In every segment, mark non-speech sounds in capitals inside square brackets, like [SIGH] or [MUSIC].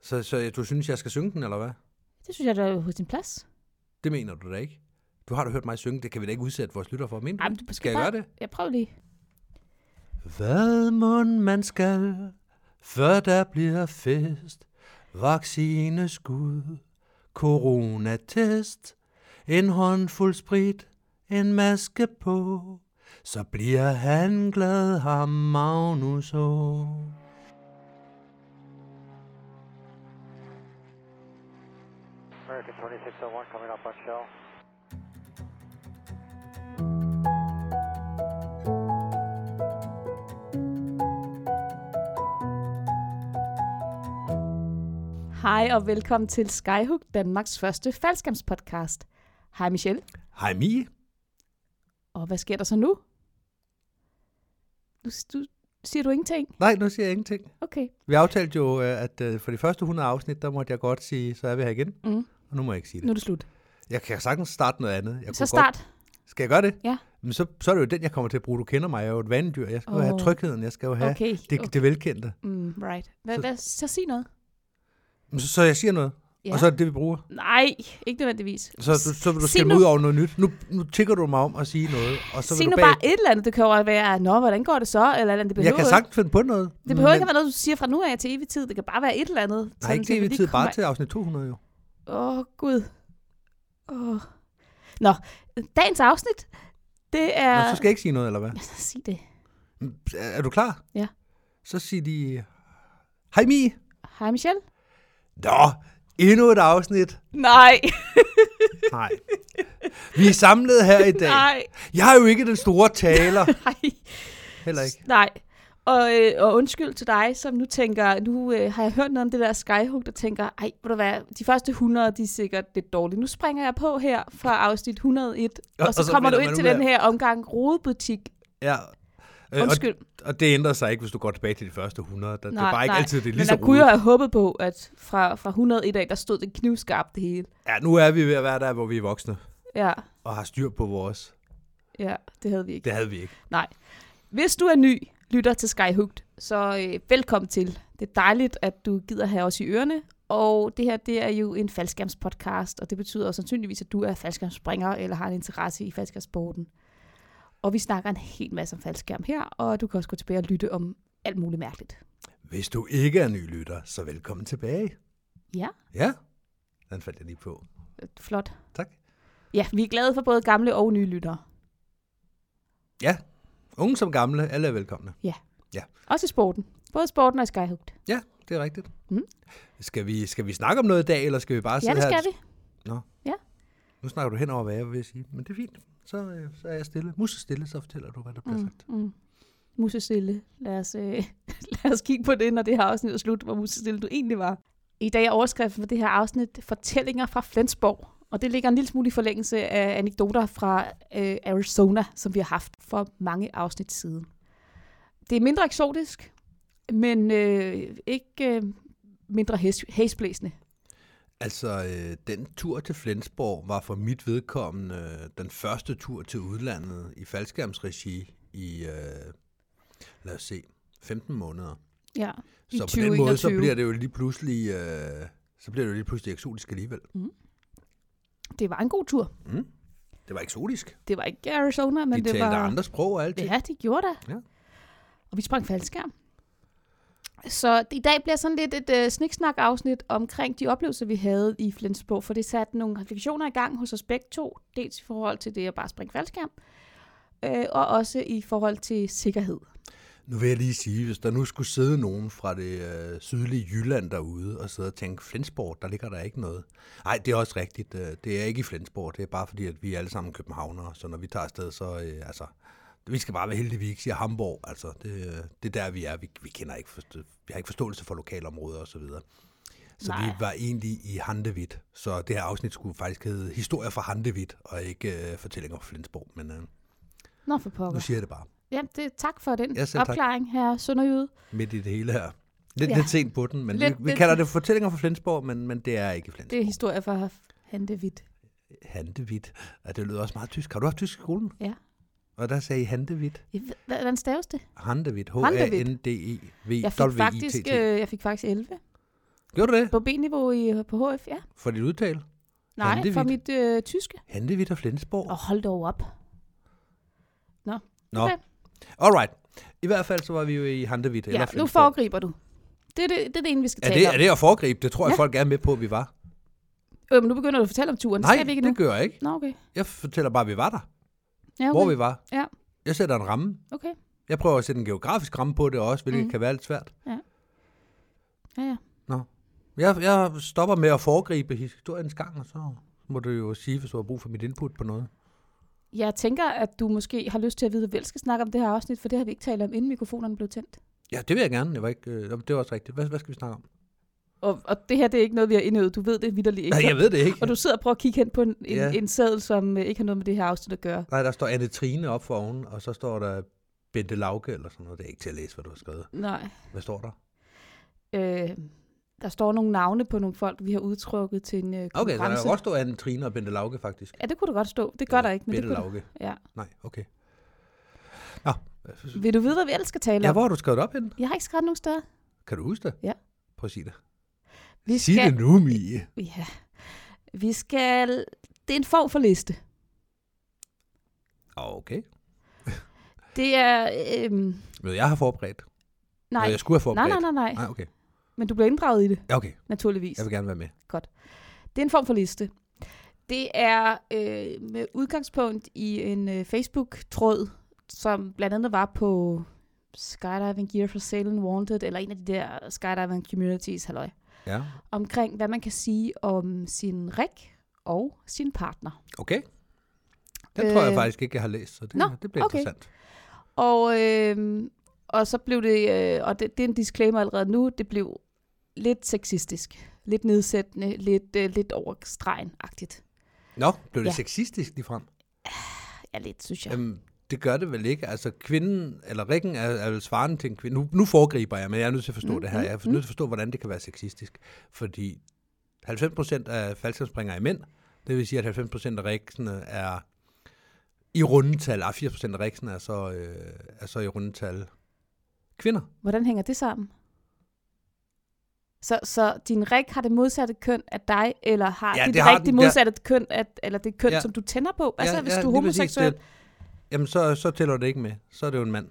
Så, så du synes, jeg skal synge den, eller hvad? Det synes jeg, der er på sin plads. Det mener du da ikke. Du har da hørt mig synge, det kan vi da ikke udsætte vores lytter for. Mener du? Ej, men du skal jeg gøre det? Jeg prøver lige. Hvad mund man skal, før der bliver fest, vaccineskud, coronatest, en håndfuld sprit, en maske på, så bliver han glad, ham Magnus Å. American 2601 coming up on shell. Hej og velkommen til Skyhook, Danmarks første faldskærmspodcast. Hej Michelle. Hej Mie. Og hvad sker der så nu? Nu s- du, siger du ingenting? Nej, nu siger jeg ingenting. Okay. Vi aftalte jo, øh, at øh, for de første 100 afsnit, der måtte jeg godt sige, så er vi her igen. Mm. Og nu må jeg ikke sige det. Nu er det slut. Jeg kan sagtens starte noget andet. Jeg Så kunne start. Godt. Skal jeg gøre det? Ja. Men så, så er det jo den, jeg kommer til at bruge. Du kender mig, jeg er jo et vanddyr. Jeg skal oh. Åh. have trygheden, jeg skal jo have okay. Okay. det, okay. det velkendte. Mm, right. Hvad, Så- hvad, så sig noget. Men Så, så jeg siger noget, ja. og så er det det, vi bruger. Nej, ikke nødvendigvis. Så, så, så vil du Sig skille mig nu. ud over noget nyt. Nu, nu tigger du mig om at sige noget, og så Sig vil nu du bag... bare et eller andet. Det kan jo være, nå, hvordan går det så? Eller et eller andet. Det jeg behøver, kan ikke- sagtens finde på noget. det behøver men, ikke at være noget, du siger fra nu af til evig tid. Det kan bare være et eller andet. Nej, ikke så vi til evig lige tid, bare kommer- til afsnit 200 jo. Åh, oh, Gud. Oh. Nå, dagens afsnit, det er... Nå, så skal jeg ikke sige noget, eller hvad? jeg... [LAUGHS] Sig det. Er er du klar? Ja. Så siger de, hej Mi. Hej, Michelle. Nå, endnu et afsnit. Nej, Nej. Vi er samlet her i dag. nej, Jeg er jo ikke den store [LAUGHS] taler. nej, Heller ikke. nej. Og, øh, og undskyld til dig, som nu tænker, nu øh, har jeg hørt noget om det der Skyhook, der tænker, ej, ved du hvad, de første 100, de er sikkert lidt dårlige. Nu springer jeg på her fra afsnit 101, og, og så, så kommer finder du man ind til ud af- den her omgang rodebutik. Ja. Øh, og, Undskyld, og det ændrer sig ikke, hvis du går tilbage til de første 100. Der, det er Nej, bare ikke nej. altid, det er lige men så der kunne roligt. jeg have håbet på, at fra, fra 100 i dag, der stod det knivskarpt det hele. Ja, nu er vi ved at være der, hvor vi er voksne Ja, og har styr på vores. ja, det havde vi ikke. Det havde vi ikke. Nej. Hvis du er ny lytter til Skyhooked, så øh, velkommen til. Det er dejligt, at du gider have os i ørerne. Og det her, det er jo en faldskærmspodcast, og det betyder jo sandsynligvis, at du er faldskærmsspringer eller har en interesse i faldskærmssporten. Og vi snakker en hel masse om faldskærm her, og du kan også gå tilbage og lytte om alt muligt mærkeligt. Hvis du ikke er ny lytter, så velkommen tilbage. Ja, Ja, den faldt jeg lige på. øh, flot. Tak. Ja, vi er glade for både gamle og nye lyttere. Unge som gamle, alle er velkomne. Også i sporten. Både i sporten og i Skyhooked. Ja, det er rigtigt. Mm. Skal, vi, skal vi snakke om noget i dag, eller skal vi bare Ja, sidde det her? skal vi. Nu snakker du hen over, hvad jeg vil sige. Men det er fint. Så, øh, så er jeg stille. Musse stille, så fortæller du, hvad der bliver mm. sagt. Mm, mm. Musestille. Lad os, øh, [LAUGHS] lad os kigge på det, når det her afsnit er slut, hvor musestille du egentlig var. I dag er overskriften for det her afsnit Fortællinger fra Flensborg. Og det ligger en lille smule i forlængelse af anekdoter fra øh, Arizona, som vi har haft for mange afsnit siden. Det er mindre eksotisk, men øh, ikke øh, mindre hæs- hæsblæsende. Altså, øh, den tur til Flensborg var for mit vedkommende øh, den første tur til udlandet i faldskærmsregi i, øh, lad os se, 15 måneder. Ja, i Så på den måde, så 2021. bliver det jo lige pludselig, øh, så bliver det jo lige pludselig eksotisk alligevel. Det var en god tur. Mm. Det var eksotisk. Det var ikke Arizona, men Men De det talte var... var... andre sprog og alt det. Ja, det gjorde det. Ja. Og vi sprang faldskærm. Så i dag bliver sådan lidt et øh, sniksnak-afsnit omkring de oplevelser, vi havde i Flensborg, for det satte nogle refleksioner i gang hos os begge to, dels i forhold til det at bare springe faldskærm, øh, og også i forhold til sikkerhed. Nu vil jeg lige sige, hvis der nu skulle sidde nogen fra det øh, sydlige Jylland derude og sidde og tænke, Flensborg, der ligger der ikke noget. Nej, det er også rigtigt. Øh, det er ikke i Flensborg. Det er bare fordi, at vi er alle sammen københavnere. Så når vi tager afsted, så øh, altså, vi skal bare være heldige, at vi ikke siger Hamburg. Altså, det, øh, det er der, vi er. Vi, vi, kender ikke forstå, vi har ikke forståelse for lokalområder osv. Så, videre. så Nej. vi var egentlig i Handevidt. Så det her afsnit skulle faktisk hedde Historier fra Handevidt, og ikke øh, Fortællinger fra Flensborg. Men øh, Nå for nu pokker. siger jeg det bare. Ja, det, tak for den Ja, selv tak. opklaring her, Sønderjyde. midt i det hele her. Lidt, Ja. ja. lidt sent på den, men Lidt- lidt, vi, vi lidt- kalder det fortællinger fra Flensborg, men, men det er ikke i Det er Flensborg. historie fra Handevidt. Det... Handevidt. Ja, det lyder også meget tysk. Har du haft tysk i skolen? Ja. Og der sagde I Handevidt. Ja, hva- Hvordan staves det? Handevidt. Handewitt. E H-A-N-D-E-V-I-T-T. øh, Jeg fik, faktisk, øh, jeg fik faktisk 11. Gjorde du det? På B-niveau i, på HF, ja. For dit udtale? Nej, Handevidt. fra mit øh, tyske. Handevidt og Flensborg? Og hold dog op. Nå, okay. alright. I hvert fald så var vi jo i Handevidt eller Ja, nu Flensborg. foregriber du. Det er det, det, er det ene, vi skal Er tale det, om. er det at foregribe? Det tror jeg, Ja. folk er med på, at vi var. Øh, men nu begynder du at fortælle om turen. Nej, skal vi ikke det nu? gør jeg ikke. Nå, okay. Jeg fortæller bare, at vi var der. Ja, okay. Hvor vi var. Ja. Jeg sætter en ramme. Okay. Jeg prøver at sætte en geografisk ramme på det også, hvilket Mm. mm. kan være lidt svært. Ja, ja. Jeg, jeg stopper med at foregribe historiens gang, og så må du jo sige, hvis du har brug for mit input på noget. Jeg tænker, at du måske har lyst til at vide, hvad vi skal snakke om det her afsnit, for det har vi ikke talt om, inden mikrofonerne blev tændt. Ja, det vil jeg gerne. Jeg var ikke, øh, det var også rigtigt. Hvad, hvad skal vi snakke om? Og, og det her, det er ikke noget, vi har indøvet. Du ved det vidderligt ikke. Nej, jeg ved det ikke. Og du sidder og prøver at kigge hen på en, en, Ja. en sædel, som øh, ikke har noget med det her afsnit at gøre. Nej, der står Anne Trine op for oven, og så står der Bente Lauke eller sådan noget. Det er ikke til at læse, hvad du har skrevet. Nej. Hvad står der? Øh, der står nogle navne på nogle folk, vi har udtrukket til en øh, Okay, så der konkurrence. kan godt stå Anne Trine og Bente Lauke, faktisk. Ja, det kunne du godt stå. Det gør der ikke, men det Bente kunne du- Lauke. Ja. Nej, okay. Nå, jeg synes- Vil du vide, hvad vi ellers skal tale ja, om? hvor har du skrevet det op henne? Jeg har ikke skrevet nogen steder. Kan du huske det? Ja. Prøv at sige det. Vi Sig det skal, nu, Mie. ja. vi skal... Det er en form for liste. Okay. Det er... Øhm, Men jeg har forberedt. nej. Nå, jeg skulle have nej, forberedt. nej, nej, nej. Nej, okay. Men du bliver inddraget i det, Ja, okay. naturligvis. Jeg vil gerne være med. Det er en form for liste. Det er øh, med udgangspunkt i en øh, Facebook-tråd, som blandt andet var på Skydiving Gear for Sale and Wanted, eller en af de der skydiving communities, halløj, Ja. omkring hvad man kan sige om sin rig og sin partner. Okay. Den tror jeg Øh. faktisk ikke, jeg har læst, så det, Nå, det bliver okay. interessant. Og, øh, og så blev det, øh, og det, det er en disclaimer allerede nu, det blev lidt sexistisk, lidt nedsættende, lidt, øh, lidt over stregen-agtigt. Nå, blev det Ja. ja. sexistisk ligefrem? Ja, lidt, synes jeg. Jamen, det gør det vel ikke. Altså, kvinden, eller rikken er, er vel svarende til en kvinde. Nu, nu foregriber jeg, men jeg er nødt til at forstå Mm, mm, det her. Jeg er mm, nødt til at forstå, hvordan det kan være sexistisk. Fordi 90 procent af faldskabsspringere er mænd. Det vil sige, at 90 procent af riksene er i rundetal. Ah, 80 procent af riksene er så, øh, er så i rundetal kvinder. Hvordan hænger det sammen? Så, så din rig har det modsatte køn af dig, eller har Ja, dit det har rig det den, modsatte ja. køn, af, eller det køn, ja. Ja. som du tænder på? Altså, ja, hvis du er lige præcis, homoseksuel? det- Jamen, så, så tæller det ikke med. Så er det jo en mand.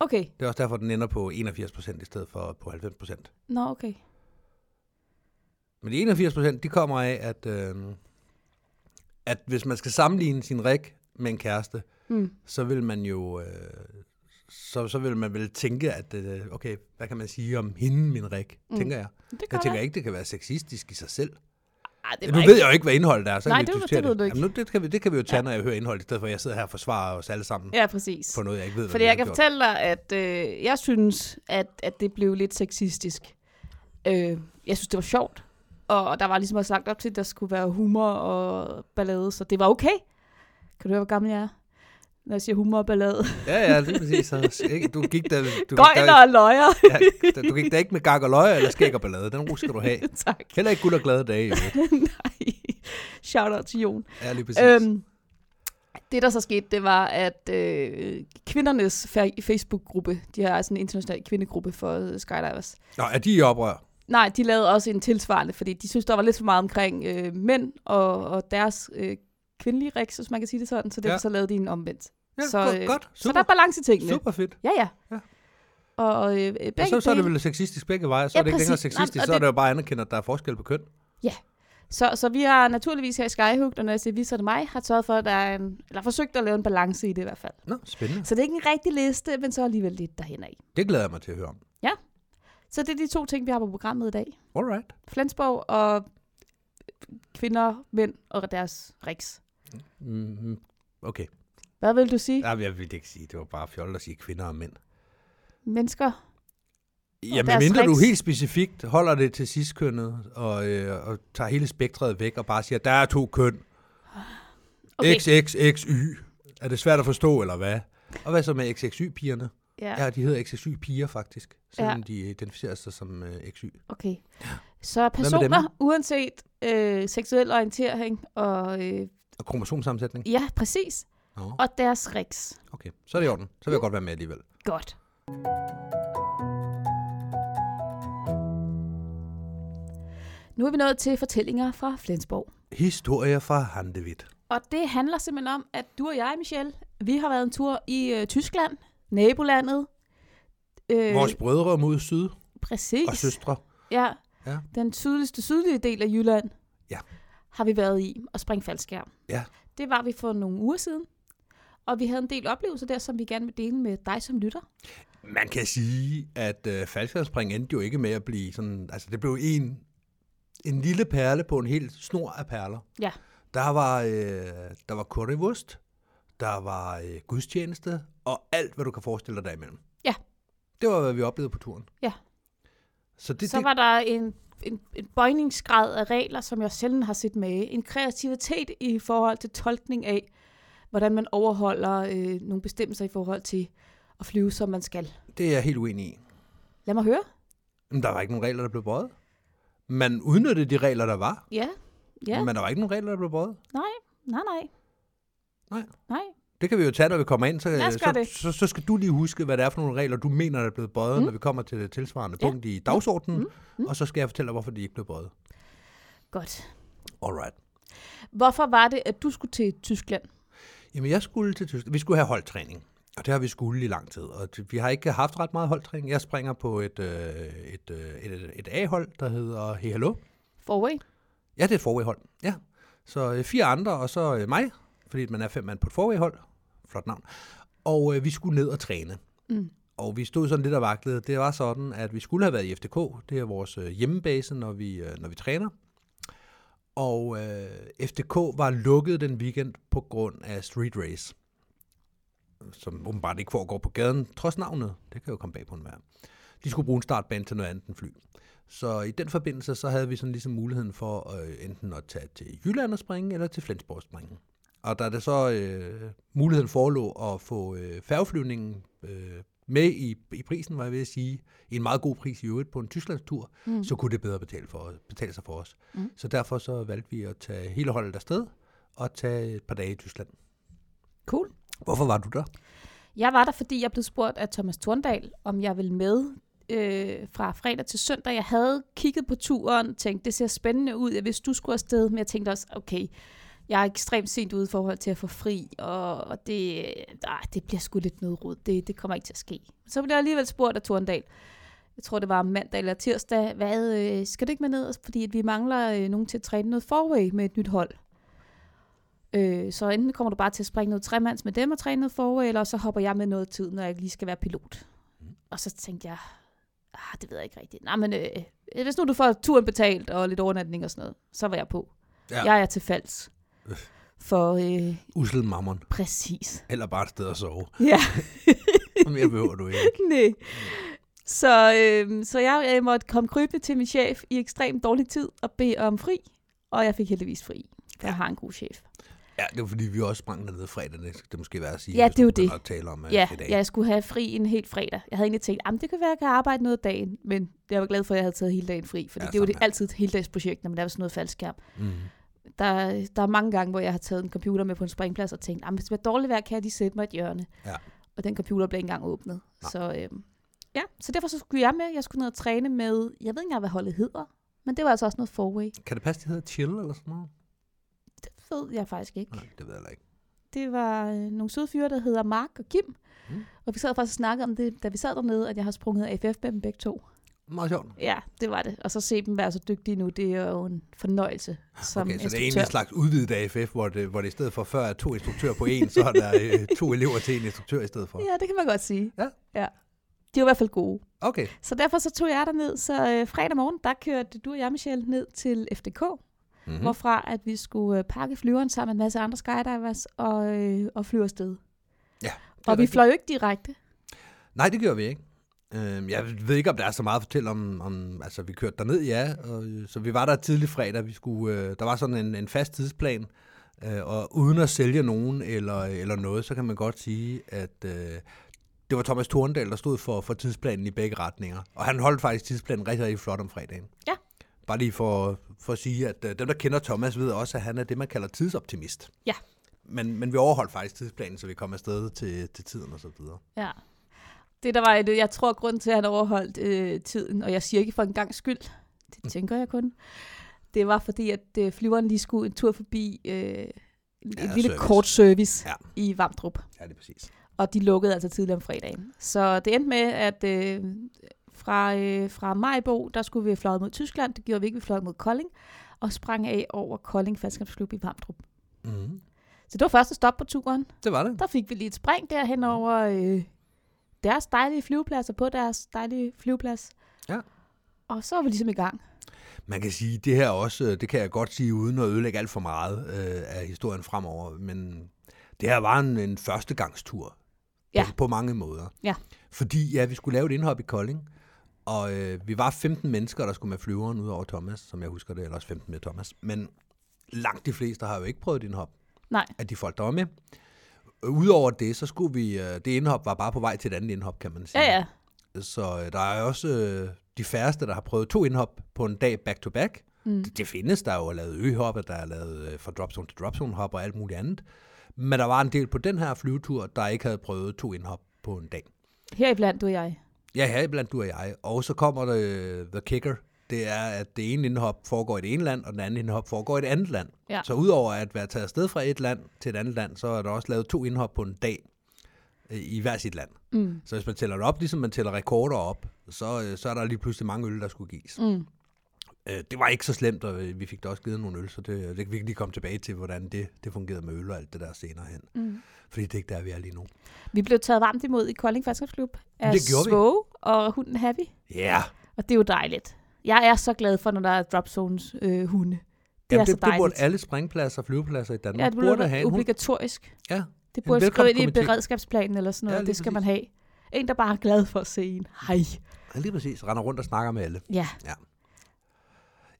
Okay, Det er også derfor, den ender på 81 procent i stedet for på 90 procent. nå okay. Men de 81 procent, de kommer af, at, øh, at hvis man skal sammenligne sin rig med en kæreste, Mm. så vil man jo øh, så, så vil man vel tænke, at øh, okay, hvad kan man sige om hende, min rig, Mm. mm. tænker jeg. Det Jeg gør tænker ikke, det kan være sexistisk i sig selv. Ej, det Nu var ved jeg jo ikke, hvad indholdet er, så Nej, kan vi det ved- diskutere det ved du ikke. Jamen, nu, det, kan vi, det kan vi jo tage, når jeg hører indholdet, i stedet for at jeg sidder her og forsvarer os alle sammen ja. Ja, præcis. for noget, jeg ikke ved, hvad Fordi vi jeg har kan gjort. fortælle dig, at øh, jeg synes, at, at det blev lidt sexistisk. Øh, jeg synes, det var sjovt. Og, og der var ligesom også lagt op til, at der skulle være humor og ballade, så det var okay. Kan du høre, hvor gammel jeg er? Når jeg siger humor og ballade. Ja, ja, lige præcis. Så, ikke? Du gik da, du, gik Gøjler da, og løjer. ja, du gik da ikke med gak og løg eller skæg og ballade. Den ro skal du have. [LAUGHS] tak. Heller ikke guld og glade dage. Jo. Nej. Shout out til Jon. Ja, lige præcis. Øhm, det, der så skete, det var, at øh, kvindernes fa- Facebook-gruppe, de har altså en international kvindegruppe for øh, skydivers, Nå, er de i oprør? Nej, de lavede også en tilsvarende, fordi de synes, der var lidt for meget omkring øh, mænd og, og deres øh, kvindelige riks, hvis man kan sige det sådan, så derfor ja. Ja. så lavede de en omvendt. Ja, Så, så, øh, godt, godt. Så Super, der er balance i tingene. super fedt. Ja, ja. Ja. Og øh, begge Og så, så er det dele- vel sexistisk begge veje, så Ja, er det ikke længere præcis. Nej, sexistisk, og så er det- det jo bare anerkendt, at der er forskel på køn. Så, så vi har naturligvis her i Skyhook, og når jeg siger vi, så er det mig, har sørget for, at der er en, eller forsøgt at lave en balance i det i hvert fald. Nå, spændende. Så det er ikke en rigtig liste, men så alligevel lidt derhen af. Det glæder jeg mig til at høre om. Så det er de to ting, vi har på programmet i dag. Alright. Flensborg og øh, kvinder, mænd og deres riks. Mm, okay. Hvad vil du sige? Ja. Jamen, jeg ville ikke sige, det var bare fjollet at sige kvinder og mænd. Mennesker? Ja, deres men mindre du riks. helt specifikt holder det til sidstkønnet og, øh, og tager hele spektret væk og bare siger, der er to køn. Okay. Okay. XXXY. Er det svært at forstå, eller hvad? Og hvad så med XXY-pigerne? Ja, de hedder XXY-piger faktisk, selvom ja. de identificerer sig som øh, XY. Okay. Så med personer, uanset øh, seksuel orientering og... Øh, Og kromosomsammensætning? ja, præcis. Nå, Og deres riks. okay. Så er det i orden. Så vil jeg godt være med alligevel. Godt. Nu er vi nået til fortællinger fra Flensborg. Historier fra Handewitt. Og det handler simpelthen om, at du og jeg, Michelle, vi har været en tur i øh, Tyskland, nabolandet. Øh, Vores brødre mod syd Præcis. og søstre. Ja. Ja. Den sydligste sydlige del af Jylland Ja. har vi været i og springe faldskærm. Ja. Det var vi for nogle uger siden. Og vi havde en del oplevelser der, som vi gerne vil dele med dig som lytter. Man kan sige, at øh, faldskærmspring endte jo ikke med at blive sådan... Altså, det blev en, en lille perle på en hel snor af perler. Ja. Der var, øh, der var currywurst, der var øh, gudstjeneste, og alt, hvad du kan forestille dig derimellem. Ja. Det var, hvad vi oplevede på turen. Ja. Så det, Så det, var der en, en, en bøjningsgrad af regler, som jeg sjældent har set med. En kreativitet i forhold til tolkning af, hvordan man overholder øh, nogle bestemmelser i forhold til at flyve, som man skal. det er jeg helt uenig i. Lad mig høre. Men der var ikke nogen regler, der blev bøjet. Man udnyttede de regler, der var, Ja. Ja. men der var ikke nogen regler, der blev bøjet. Nej, nej. Nej. Nej. Det kan vi jo tage, når vi kommer ind. Så, øh, Lad os gøre så, det. så, så skal du lige huske, hvad det er for nogle regler, du mener, der er blevet bøjet, Mm. mm. når vi kommer til det tilsvarende Ja. ja. punkt i dagsordenen. Mm. Mm. Mm. Mm. Og så skal jeg fortælle dig, hvorfor de ikke blev bøjet. Godt. Alright. Hvorfor var det, at du skulle til Tyskland? Jamen, jeg skulle til Tyskland. Vi skulle have holdtræning. Og det har vi skulle i lang tid. Og t- vi har ikke haft ret meget holdtræning. Jeg springer på et, øh, et, øh, et, et, et A-hold, der hedder Hey Hello. Forway? Ja, det er et forway-hold. Ja. Så øh, fire andre, og så øh, mig, fordi man er fem mand på et forway-hold. Flot navn. Og øh, vi skulle ned og træne. Mm. Og vi stod sådan lidt og vaklede. Det var sådan, at vi skulle have været i FDK. Det er vores øh, hjemmebase, når vi, øh, når vi træner. Og øh, FDK var lukket den weekend på grund af street race. Som åbenbart ikke foregår på gaden, trods navnet. Det kan jo komme bag på en vær. De skulle bruge en startbane til noget andet end fly. Så i den forbindelse, så havde vi sådan ligesom muligheden for øh, enten at tage til Jylland og springe, eller til Flensborg og springe. Og da det så øh, muligheden forelå at få øh, færgeflyvningen øh, med i, i prisen, var jeg ved at sige, en meget god pris i øvrigt på en Tysklandstur, Mm. mm. så kunne det bedre betale, for, betale sig for os. Mm. Mm. Så derfor så valgte vi at tage hele holdet afsted og tage et par dage i Tyskland. Cool. Hvorfor var du der? Jeg var der, fordi jeg blev spurgt af Thomas Thorndal, om jeg ville med øh, fra fredag til søndag. Jeg havde kigget på turen, tænkt, det ser spændende ud, jeg vidste, du skulle afsted, men jeg tænkte også, okay, jeg er ekstremt sent ude i forhold til at få fri, og, og det, ah, det bliver sgu lidt noget rod. Det, det kommer ikke til at ske. Så blev jeg alligevel spurgt af Thorndal. Jeg tror, det var mandag eller tirsdag. Hvad, øh, skal du ikke med ned? Fordi at vi mangler øh, nogen til at træne noget forway med et nyt hold. Øh, så enten kommer du bare til at springe noget tremands med dem og træne noget forway, eller så hopper jeg med noget tid, når jeg lige skal være pilot. Mm. Og så tænkte jeg, ah, det ved jeg ikke rigtigt. Nej, men øh, hvis nu du får turen betalt og lidt overnatning og sådan noget, så var jeg på. Ja. Ja. Jeg er til falds. Øh. For øh, Usel mammon. præcis. [LAUGHS] Eller bare et sted at sove. Ja, Mere behøver du ikke. nej. Så, øh, så jeg, jeg måtte komme krybende til min chef i ekstremt dårlig tid og bede om fri. Og jeg fik heldigvis fri, Ja. for ja. jeg har en god chef. Ja, det var fordi, vi også sprang dernede fredag, det skal det måske være at sige. Ja, hvis det er du jo det. begynder At tale om øh, Ja, i dag. ja, jeg skulle have fri en helt fredag. Jeg havde egentlig tænkt, at det kan være, at jeg kan arbejde noget af dagen, men jeg var glad for, at jeg havde taget hele dagen fri, fordi ja, Ja, det er jo det, sådan er altid et heldagsprojekt, når man laver sådan noget faldskærm. Mm. Der, der er mange gange, hvor jeg har taget en computer med på en springplads og tænkt, at hvis det bliver dårligt vejr, kan jeg lige sætte mig i et hjørne. Ja. Og den computer blev ikke engang åbnet. Nej. Så, øhm, ja. så derfor så skulle jeg med. Jeg skulle ned og træne med, jeg ved ikke engang, hvad holdet hedder, men det var altså også noget forway. Kan det passe, det hedder chill eller sådan noget? Det ved jeg faktisk ikke. Nej, det ved jeg heller ikke. Det var øh, nogle søde fyre, der hedder Mark og Kim. Mm. Mm. Og vi sad faktisk og snakkede om det, da vi sad dernede, at jeg har sprunget AFF med dem begge to. Meget sjovt. Ja, det var det. Og så se dem være så dygtige nu, det er jo en fornøjelse som Ah, Okay, så det er egentlig instruktør. en slags udvidet AFF, hvor det, hvor det i stedet for før er to instruktører på en, så er der øh, to elever til en instruktør i stedet for. Ja, det kan man godt sige. Ja. ja. De er i hvert fald gode. Okay, Så derfor så tog jeg derned, så øh, fredag morgen, der kørte du og jeg, Michelle, ned til FDK, mm. mm-hmm. hvorfra at vi skulle øh, pakke flyveren sammen med en masse andre skydivers og, øh, og flyve afsted. Og vi fløj jo ikke direkte. Nej, det gjorde vi ikke. Øhm, Jeg ved ikke, om der er så meget at fortælle om, om altså vi kørte derned, ja, og, øh, så vi var der tidlig fredag, vi skulle, øh, der var sådan en, en fast tidsplan, øh, og uden at sælge nogen eller, eller noget, så kan man godt sige, at øh, det var Thomas Thorndal, der stod for, for tidsplanen i begge retninger, og han holdt faktisk tidsplanen rigtig, rigtig flot om fredagen. Ja. Bare lige for, for at sige, at øh, dem, der kender Thomas, ved også, at han er det, man kalder tidsoptimist. Ja. Men, men vi overholdt faktisk tidsplanen, så vi kom afsted til, til tiden og så videre. Ja. Det der var, et, jeg øh, Mm. tror, grund til, at han overholdt øh, tiden, og jeg siger ikke for en gang skyld, det tænker jeg kun, Det var fordi, at øh, flyveren lige skulle en tur forbi øh, et ja, lille service. kort service Ja. ja. i Vamdrup. Ja, det er præcis. Og de lukkede altså tidligere om fredagen. Så det endte med, at øh, fra, øh, fra Majbo, der skulle vi have fløjet mod Tyskland. Det gjorde vi ikke, vi fløj mod Kolding. Og sprang af over Kolding Faldskabsklub i Vamdrup. Mm. Så det var første stop på turen. Det var det. Der fik vi lige et spring derhen over øh, deres dejlige flyveplads og på deres dejlige flyveplads. Ja. Og så var vi ligesom i gang. Man kan sige, det her også, øh, det kan jeg godt sige uden at ødelægge alt for meget øh, af historien fremover, men det her var en, en førstegangstur Ja. på, på mange måder. Ja. Fordi ja, vi skulle lave et indhop i Kolding, og øh, vi var 15 mennesker, der skulle med flyveren ud over Thomas, som jeg husker det, eller også 15 med Thomas. Men langt de fleste har jo ikke prøvet et indhop Nej, af de folk, der var med. Udover det, så skulle vi, øh, det indhop var bare på vej til et andet indhop, kan man sige. ja ja. Så øh, der er også øh, de færreste, der har prøvet to indhop på en dag back-to-back. Mm. Det, det findes, der er jo lavet øhop, og der er lavet øh, fra dropzone til dropzone hop og alt muligt andet. Men der var en del på den her flyvetur, der ikke havde prøvet to indhop på en dag. Heriblandt du og jeg. Ja, her blandt du og jeg. Og så kommer der øh, The Kicker. Det er, at det ene indhop foregår i det ene land, og den anden indhop foregår i det andet land. Ja. Så udover at være taget afsted fra et land til et andet land, så er der også lavet to indhop på en dag øh, i hver sit land. Mm. Så hvis man tæller det op, ligesom man tæller rekorder op, så, øh, så er der lige pludselig mange øl, der skulle gives. Mm. Øh, det var ikke så slemt, og øh, vi fik da også givet nogle øl, så det, det kan vi lige komme tilbage til, hvordan det, det fungerede med øl og alt det der senere hen. Mm. Fordi det er ikke der, vi er lige nu. Vi blev taget varmt imod i Kolding Færdskabsklub af Det gjorde vi. Svoge og hunden Happy. Ja, yeah. Og det er jo dejligt. Jeg er så glad for, når der er drop zones øh, hunde. Det er Jamen, så det, det burde dejligt. alle springpladser og flyvepladser i ja, Danmark det burde have være en hund. obligatorisk. Ja, Det burde skrive ind i velkomstkomité. beredskabsplanen eller sådan noget. Ja, Ja, lige det skal man have. En, der bare er glad for at se en. Hej. han lige præcis render rundt og snakker med alle. Ja.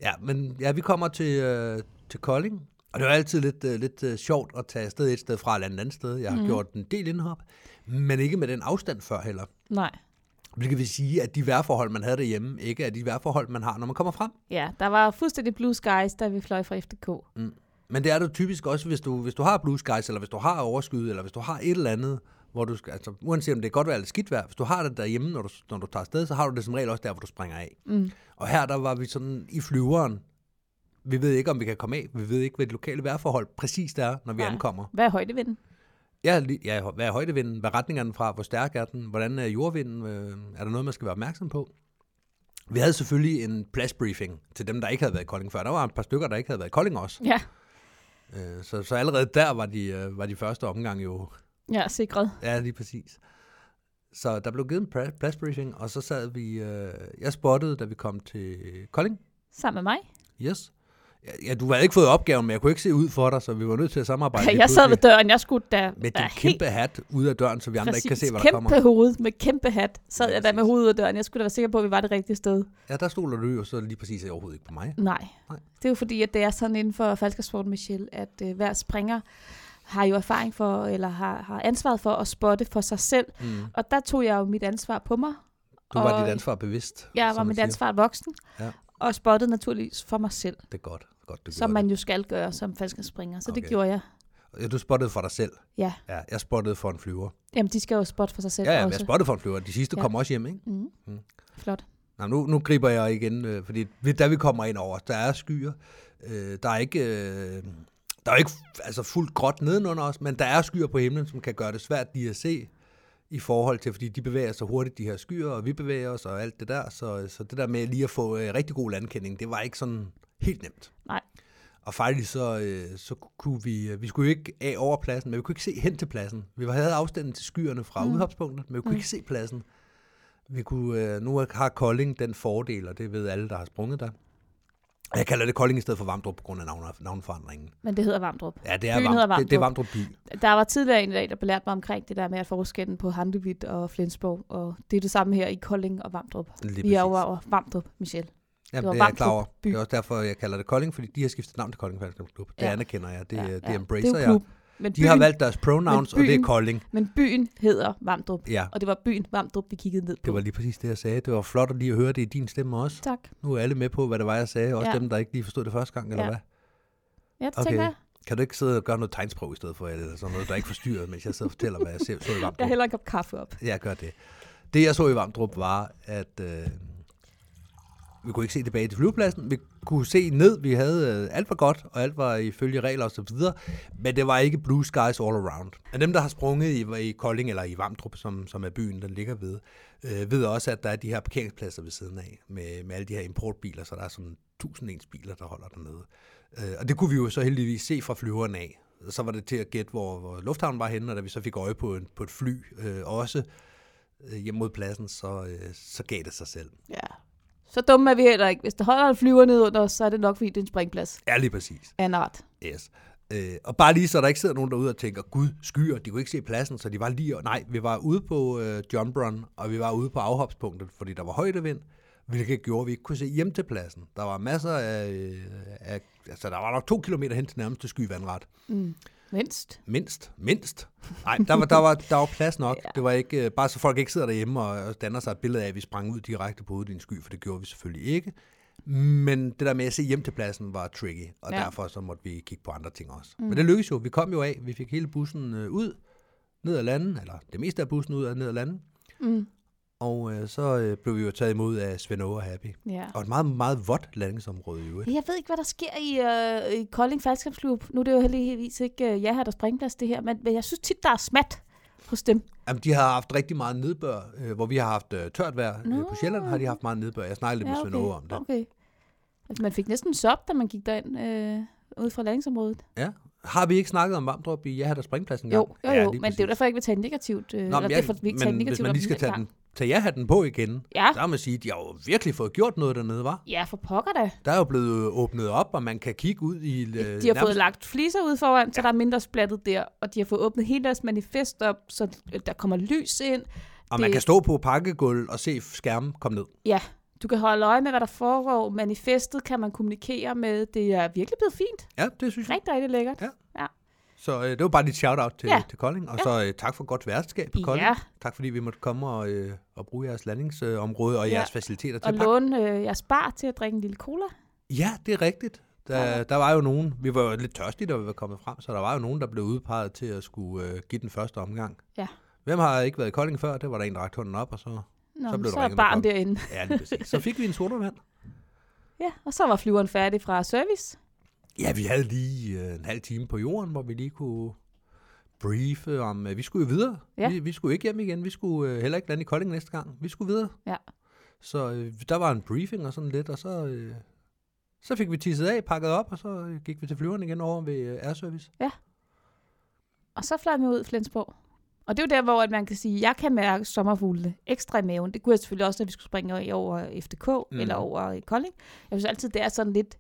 Ja, men ja, vi kommer til, øh, til Kolding, og det er jo altid lidt, øh, lidt øh, sjovt at tage afsted et sted fra eller et andet sted. Jeg har mm. gjort en del indhop, men ikke med den afstand før heller. Nej. Hvilket vil sige, at de vejrforhold, man havde derhjemme, ikke er de vejrforhold, man har, når man kommer frem. Ja, der var fuldstændig blue skies, da vi fløj fra FDK. Men det er det typisk også, hvis du, hvis du har blue skies, eller hvis du har overskyet, eller hvis du har et eller andet, hvor du skal, altså, uanset om det er godt vejr eller skidt vejr, hvis du har det derhjemme, når du, når du tager afsted, så har du det som regel også der, hvor du springer af. Mm. Og her der var vi sådan i flyveren. Vi ved ikke, om vi kan komme af. Vi ved ikke, hvad det lokale vejrforhold præcis er, når vi Nej. ankommer. Hvad er højdevinden? Ja, lige- ja, hvad er højdevinden? Hvad er retningerne fra? Hvor stærk er den? Hvordan er jordvinden? Øh, Er der noget, man skal være opmærksom på? Vi havde selvfølgelig en pladsbriefing til dem, der ikke havde været i Kolding før. Der var et par stykker, der ikke havde været i Kolding også. Ja, Øh, Så, så allerede der var de, øh, var de første omgang jo. ja sikret. Ja, lige præcis. Så der blev givet en pra- pladsbriefing, og så sad vi... øh, Jeg spottede, da vi kom til Kolding. Sammen med mig. Yes. Ja, Ja, du havde ikke fået opgaven, men jeg kunne ikke se ud for dig, så vi var nødt til at [LAUGHS] samarbejde. lidt jeg sad ved pludselig døren. Jeg skulle da med være din kæmpe hat ude af døren, så vi andre ikke kan se, hvad der kæmpe kommer. hoved med kæmpe hat. Sad Ja, jeg der med præcis. hovedet ud af døren. Jeg skulle da være sikker på, at vi var det rigtige sted. Ja, der stoler du jo så lige præcis overhovedet ikke på mig. Nej. Nej. Det er jo fordi, at det er sådan inden for falskersporten, Michelle, at øh, hver springer har jo erfaring for, eller har, har ansvaret for at spotte for sig selv. Mm. Og der tog jeg jo mit ansvar på mig. Du var og dit ansvar bevidst. Jeg som var man mit siger. ansvar voksen. Ja. Og spottede naturligvis for mig selv, Det er godt. godt du som gjorde man jo skal gøre som falskerspringer. Så okay. Okay. det gjorde jeg. det. Ja, Du spottede for dig selv. Ja. ja. Jeg spottede for en flyver. Jamen, de skal jo spotte for sig selv Ja, ja, men jeg også. spottede for en flyver. De sidste ja. Ja. kom også hjem, ikke? Mm. Mm. Flot. Nå, nu, nu griber jeg igen, øh, fordi vi- da vi kommer ind over, der er skyer. Øh, der er ikke, øh, der er ikke altså fuldt gråt nedenunder os, men der er skyer på himlen, som kan gøre det svært lige at se i forhold til, fordi de bevæger sig hurtigt, de her skyer, og vi bevæger os og alt det der. Så, så det der med lige at få øh, rigtig god landkending, det var ikke sådan helt nemt. Nej. Og faktisk så, øh, så kunne vi, øh, vi skulle jo ikke af over pladsen, men vi kunne ikke se hen til pladsen. Vi havde afstanden til skyerne fra mm. udhopspunktet, men vi kunne mm. ikke se pladsen. Vi kunne, øh, nu har Kolding den fordel, og det ved alle, der har sprunget der. Og Jeg kalder det Kolding i stedet for Vamdrup på grund af navn, navnforandringen. Men det hedder Vamdrup. Ja, det er, Byen hedder Vam, det, det er Vamdrup. Vamdrup by. Der var tidligere en i dag, der belærte mig omkring det der med at forskellen på Handevidt og Flensborg, og det er det samme her i Kolding og Vamdrup. Lige Vi er præcis. over, over Vamdrup, Michelle. Jamen, var det er jeg Vamdrup klar over. by. Det er også derfor, jeg kalder det Kolding, fordi de har skiftet navn til Kolding Falskens Klub. Det Ja. anerkender jeg. Det, Ja, ja, ja. det er jo embracer jeg. klub. Men De har valgt deres pronouns, og det er byen- Kolding. Men byen hedder Vamdrup, Ja, og det var byen Vamdrup, vi kiggede ned på. det var lige præcis det, jeg sagde. Det var flot at lige at høre det i din stemme også. Tak. Nu er alle med på, hvad det var, jeg sagde. Også ja. Ja. dem, der ikke lige forstod det første gang, eller ja. Ja. hvad? Ja, det Okay. okay. tænker jeg. Kan du ikke sidde og gøre noget tegnsprog i stedet for, eller sådan noget, der ikke forstyrrer, mens jeg sidder og fortæller, hvad jeg ser, [LAUGHS] så i Jeg Vamdrup? hælder en kop [LAUGHS] kaffe op. Jeg gør det. Det, jeg så i Vamdrup, var, at øh, Vi kunne ikke se tilbage til flyvepladsen. Vi kunne se ned. Vi havde øh, alt var godt, og alt var ifølge regler osv. Men det var ikke blue skies all around. Og dem, der har sprunget i, i Kolding eller i Vamdrup, som, som er byen, der ligger ved, øh, ved også, at der er de her parkeringspladser ved siden af med, med alle de her importbiler, så der er sådan tusind ens biler, der holder dernede. Øh, og det kunne vi jo så heldigvis se fra flyveren af. Så var det til at gætte, hvor, hvor lufthavnen var henne, og da vi så fik øje på, en, på et fly øh, også øh, hjem mod pladsen, så, øh, så gav det sig selv. Ja. Så dumme er vi heller ikke. Hvis der holder en flyver ned under os, så er det nok, fordi det er en springplads Ja, lige præcis. af en art. Yes. Øh, og bare lige så der ikke sidder nogen derude og tænker, gud, skyer, de kunne ikke se pladsen, så de var lige... Nej, vi var ude på øh, jump run, og vi var ude på afhopspunktet, fordi der var højdevind, hvilket gjorde, at vi ikke kunne se hjem til pladsen. Der var masser af... øh, af altså, der var nok to kilometer hen til nærmeste skyvandret. Mindst. Mindst, mindst. Nej, der var, der, var, der var plads nok. [LAUGHS] ja. Det var ikke, øh, bare så folk ikke sidder derhjemme og, og danner sig et billede af, at vi sprang ud direkte på hovedet i en sky, for det gjorde vi selvfølgelig ikke. Men det der med at se hjem til pladsen var tricky, og Ja. ja. derfor så måtte vi kigge på andre ting også. Mm. Men det lykkedes jo. Vi kom jo af. Vi fik hele bussen øh, ud, ned ad landen, eller det meste af bussen ud og ned ad landen. Mm. Og øh, så øh, blev vi jo taget imod af Svend Åge og Happy. Ja. Og et meget, meget vådt landingsområde i øvrigt. Jeg ved ikke, hvad der sker i, øh, i Kolding Falskabsklub. Nu er det jo heldigvis ikke øh, jer her, der springplads det her, men, men jeg synes tit, der er smat hos dem. Jamen, de har haft rigtig meget nedbør, øh, hvor vi har haft øh, tørt vejr. Øh, Nå. på Sjælland har de haft meget nedbør. Jeg snakkede lidt med Svend Åge om det. okay. Altså, man fik næsten sop, da man gik derind øh, ud fra landingsområdet. Ja. Har vi ikke snakket om Vamdrup i Ja, der springplads en Jo, gang? jo, jo, ja, ja, lige men det er jo præcis. derfor, jeg ikke vil tage negativt. Øh, Nå, Nå, eller men, derfor, vi ikke tager men negativt hvis man om lige skal her tage, gang. den, tage ja-hatten på igen, Ja. så må man sige, at de har jo virkelig fået gjort noget dernede, var. Ja, for pokker da. Der er jo blevet øh, åbnet op, og man kan kigge ud i... Øh, De har nærmest... fået lagt fliser ud foran, så der er mindre splattet der, og de har fået åbnet hele deres manifest op, så øh, der kommer lys ind. Og man det- kan stå på pakkegulv og se skærmen komme ned. Ja, du kan holde øje med, hvad der foregår. Manifestet kan man kommunikere med. Det er virkelig blevet fint. Ja, det synes jeg. Rigtig, rigtig lækkert. Ja. ja. Så øh, det var bare lidt shout-out til, Ja. ja. til Kolding. Og ja. så øh, tak for godt værtskab på Kolding. Ja. Tak fordi vi måtte komme og, øh, og bruge jeres landingsområde og Ja. ja. jeres faciliteter til Og at låne øh, jeres bar til at drikke en lille cola. Ja, det er rigtigt. Der, der var jo nogen, vi var jo lidt tørstige, da vi var kommet frem, så der var jo nogen, der blev udpeget til at skulle øh, give den første omgang. Ja. Hvem har ikke været i Kolding før? Det var der en, der rakte hånden op, og så... Nå, Så blev men der så er ringet barn på derinde. Ja, lige præcis. Så fik vi en sodavand. Ja, og så var flyveren færdig fra service. Ja, vi havde lige øh, en halv time på jorden, hvor vi lige kunne briefe om... Øh, vi skulle jo videre. Ja. Vi, vi skulle ikke hjem igen. Vi skulle øh, heller ikke lande i Kolding næste gang. Vi skulle videre. Ja. Så øh, der var en briefing og sådan lidt, og så... Øh, så fik vi tisset af, pakket op, og så øh, gik vi til flyveren igen over ved øh, Air Service. Og så fløj vi ud i Flensborg. Og det er jo der, hvor at man kan sige, at jeg kan mærke sommerfuglene ekstra i maven. Det kunne jeg selvfølgelig også, når vi skulle springe i over FDK mm. Mm. eller over i Kolding. Jeg synes altid, det er sådan lidt...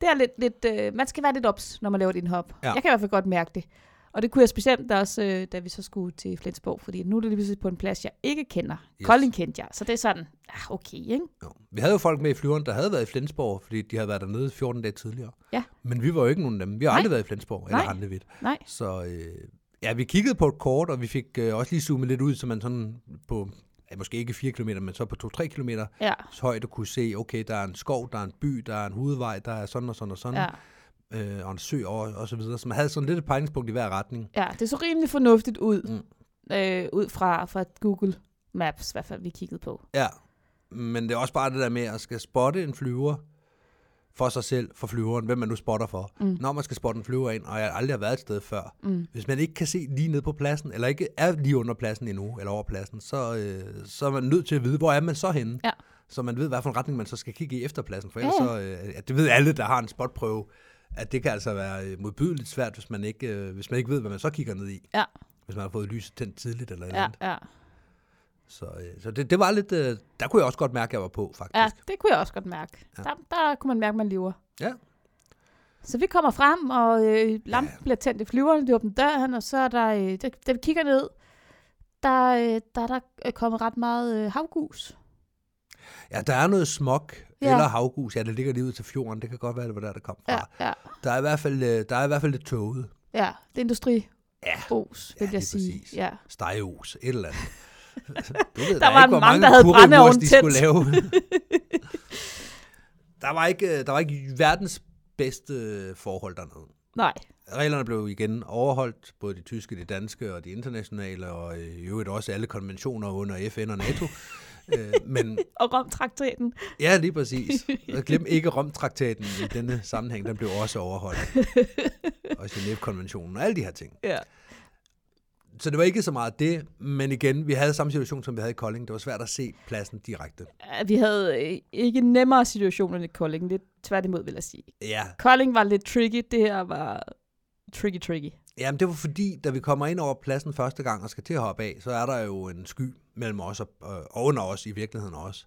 Det er lidt, lidt øh, man skal være lidt ops, når man laver et indhop. Ja. Ja. Jeg kan i hvert fald godt mærke det. Og det kunne jeg specielt da også, øh, da vi så skulle til Flensborg, fordi nu er det lige pludselig på en plads, jeg ikke kender. Yes. Yes. Kolding kendte jeg, så det er sådan, ah, okay, ikke? Jo. Vi havde jo folk med i flyveren, der havde været i Flensborg, fordi de havde været dernede 14 dage tidligere. Ja. Men vi var jo ikke nogen af dem. Vi har Nej. aldrig været i Flensborg eller Nej. Handevidt. Nej. Så øh, ja, vi kiggede på et kort, og vi fik øh, også lige zoomet lidt ud, så man sådan på, ja, måske ikke 4 km, men så på 2-3 km Ja, højde kunne se, okay, der er en skov, der er en by, der er en hovedvej, der er sådan og sådan og sådan, ja, øh, og en sø og, og så videre. Så man havde sådan lidt et pegningspunkt i hver retning. ja, det så rimelig fornuftigt ud, Mm. øh, ud fra, fra Google Maps, i hvert fald vi kiggede på. Ja, men det er også bare det der med at skal spotte en flyver for sig selv, for flyveren, hvem man nu spotter for. Mm. Når man skal spotte en flyver ind, og jeg aldrig har været et sted før, mm. hvis man ikke kan se lige ned på pladsen, eller ikke er lige under pladsen endnu, eller over pladsen, så, øh, så er man nødt til at vide, hvor er man så henne? Ja. Så man ved, hvilken retning man så skal kigge i efter pladsen, for Ja, ellers så, øh, ja, det ved alle, der har en spotprøve, at det kan altså være øh, modbydeligt svært, hvis man ikke, øh, hvis man ikke ved, hvad man så kigger ned i. Ja. Hvis man har fået lyset tændt tidligt eller et eller Ja, andet. ja. Så, øh, så det, det var lidt... Øh, der kunne jeg også godt mærke, at jeg var på, faktisk. ja, det kunne jeg også godt mærke. Ja. Ja. Der, der kunne man mærke, at man lever. Ja. Så vi kommer frem, og øh, lampen bliver tændt i flyveren, de åbner døren, og så er der, øh, der, da vi kigger ned, der, øh, der er der øh, kommet ret meget øh, havgus. ja der er noget smog Ja. ja. eller havgus. Ja, det ligger lige ud til fjorden. Det kan godt være, det var der, det kom fra. Ja, ja, Der, er i hvert fald, øh, der er i hvert fald lidt tåget. ja. Det er Ja, industribus, vil Ja, jeg lige sige. præcis. Ja. stegeos, et eller [LAUGHS] andet. Du ved, der, var ikke, hvor mange, mange, der havde kurvemors, brændeovnen de tændt. skulle [LAUGHS] lave. der, var ikke, øh, der var ikke verdens bedste øh, forhold dernede. Nej, Reglerne blev igen overholdt, både de [LAUGHS] tyske, de danske og de internationale, og øh, i øvrigt også alle konventioner under FN og NATO. Øh, men og Rom-traktaten. [LAUGHS] ja, lige præcis. Og glem ikke Romtraktaten i denne sammenhæng, den blev også overholdt. Og Genève-konventionen og alle de her ting. Ja. Så det var ikke så meget det, men igen, vi havde samme situation, som vi havde i Kolding. Det var svært at se pladsen direkte. Ja, Vi havde øh, ikke nemmere situationer end i Kolding, lidt tværtimod vil jeg sige. Ja, Kolding var lidt tricky, det her var tricky-tricky. Jamen, det var fordi, da vi kommer ind over pladsen første gang og skal til at hoppe af, så er der jo en sky mellem os og, øh, og under os i virkeligheden også.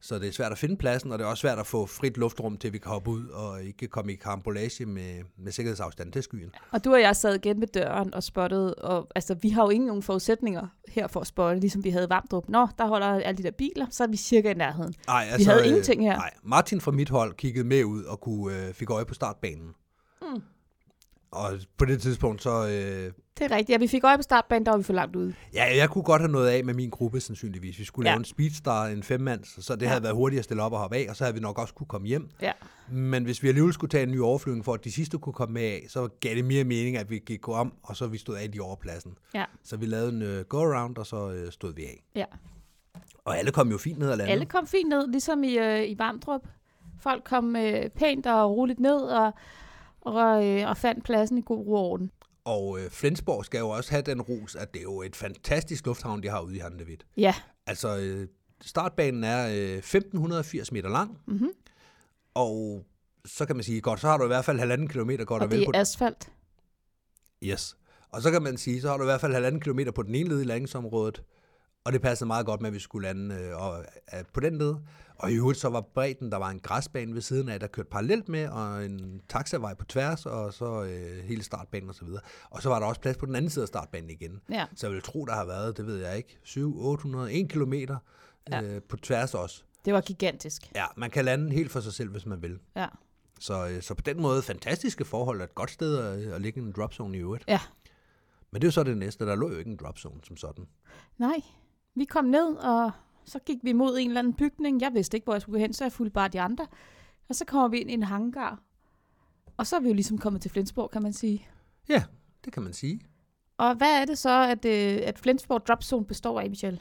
Så det er svært at finde pladsen, og det er også svært at få frit luftrum til, at vi kan hoppe ud og ikke komme i karambolage med, med sikkerhedsafstand til skyen. Og du og jeg sad igen ved døren og spottede, og altså, vi har jo ingen nogen forudsætninger her for at spotte, ligesom vi havde i Vamdrup. Nå, der holder alle de der biler, så er vi cirka i nærheden. Ej, altså, øh, havde ingenting her. Nej, Martin fra mit hold kiggede med ud og kunne, øh, fik øje på startbanen. Mm. Og på det tidspunkt, så... Øh, Det er rigtigt. Ja, vi fik øje på startbanen, der var vi for langt ude. ja, jeg kunne godt have noget af med min gruppe sandsynligvis. Vi skulle ja. Ja. lave en speedstar, en femmands, så det ja. havde været hurtigt at stille op og hoppe af, og så havde vi nok også kunne komme hjem. Ja. Men hvis vi alligevel skulle tage en ny overflyvning, for at de sidste kunne komme med af, så gav det mere mening, at vi gik om, og så vi stod af i overpladsen. Ja. Så vi lavede en uh, go-around, og så uh, stod vi af. ja. Og alle kom jo fint ned ad landet. Alle kom fint ned, ligesom i, øh, i Vamdrup. Folk kom øh, pænt og roligt ned og, og, øh, og fandt pladsen i god ro og orden. Og uh, Flensborg skal jo også have den ros, at det er jo et fantastisk lufthavn, de har ude i Handevidt. Ja, Altså, øh, startbanen er øh, 1580 meter lang, mm-hmm. Mhm. og så kan man sige, godt, så har du i hvert fald halvanden kilometer godt og og vel det på er asfalt. Yes. Og så kan man sige, så har du i hvert fald halvanden kilometer på den ene led i landingsområdet, og det passede meget godt med, at vi skulle lande øh, og, øh, på den led. Og i øvrigt så var bredden, der var en græsbane ved siden af, der kørte parallelt med, og en taxavej på tværs, og så øh, hele startbanen osv. Og så var der også plads på den anden side af startbanen igen. Ja. Så jeg vil tro, der har været, det ved jeg ikke, 7, 800, 1 kilometer øh, på tværs også. Det var gigantisk. Ja, man kan lande helt for sig selv, hvis man vil. Ja. Så, øh, så på den måde, fantastiske forhold og et godt sted at, at ligge i en dropzone i øvrigt. ja. Men det er jo så det næste. Der lå jo ikke en dropzone som sådan. Nej, vi kom ned, og så gik vi mod en eller anden bygning. Jeg vidste ikke, hvor jeg skulle hen, så jeg fulgte bare de andre. Og så kommer vi ind i en hangar. Og så er vi jo ligesom kommet til Flensborg, kan man sige. Ja, det kan man sige. Og hvad er det så, at, øh, at Flensborg Dropzone består af, Michel?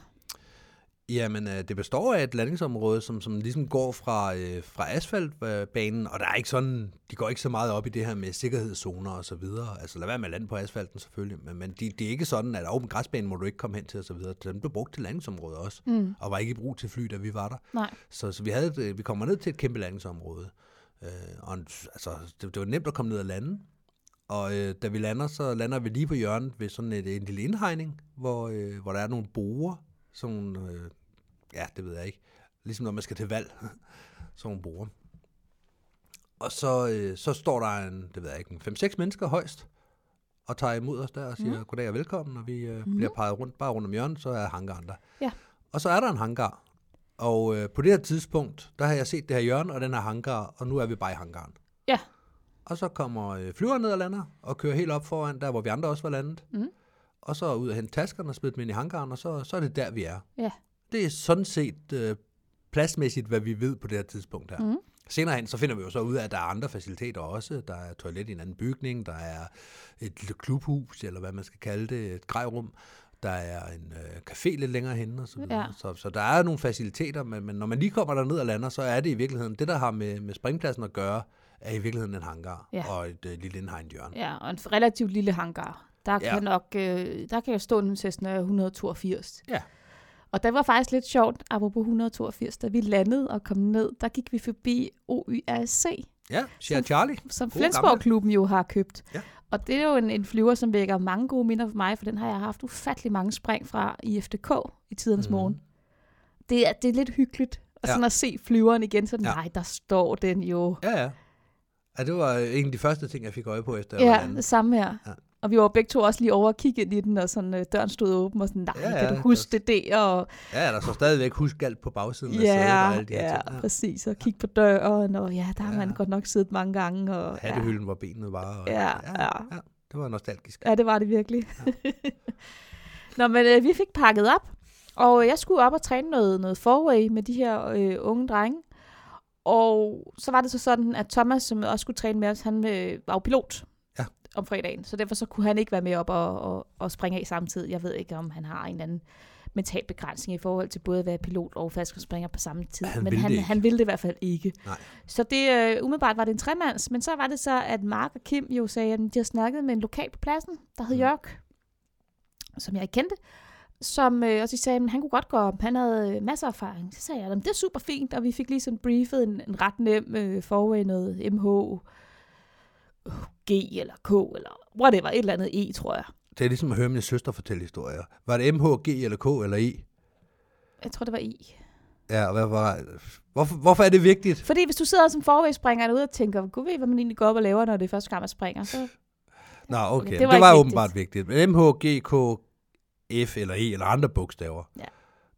Jamen, øh, det består af et landingsområde, som, som ligesom går fra, øh, fra asfaltbanen, og der er ikke sådan, de går ikke så meget op i det her med sikkerhedszoner og så videre. Altså lad være med at lande på asfalten selvfølgelig, men, men det de er ikke sådan, at åben græsbanen må du ikke komme hen til og så videre. Den blev brugt til landingsområdet også, mm. og var ikke i brug til fly, da vi var der. Nej. Så, så vi, havde, et, øh, vi kommer ned til et kæmpe landingsområde. Øh, og en, altså, det, det var nemt at komme ned og lande. Og øh, da vi lander, så lander vi lige på hjørnet ved sådan et, en lille indhegning, hvor, øh, hvor der er nogle borer. Sådan, nogle, øh, ja, det ved jeg ikke. Ligesom når man skal til valg. [LAUGHS] sådan nogle borer. Og så, øh, så står der en, det ved jeg ikke, en 5-6 mennesker højst, og tager imod os der og siger, mm. goddag og velkommen, og vi øh, mm. bliver peget rundt, bare rundt om hjørnet, så er hangaren der. Ja. Og så er der en hangar. Og øh, på det her tidspunkt, der har jeg set det her hjørne og den her hangar, og nu er vi bare i hangaren. Ja. Og så kommer øh, flyveren ned og lander, og kører helt op foran, der hvor vi andre også var landet. Mhm. Mm. Og så ud og hente taskerne og smide dem ind i hangaren, og så, så er det der, vi er. Ja. Det er sådan set øh, pladsmæssigt, hvad vi ved på det her tidspunkt her. Mhm. Mm. Senere hen, så finder vi jo så ud af, at der er andre faciliteter også. Der er toilet i en anden bygning, der er et lille klubhus, eller hvad man skal kalde det, et grejrum. Der er en øh, café lidt længere henne, og så, videre. Ja. så, så der er nogle faciliteter, men, men når man lige kommer derned og lander, så er det i virkeligheden, det der har med, med springpladsen at gøre, er i virkeligheden en hangar Ja. og et øh, lille indhegnet hjørne. Ja, og en relativt lille hangar. Der Ja. kan nok, øh, der kan jo stå en Cessna 182. Ja. Og det var faktisk lidt sjovt, apropos 182, da vi landede og kom ned, der gik vi forbi OYRC, Ja, siger Charlie. som Gode gamle. Flensborg-klubben jo har købt. Ja. Og det er jo en, en flyver, som vækker mange gode minder for mig, for den har jeg haft ufattelig mange spring fra i FDK i tidernes mm. morgen. Det er, det er lidt hyggeligt og Mhm. Ja. sådan at se flyveren igen, sådan, Ja. ja. nej, der står den jo. Ja, ja. Ja, det var øh, en af de første ting, jeg fik øje på, efter jeg var Ja, landet. det samme her. Ja. Ja. Og vi var begge to også lige over og kigge ind i den, og sådan, øh, døren stod åben, og sådan, nej, Ja, ja, ja, kan du huske det der? Og, Ja, der står stadigvæk husk alt på bagsiden af sædet og ja, alle de her ja, ting. præcis, og kigge på døren, og ja, der har man Ja. godt nok siddet mange gange. Og, Ja. Hattehylden, hvor benene var. Og, Ja, ja. ja. Det var nostalgisk. Ja, det var det virkelig. [LAUGHS] Nå, men øh, vi fik pakket op, og øh, jeg skulle op og træne noget, noget forway med de her øh, unge drenge. Og så var det så sådan, at Thomas, som også skulle træne med os, han øh, var jo pilot Ja. om fredagen. Så derfor så kunne han ikke være med op og, og, og springe af samtidig. Jeg ved ikke, om han har en eller anden mental begrænsning i forhold til både at være pilot og faldskabsspringer på samme tid. Han men ville han, det ikke. han ville det i hvert fald ikke. Nej. Så det, øh, umiddelbart var det en tremands, men så var det så, at Mark og Kim jo sagde, at de havde snakket med en lokal på pladsen, der Mm. hed mm. Jørg, som jeg ikke kendte, som, øh, og de sagde, at han kunne godt gå op, han havde øh, masser af erfaring. Så sagde jeg, at det er super fint, og vi fik lige sådan briefet en, en ret nem øh, forway, noget MH, G eller K, eller whatever, et eller andet E, tror jeg. Det er ligesom at høre min søster fortælle historier. Var det MHG eller K eller E? Jeg tror, det var E. Ja, og hvad var, hvorfor, hvorfor er det vigtigt? Fordi hvis du sidder som forvægsspringer derude og tænker, gud ved, hvad man egentlig går op og laver, når det er første gang, man springer, så Nå, okay. det Det var, var ikke det var vigtigt. åbenbart vigtigt. Men MHG, K, F eller E eller andre bogstaver. Ja.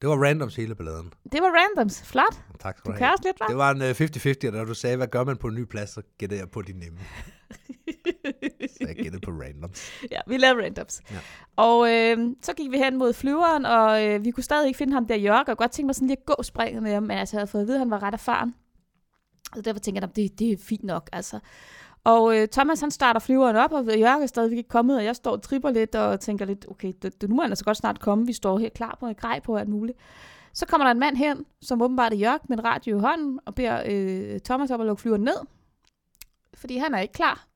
Det var randoms hele balladen. det var randoms. Flot. Tak skal Du du, kører have. også lidt, hva'? Det var en øh, 50-50, og da du sagde, hvad gør man på en ny plads, så gætter jeg på de nemme. Så jeg gættede på random. [LAUGHS] ja, vi lavede randoms. Ja. Ja. Og øh, så gik vi hen mod flyveren, og øh, vi kunne stadig ikke finde ham der, Jørgen. Og jeg godt tænkte mig sådan lige at gå springet med ham, men altså, jeg havde fået at vide, at han var ret erfaren. Så derfor tænker jeg, at det, det er fint nok, altså. Og øh, Thomas, han starter flyveren op, og Jørgen er stadigvæk ikke kommet, og jeg står og tripper lidt og tænker lidt, okay, det, det, nu må han altså godt snart komme, vi står her klar på en grej på og alt muligt. Så kommer der en mand hen, som åbenbart er Jørgen med en radio i hånden, og beder øh, Thomas op at lukke flyveren ned, fordi han er ikke klar.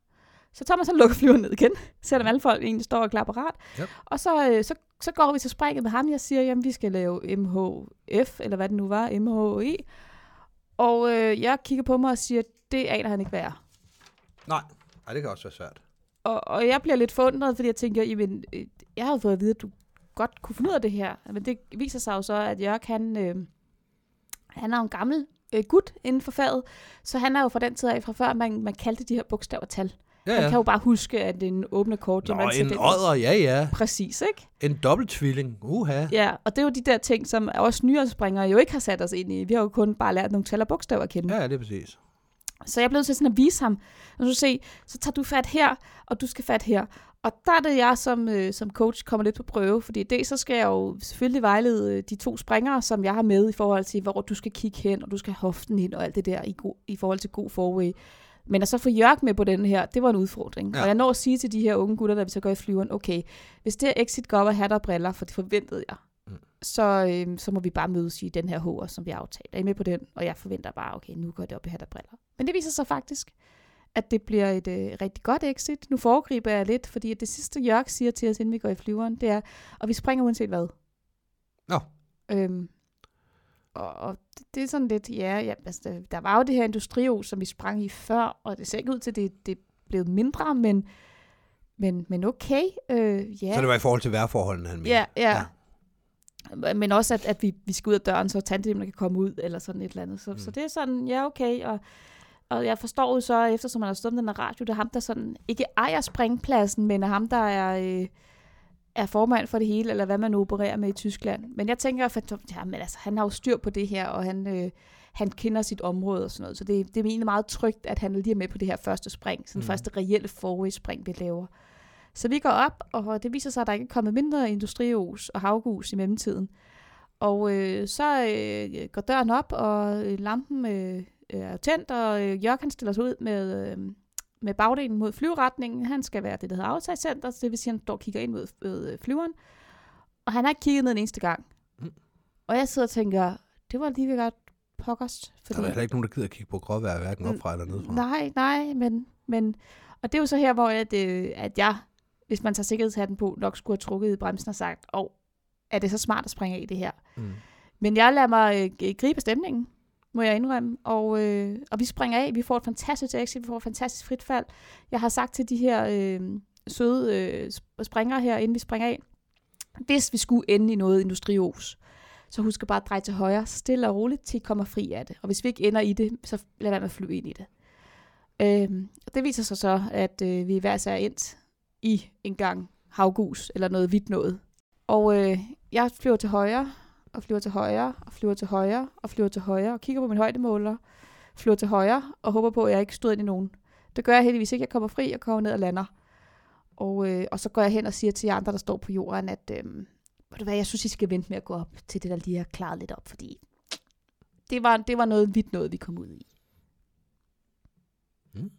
Så Thomas han lukker flyveren ned igen, selvom alle folk egentlig står og klar parat. Yep. Og så, øh, så, så går vi til sprækket med ham. Jeg siger, jamen vi skal lave MHF, eller hvad det nu var, MHE. E. Og øh, jeg kigger på mig og siger, det aner han ikke, hvad er. Nej, Ej, det kan også være svært. Og, og jeg bliver lidt forundret, fordi jeg tænker, jamen, øh, jeg havde fået at vide, at du godt kunne finde ud af det her. Men det viser sig jo så, at Jørg, han, øh, han er jo en gammel øh, gut inden for faget, så han er jo fra den tid af, fra før man, man kaldte de her bogstaver tal. Ja, Han ja. kan jo bare huske, at en åbne kort, Nå, jamen, altså, en den- odder, ja, ja. Præcis, ikke? En dobbelttvilling, uha. Ja, og det er jo de der ting, som også nyere springere jo ikke har sat os ind i. Vi har jo kun bare lært nogle tal og bogstaver at kende. Ja, Ja. ja, det er præcis. Så jeg blev nødt til sådan at vise ham. Og så se, så tager du fat her, og du skal fat her. Og der er det jeg som, øh, som coach kommer lidt på prøve, fordi det så skal jeg jo selvfølgelig vejlede øh, de to springere, som jeg har med i forhold til, hvor du skal kigge hen, og du skal have hoften ind og alt det der i, go- i forhold til god forway. Men at så få Jørg med på den her, det var en udfordring. Ja. Ja. Og jeg når at sige til de her unge gutter, der vi så går i flyveren, okay, hvis det her exit går op og hatter og briller, for det forventede jeg, Mm. så, øhm, så må vi bare mødes i den her HR, som vi aftalte. Er I med på den? Og jeg forventer bare, okay, nu går det op i hat og briller. Men det viser sig faktisk, at det bliver et øh, rigtig godt exit. Nu foregriber jeg lidt, fordi at det sidste Jørg siger til os, inden vi går i flyveren, det er, og vi springer uanset hvad. Nå. Øhm, og, og det, det er sådan lidt, ja, ja altså, der- der var jo det her industrio, som vi sprang i før, og det ser ikke ud til, at det, det er blevet mindre, men, men, men okay. Øh, ja. Så det var i forhold til vejrforholdene, han mente. Ja, ja. Men også, at, at vi, vi skal ud af døren, så tandemene kan komme ud, eller sådan et eller andet. Så, mm. så det er sådan, ja, okay. Og, og jeg forstår jo så, eftersom man har stået med den her radio, det er ham, der sådan ikke ejer springpladsen, men er ham, der er, øh, er formand for det hele, eller hvad man nu opererer med i Tyskland. Men jeg tænker, at ja, men altså, han har jo styr på det her, og han, øh, han kender sit område og sådan noget. Så det, det er egentlig meget trygt, at han lige er med på det her første spring, sådan Mm. mm. første reelle forway-spring, vi laver. Så vi går op, og det viser sig, at der ikke er kommet mindre industrios og havgus i mellemtiden. Og øh, så øh, går døren op, og øh, lampen øh, øh, er tændt, og øh, Jørgen han stiller sig ud med, øh, med bagdelen mod flyveretningen. Han skal være det, der hedder aftagcenter, så det vil sige, at han står og kigger ind mod øh, flyveren. Og han har ikke kigget ned en eneste gang. Mm. Og jeg sidder og tænker, det var lige ved godt pokkers. Der er da heller ikke nogen, der gider at kigge på gråvejr, hverken opfra eller nedfra. Nej, nej, men, men... Og det er jo så her, hvor at, øh, at jeg, hvis man tager sikkerhedshatten på, nok skulle have trukket i bremsen og sagt, åh, er det så smart at springe af i det her? Mm. Men jeg lader mig øh, g- gribe af stemningen, må jeg indrømme. Og, øh, og vi springer af, vi får et fantastisk exit, vi får et fantastisk fritfald. Jeg har sagt til de her øh, søde øh, sp- springere her, inden vi springer af, hvis vi skulle ende i noget industrios, så husk at bare at dreje til højre, stille og roligt, til I kommer fri af det. Og hvis vi ikke ender i det, så lad være med at flyve ind i det. Øhm, og det viser sig så, at øh, vi hver især er endt i en gang havgus eller noget hvidt noget. Og øh, jeg flyver til højre, og flyver til højre, og flyver til højre, og flyver til højre, og kigger på min højdemåler, flyver til højre, og håber på, at jeg ikke støder ind i nogen. Det gør jeg heldigvis ikke. Jeg kommer fri, jeg kommer ned og lander. Og, øh, og så går jeg hen og siger til jer andre, der står på jorden, at øh, ved du hvad, jeg synes, I skal vente med at gå op til det, der lige har klaret lidt op, fordi det var, det var noget vidt noget, vi kom ud i. Mm. Du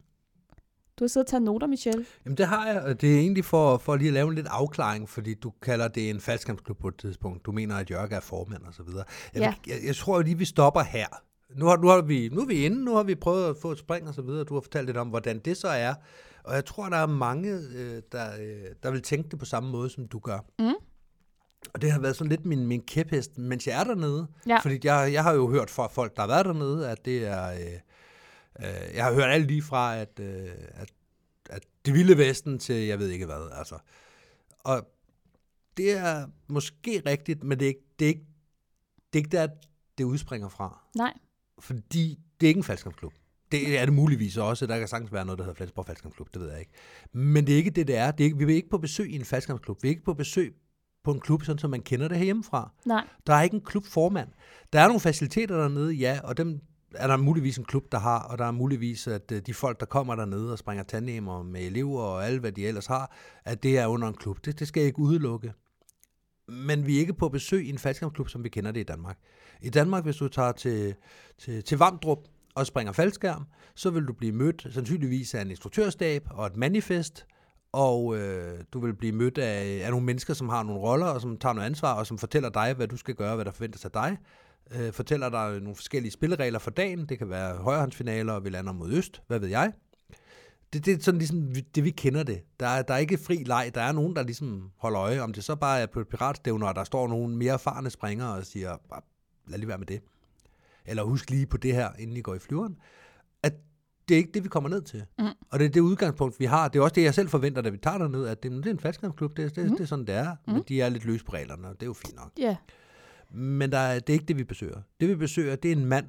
Du har siddet og taget noter, Michelle. Jamen det har jeg, og det er egentlig for, for lige at lave en lidt afklaring, fordi du kalder det en faldskampsklub på et tidspunkt. Du mener, at Jørgen er formand og så videre. Jeg, Ja. jeg, jeg tror jo lige, vi stopper her. Nu, har, nu, har vi, nu er vi inde, nu har vi prøvet at få et spring og så videre. Du har fortalt lidt om, hvordan det så er. Og jeg tror, der er mange, øh, der, øh, der vil tænke det på samme måde, som du gør. Mm. Og det har været sådan lidt min, min kæphest, mens jeg er dernede. Ja. Fordi jeg, jeg har jo hørt fra folk, der har været dernede, at det er... Øh, øh, jeg har hørt alt lige fra, at, øh, at, at det vilde vesten til jeg ved ikke hvad. Altså. Og det er måske rigtigt, men det er ikke, det er ikke, det er ikke der, det udspringer fra. Nej. Fordi det er ikke en faldskabsklub. Det er det muligvis også. Der kan sagtens være noget, der hedder Flensborg Faldskabsklub. Det ved jeg ikke. Men det er ikke det, det er. Det er ikke, vi er ikke på besøg i en faldskabsklub. Vi er ikke på besøg på en klub, sådan som man kender det herhjemmefra. Nej. Der er ikke en klubformand. Der er nogle faciliteter dernede, ja, og dem er der muligvis en klub, der har, og der er muligvis, at øh, de folk, der kommer dernede og springer tandemmer med elever og alt, hvad de ellers har, at det er under en klub. Det, det skal jeg ikke udelukke. Men vi er ikke på besøg i en faldskærmsklub, som vi kender det i Danmark. I Danmark, hvis du tager til, til, til Vamdrup og springer faldskærm, så vil du blive mødt sandsynligvis af en instruktørstab og et manifest, og øh, du vil blive mødt af, af nogle mennesker, som har nogle roller, og som tager noget ansvar, og som fortæller dig, hvad du skal gøre, hvad der forventes af dig. Øh, fortæller dig nogle forskellige spilleregler for dagen. Det kan være højrehåndsfinaler, og vi lander mod øst, hvad ved jeg. Det, det er sådan ligesom vi- det, vi kender det. Der er, der er ikke fri leg. Der er nogen, der ligesom holder øje. Om det så bare er på et piratstævne, og der står nogle mere erfarne springere og siger, "Bare lad lige være med det. Eller husk lige på det her, inden I går i flyveren. At det er ikke det, vi kommer ned til. Mm. Og det er det udgangspunkt, vi har. Det er også det, jeg selv forventer, da vi tager derned, at det, det er en faldskærmsklub. Det, er- det, mm. det er sådan, det er. Mm. Men de er lidt løs på reglerne, og det er jo fint nok. Ja. Men der er, det er ikke det, vi besøger. Det, vi besøger, det er en mand,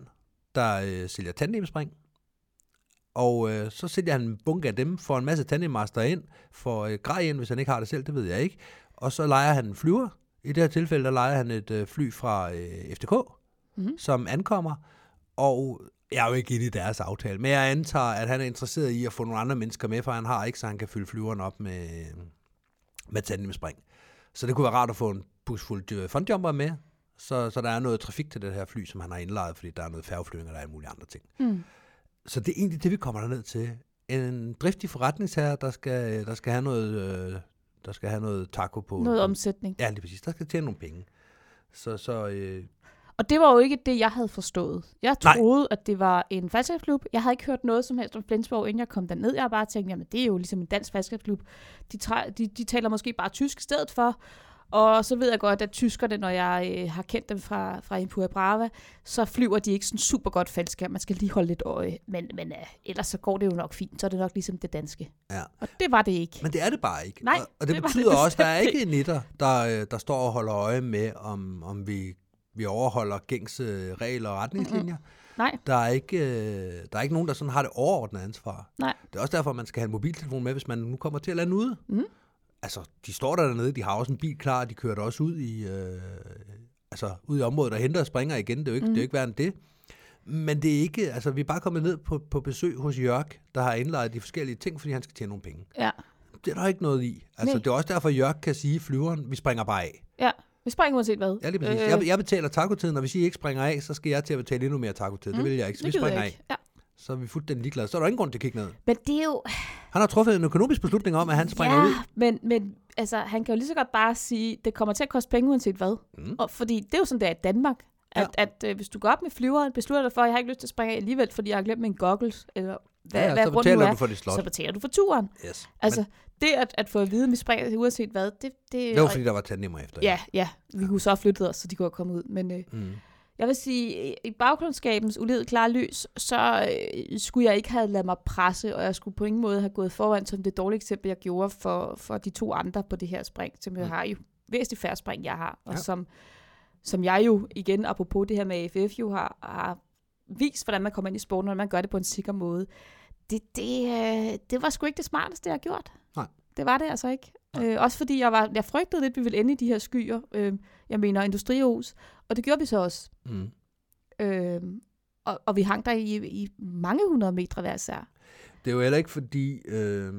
der øh, sælger tandemspring. Og øh, så sælger han en bunke af dem, får en masse tandemmaster ind, får øh, grej ind, hvis han ikke har det selv, det ved jeg ikke. Og så leger han en flyver. I det her tilfælde, der leger han et øh, fly fra øh, FDK, Mhm. mm-hmm. som ankommer. Og jeg er jo ikke inde i deres aftale, men jeg antager, at han er interesseret i at få nogle andre mennesker med, for han har ikke, så han kan fylde flyveren op med, med tandemspring. Så det kunne være rart at få en busfuld fondjumper med, så, så der er noget trafik til det her fly, som han har indlejet, fordi der er noget færgeflyvning og der er alle mulige andre ting. Mm. Så det er egentlig det, vi kommer derned til. En driftig forretningsherre, der skal, der skal have noget, øh, der skal have noget taco på. Noget omsætning. Ja, lige præcis. Der skal tjene nogle penge. Så, så øh, Og det var jo ikke det, jeg havde forstået. Jeg Nej. troede, Nej. at det var en faldskabsklub. Jeg havde ikke hørt noget som helst om Flensborg, inden jeg kom derned. Jeg har bare tænkt, jamen det er jo ligesom en dansk faldskabsklub. De, træ- de, de taler måske bare tysk i stedet for. Og så ved jeg godt, at tyskerne, når jeg øh, har kendt dem fra, fra Impura Brava, så flyver de ikke sådan super godt faldskærm. Man skal lige holde lidt øje. Men, men øh, ellers så går det jo nok fint. Så er det nok ligesom det danske. ja. Og det var det ikke. Men det er det bare ikke. Nej, og, og det, det var det betyder det også, at der er bestemt ikke en nitter, der, øh, der står og holder øje med, om, om vi, vi overholder gængse regler og retningslinjer. Nej. Der er, ikke, øh, der er ikke nogen, der sådan har det overordnede ansvar. Nej. Det er også derfor, man skal have en mobiltelefon med, hvis man nu kommer til at lande ude. Mhm. Altså, de står der dernede, de har også en bil klar, de kører der også ud i, øh, altså, ud i området og henter og springer igen. Det er jo ikke, mm. det er jo ikke værre end det. Men det er ikke, altså, vi er bare kommet ned på, på besøg hos Jørg, der har indlejet de forskellige ting, fordi han skal tjene nogle penge. Ja. Det er der ikke noget i. Altså, Nej. det er også derfor, Jørg kan sige flyveren, vi springer bare af. ja. Vi springer uanset hvad. Ja, lige præcis. Øh. Jeg, jeg betaler takotiden, og hvis I ikke springer af, så skal jeg til at betale endnu mere takotid. Mm. Det vil jeg ikke, så vi det gider springer jeg af. ikke. Ja. Så er vi fuldstændig ligeglade. Så er der ingen grund til at kigge ned. Men det er jo... Han har truffet en økonomisk beslutning om, at han springer ja, ud. men, men altså, han kan jo lige så godt bare sige, det kommer til at koste penge uanset hvad. Mm. Og, fordi det er jo sådan, det er i Danmark. At, ja. at øh, hvis du går op med flyveren, beslutter dig for, at jeg har ikke lyst til at springe af alligevel, fordi jeg har glemt min goggles, eller hvad, Ja, hvad så grunden nu betaler er, du for det slot. så betaler du for turen. Yes. Altså, Men Men... det at, at få at vide, at vi springer uanset hvad, det... det det var fordi, der var tandemmer efter. Ja, ja, vi kunne så have flyttet os, så de kunne have kommet ud. Men øh, Mm. jeg vil sige, i- i baggrundskabens uledet klare lys, så øh, skulle jeg ikke have ladet mig presse, og jeg skulle på ingen måde have gået foran som det dårlige eksempel, jeg gjorde for, for de to andre på det her spring, som jeg Mm. har jo væsentligt færre spring, jeg har, og Ja. ja. som, som jeg jo, igen apropos det her med AFF, jo har, har vist, hvordan man kommer ind i sporten, når man gør det på en sikker måde. Det, det, øh, det var sgu ikke det smarteste, jeg har gjort. Nej. Det var det altså ikke. Nej. Øh, også fordi jeg, var, jeg frygtede lidt, at vi ville ende i de her skyer. Øh, jeg mener industrihus. Og det gjorde vi så også. Mm. Øh, og, og vi hang der i, i mange hundrede meter hver især. Det er jo heller ikke fordi... Øh...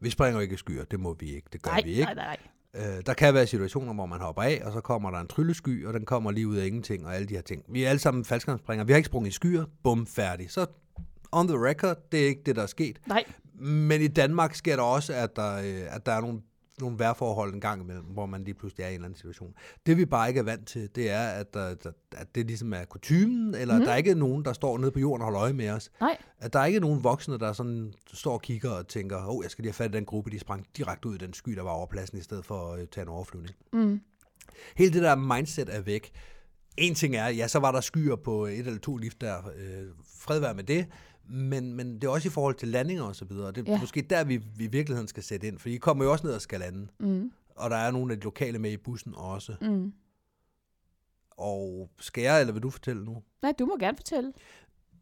Vi springer jo ikke i skyer, det må vi ikke, det gør nej, vi ikke. nej, nej, nej. Øh, der kan være situationer, hvor man hopper af, og så kommer der en tryllesky, og den kommer lige ud af ingenting, og alle de her ting. Vi er alle sammen faldskærmsspringere. Vi har ikke sprunget i skyer. Bum, færdig. Så on the record, det er ikke det, der er sket. Nej, Men i Danmark sker der også, at der, øh, at der er nogle, nogle værforhold en gang imellem, hvor man lige pludselig er i en eller anden situation. Det vi bare ikke er vant til, det er, at, der, der, at det ligesom er kutumen, eller mm. der er ikke nogen, der står nede på jorden og holder øje med os. nej. At der er ikke nogen voksne, der sådan står og kigger og tænker, åh, oh, jeg skal lige have fat i den gruppe, de sprang direkte ud i den sky, der var over pladsen, i stedet for at øh, tage en overflyvning. Mm. Hele det der mindset er væk. En ting er, ja, så var der skyer på et eller to lift der. Øh, fred være med det. Men, men det er også i forhold til landinger og så videre. Det er ja. Ja. måske der, vi, vi i virkeligheden skal sætte ind. For I kommer jo også ned og skal lande. Mm. Og der er nogle af de lokale med i bussen også. Mm. Og skal jeg, eller vil du fortælle nu? Nej, du må gerne fortælle.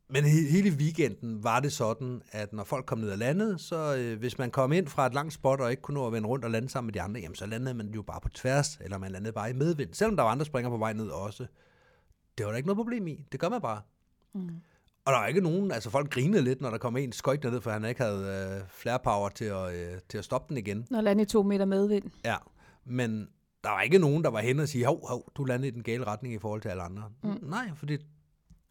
Men he- hele weekenden var det sådan, at når folk kom ned og landede, så øh, hvis man kom ind fra et langt spot og ikke kunne nå at vende rundt og lande sammen med de andre, jamen så landede man jo bare på tværs, eller man landede bare i medvind, selvom der var andre springer på vej ned også. Det var der ikke noget problem i. Det gør man bare. Mm. Og der var ikke nogen, altså folk grinede lidt, når der kom en skøjt ned, for han ikke havde øh, flare power til at, øh, til at stoppe den igen. Når landet i to meter medvind. Ja, men der var ikke nogen, der var hen og sige, hov, hov, du landede i den gale retning i forhold til alle andre. Mm. Nej, fordi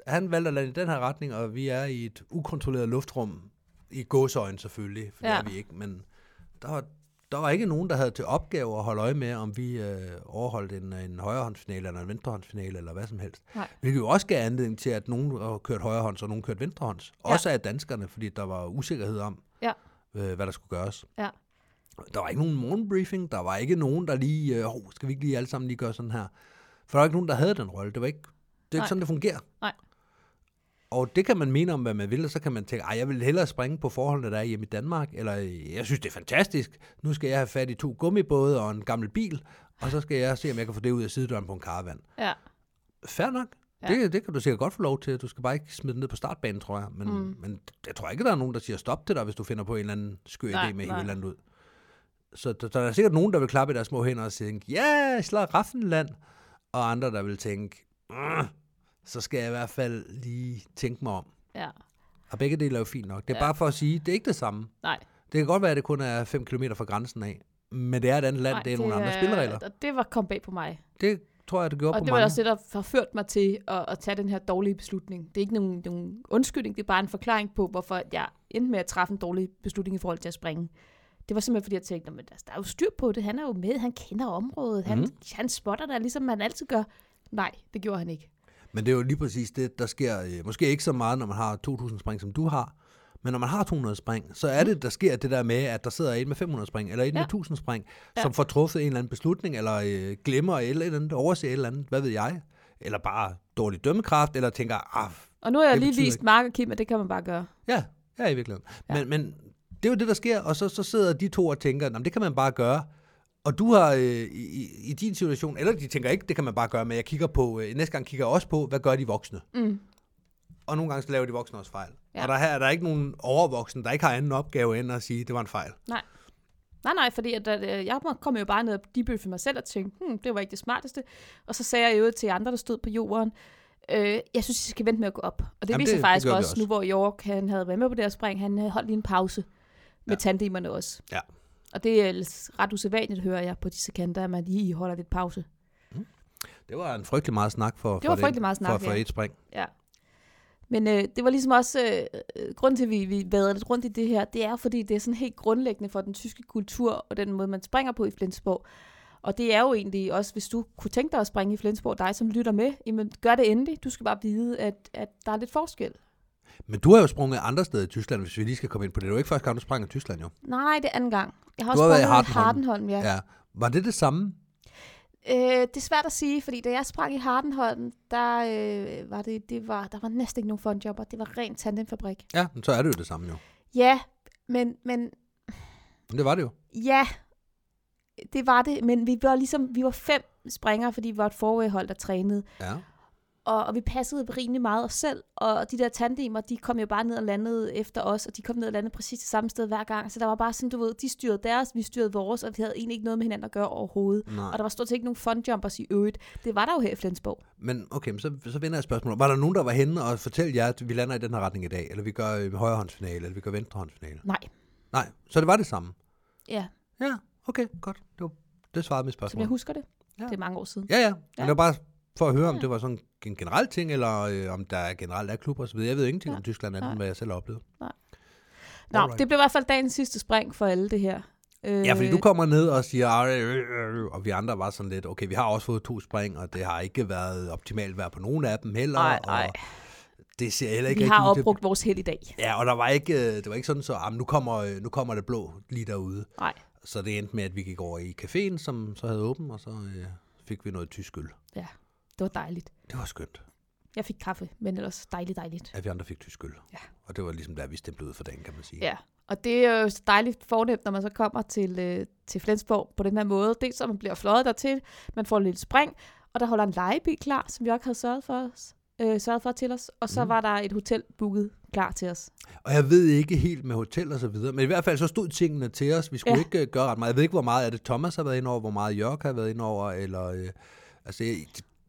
han valgte at lande i den her retning, og vi er i et ukontrolleret luftrum, i gåsøjne selvfølgelig, for ja. det Ja. er vi ikke, men der var, der var ikke nogen, der havde til opgave at holde øje med, om vi øh, overholdt en, en højrehåndsfinale eller en venstrehåndsfinale eller hvad som helst. Nej. Hvilket jo også gav anledning til, at nogen øh, kørte højrehånds og nogen kørte venstrehånds. Ja. Også af danskerne, fordi der var usikkerhed om, Ja. øh, hvad der skulle gøres. Ja. Der var ikke nogen morgenbriefing, der var ikke nogen, der lige, øh, "Hov, skal vi ikke lige alle sammen lige gøre sådan her? For der var ikke nogen, der havde den rolle. Det var ikke, det er ikke Nej. sådan, det fungerer. Nej. Og det kan man mene om, hvad man vil, og så kan man tænke, ej, jeg vil hellere springe på forholdene, der er hjemme i Danmark, eller øh, jeg synes, det er fantastisk, nu skal jeg have fat i to gummibåde og en gammel bil, og så skal jeg se, om jeg kan få det ud af sidedøren på en karavan. Ja. Fair nok. Ja. Ja. Det, det kan du sikkert godt få lov til. Du skal bare ikke smide den ned på startbanen, tror jeg. Men, mm. men jeg tror ikke, der er nogen, der siger stop til dig, hvis du finder på en eller anden skør idé Nej, med nej. hele landet ud. Så der, der er sikkert nogen, der vil klappe i deres små hænder og tænke, ja, yeah, slaraffenland. Og andre, der vil tænke, "Mm, så skal jeg i hvert fald lige tænke mig om. Ja. Og begge dele er jo fint nok. Det er ja. Ja. bare for at sige, det er ikke det samme. Nej. Det kan godt være, at det kun er 5 km fra grænsen af. Men det er et andet land, Nej, det er nogle andre spilleregler. Og det var kom bag på mig. Det tror jeg, det gjorde Og på det mange. var også det, der forførte mig til at, at tage den her dårlige beslutning. Det er ikke nogen, nogen undskyldning, det er bare en forklaring på, hvorfor jeg endte med at træffe en dårlig beslutning i forhold til at springe. Det var simpelthen, fordi jeg tænkte, "Nå, men altså, der er jo styr på det, han er jo med, han kender området, han, Mhm. mm. han spotter der, ligesom man altid gør. Nej, det gjorde han ikke. Men det er jo lige præcis det, der sker, øh, måske ikke så meget, når man har 2.000 spring, som du har, men når man har 200 spring, så er det, der sker det der med, at der sidder en med 500 spring, eller en ja. med Ja. 1000 spring, Ja. som får truffet en eller anden beslutning, eller øh, glemmer et eller andet, overser et eller andet, hvad ved jeg, eller bare dårlig dømmekraft, eller tænker, ah, Og nu har jeg Det lige betyder vist ikke- Mark og Kim, at det kan man bare gøre. ja, ja i virkeligheden. Ja. Ja. Men, men det er jo det, der sker, og så, så sidder de to og tænker, "Nå, men det kan man bare gøre, og du har øh, i, i- i din situation, eller de tænker ikke, det kan man bare gøre, men jeg kigger på, øh, næste gang kigger jeg også på, hvad gør de voksne? Mm. Og nogle gange så laver de voksne også fejl. Ja. Ja. Og der her er der ikke nogen overvoksne, der ikke har anden opgave end at sige, at det var en fejl. Nej, nej, fordi at, at, øh, jeg må- kom jo bare ned og debøffe mig selv og tænkte, hmm, det var ikke det smarteste. Og så sagde jeg jo til andre, der stod på jorden, øh, jeg synes, I skal vente med at gå op. Og Jamen, det Jamen viste det- det, det faktisk gjorde vi også, også. nu hvor York han havde været med på det her spring, han øh, holdt lige en pause med Ja. ja. tandemerne også. Ja. Og det er ellers ret usædvanligt, hører jeg på disse kanter, at man lige holder lidt pause. Det var en frygtelig meget snak for, var for, frygtelig meget snak, for, for ja. et spring. Ja. Men øh, det var ligesom også, øh, øh, grunden til, at vi, vi vader lidt rundt i det her, det er fordi, det er sådan helt grundlæggende for den tyske kultur, og den måde, man springer på i Flensborg. Og det er jo egentlig også, hvis du kunne tænke dig at springe i Flensborg, dig som lytter med, jamen gør det endelig. Du skal bare vide, at, at der er lidt forskel. Men du har jo sprunget andre steder i Tyskland, hvis vi lige skal komme ind på det. Det var ikke første gang, du sprang i Tyskland, jo. Nej, det er anden gang. Jeg har Du også har været i sprunget i Hardenholm. Hardenholm, ja. Ja. Var det det samme? Øh, det er svært at sige, fordi da jeg sprang i Hardenholm, der, øh, var, det, det var, der var næsten ikke nogen fondjobber. Det var rent tandemfabrik. Ja, men så er det jo det samme, jo. Ja, men, men Men det var det jo. Ja, det var det, men vi var ligesom, vi var fem springere, fordi vi var et forudhold, der trænede, Ja. og, og vi passede rimelig meget os selv, og de der tandemer, de kom jo bare ned og landede efter os, og de kom ned og landede præcis det samme sted hver gang, så der var bare sådan, du ved, de styrede deres, vi styrede vores, og vi havde egentlig ikke noget med hinanden at gøre overhovedet. Nej. Og der var stort set ikke nogen fondjumpers i øvrigt. Det var der jo her i Flensborg. Men okay, men så, så vender jeg spørgsmålet. Var der nogen, der var henne og fortalte jer, at vi lander i den her retning i dag, eller vi gør øh, højrehåndsfinale, eller vi gør venstrehåndsfinale? Nej. Nej, så det var det samme. Ja. Ja, okay, godt. Det var, det svarede mit som spørgsmål. jeg husker det. Ja. Ja. Det er mange år siden. Ja, ja. Men Ja. det var bare for at høre, om Ja. det var sådan en generel ting, eller øh, om der generelt er klubber osv. Jeg ved ingenting Ja. om Tyskland, andet Nej. end hvad jeg selv har oplevet. Nå, Alright. det blev i hvert fald dagens sidste spring for alle det her. Øh, Ja, fordi du kommer ned og siger, "Arr, øh, øh," og vi andre var sådan lidt, okay, vi har også fået to spring, og det har ikke været optimalt vejr på nogen af dem heller. Nej, nej. Og det ser heller ikke Vi rigtig har ud til- opbrugt vores held i dag. Ja, og der var ikke, øh, det var ikke sådan så, ah, men nu, kommer, øh, nu kommer det blå lige derude. Nej. Så det endte med, at vi gik over i caféen, som så havde åben, og så øh, fik vi noget tysk øl. Det var dejligt. Det var skønt, Jeg fik kaffe, men ellers dejligt, dejligt. at vi andre fik tysk øl. Ja. Og det var ligesom der, vi stemplede ud for dagen, kan man sige. Ja, og det er jo så dejligt fornemt, når man så kommer til, øh, til Flensborg på den her måde. Dels at man bliver fløjet dertil, man får en lille spring, og der holder en lejebil klar, som vi også havde sørget for, os, øh, sørget for til os. Og så Mm. mm. var der et hotel booket klar til os. Og jeg ved ikke helt med hotel og så videre, men i hvert fald så stod tingene til os. Vi skulle ja. Ja. ikke øh, gøre ret meget. Jeg ved ikke, hvor meget af det Thomas har været inde over, hvor meget Jørg har været inde over, eller... Øh, altså, jeg-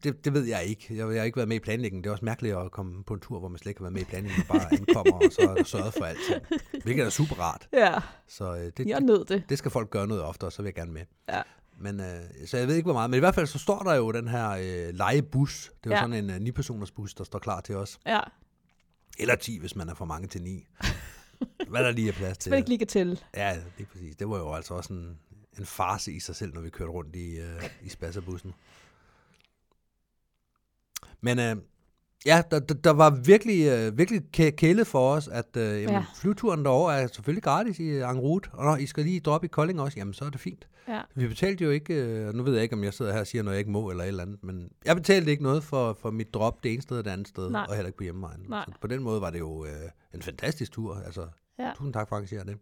det, det ved jeg ikke. Jeg, jeg har ikke været med i planlægningen. Det er også mærkeligt at komme på en tur, hvor man slet ikke har været med i planlægningen, og bare ankommer, og så er der sørget for alt. Hvilket er super rart. Ja, Så øh, det, jeg det, nød det. det skal folk gøre noget oftere, så vil jeg gerne med. Ja. Men, øh, så jeg ved ikke, hvor meget. Men i hvert fald så står der jo den her øh, lejebus. Det er jo ja. Ja. sådan en øh, 9-personers bus, der står klar til os. Ja, Eller 10, hvis man er for mange til 9. Hvad der lige er plads [LAUGHS] til. som jeg ikke lige kan tælle. Ja, lige præcis. Det var jo altså også en, en farse i sig selv, når vi kørte rundt i, øh, i spasserbussen. Men øh, ja, der, der, der var virkelig, øh, virkelig kæ- kæle for os, at øh, jamen, ja. Ja. flyturen derover er selvfølgelig gratis i øh, en route, og når I skal lige droppe i Kolding også, jamen så er det fint. Ja. Vi betalte jo ikke, øh, og nu ved jeg ikke, om jeg sidder her og siger noget, jeg ikke må eller et eller andet, men jeg betalte ikke noget for, for mit drop det ene sted og det andet sted, Nej. og heller ikke på hjemmevejen. Nej. Så på den måde var det jo øh, en fantastisk tur. Altså, ja. Ja. Tusind tak for at arrangere det.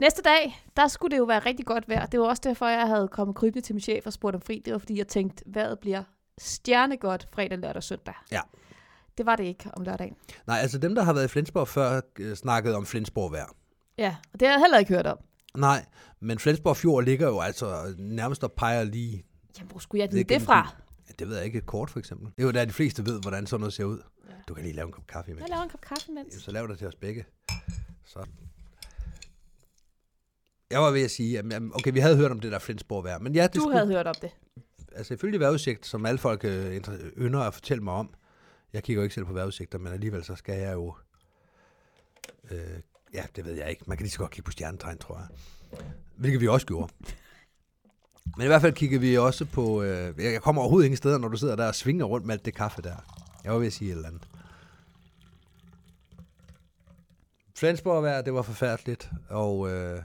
Næste dag, der skulle det jo være rigtig godt vejr. Det var også derfor, jeg havde kommet krybende til min chef og spurgt om fri. Det var fordi, jeg tænkte, vejret bliver stjernegodt fredag, lørdag og søndag. Ja. Det var det ikke om lørdagen. Nej, altså dem, der har været i Flensborg før, øh, snakkede om Flensborg vejr. Ja, og det har jeg heller ikke hørt om. Nej, men Flensborg Fjord ligger jo altså nærmest og peger lige... Jamen, hvor skulle jeg ned vide det gennem fra? byen. Ja, det ved jeg ikke. Et Kort for eksempel. Det er jo der, de fleste ved, hvordan sådan noget ser ud. Ja. Du kan lige lave en kop kaffe imens. Jeg laver en kop kaffe imens. Jamen, så lav det til os begge. Så. Jeg var ved at sige, jamen, jamen, okay, vi havde hørt om det der Flensborg vejr, men ja, det Du skulle, havde hørt om det. altså ifølge vejrudsigt, som alle folk øh, inter- ynder at fortælle mig om, jeg kigger jo ikke selv på vejrudsigter, men alligevel så skal jeg jo, øh, ja, det ved jeg ikke, man kan lige så godt kigge på stjernetegn, tror jeg, hvilket vi også gjorde. Men i hvert fald kiggede vi også på, øh, jeg kommer overhovedet ingen steder, når du sidder der og svinger rundt med alt det kaffe der. Jeg var ved at sige et eller andet. Flensborg vejr, det var forfærdeligt, og øh,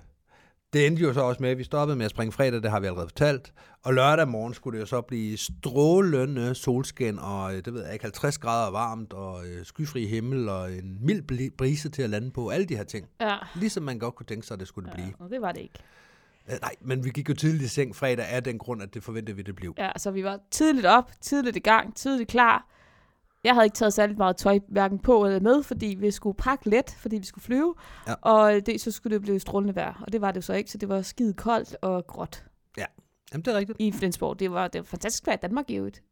det endte jo så også med, at vi stoppede med at springe fredag, det har vi allerede fortalt. Og lørdag morgen skulle det jo så blive strålende solskin, og øh, det ved jeg ikke, 50 grader varmt, og øh, skyfri himmel, og en mild bli- brise til at lande på, alle de her ting. Ja. Ligesom man godt kunne tænke sig, at det skulle det blive. ja. og det var det ikke. Øh, nej, men vi gik jo tidligt i seng fredag af den grund, at det forventede vi, det blev. Ja, så vi var tidligt op, tidligt i gang, tidligt klar. Jeg havde ikke taget særlig meget tøj, hverken på eller med, fordi vi skulle pakke let, fordi vi skulle flyve. Ja. Og det, så skulle det blive strålende vejr, og det var det jo så ikke, så det var skide koldt og gråt Jamen, det er rigtigt. i Flensborg. Det var, det var fantastisk vejr i Danmark i øvrigt,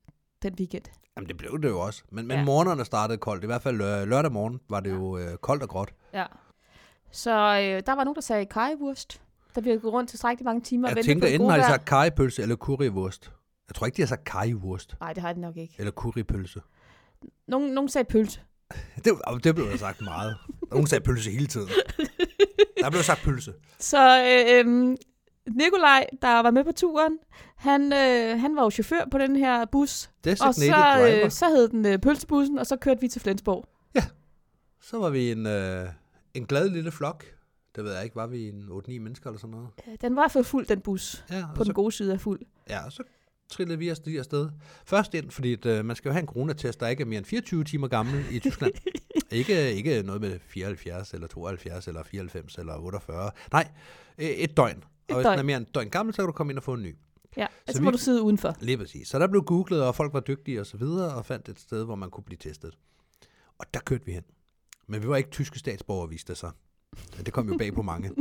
den weekend. Jamen, det blev det jo også. Men, men ja. Ja. morgenerne startede koldt. I hvert fald øh, lørdag morgen var det jo øh, koldt og gråt. Ja. Så øh, der var nogen, der sagde kajewurst, da vi havde gået rundt tilstrækkeligt mange timer og Jeg ventet på tænker, det enten gode har de vejr. sagt kajepølse eller currywurst. Jeg tror ikke, de har sagt kajewurst Nej, det har de nok ikke. eller currypølse. Nogen, nogen sagde pølse. Det, og det blev der sagt meget. Nogen sagde pølse hele tiden. Der blev sagt pølse. Så øh, øh, Nikolaj, der var med på turen, han, øh, han var jo chauffør på den her bus. Og Designated så, driver. øh, så hed den øh, Pølsebussen, og så kørte vi til Flensborg. Så var vi en, øh, en glad lille flok. Det ved jeg ikke, var vi en 8-9 mennesker eller sådan noget? Øh, Den var i hvert fald fuld, den bus. Ja, På og den så, gode side af fuld. ja, og så trillede vi os lige afsted. Først ind, fordi at, øh, man skal jo have en coronatest, der ikke er mere end 24 timer gammel i [LAUGHS] Tyskland. ikke, ikke noget med 74 eller 72 eller 94 eller 48. Nej, øh, et døgn. Og Et hvis den døgn. er mere end et døgn gammel, så kan du komme ind og få en ny. Ja, altså vi- må du sidde udenfor. Lige præcis. Så der blev googlet, og folk var dygtige og så videre, og fandt et sted, hvor man kunne blive testet. Og der kørte vi hen. Men vi var ikke tyske statsborgere, viste det sig. Ja, Det kom jo bag på [LAUGHS] mange.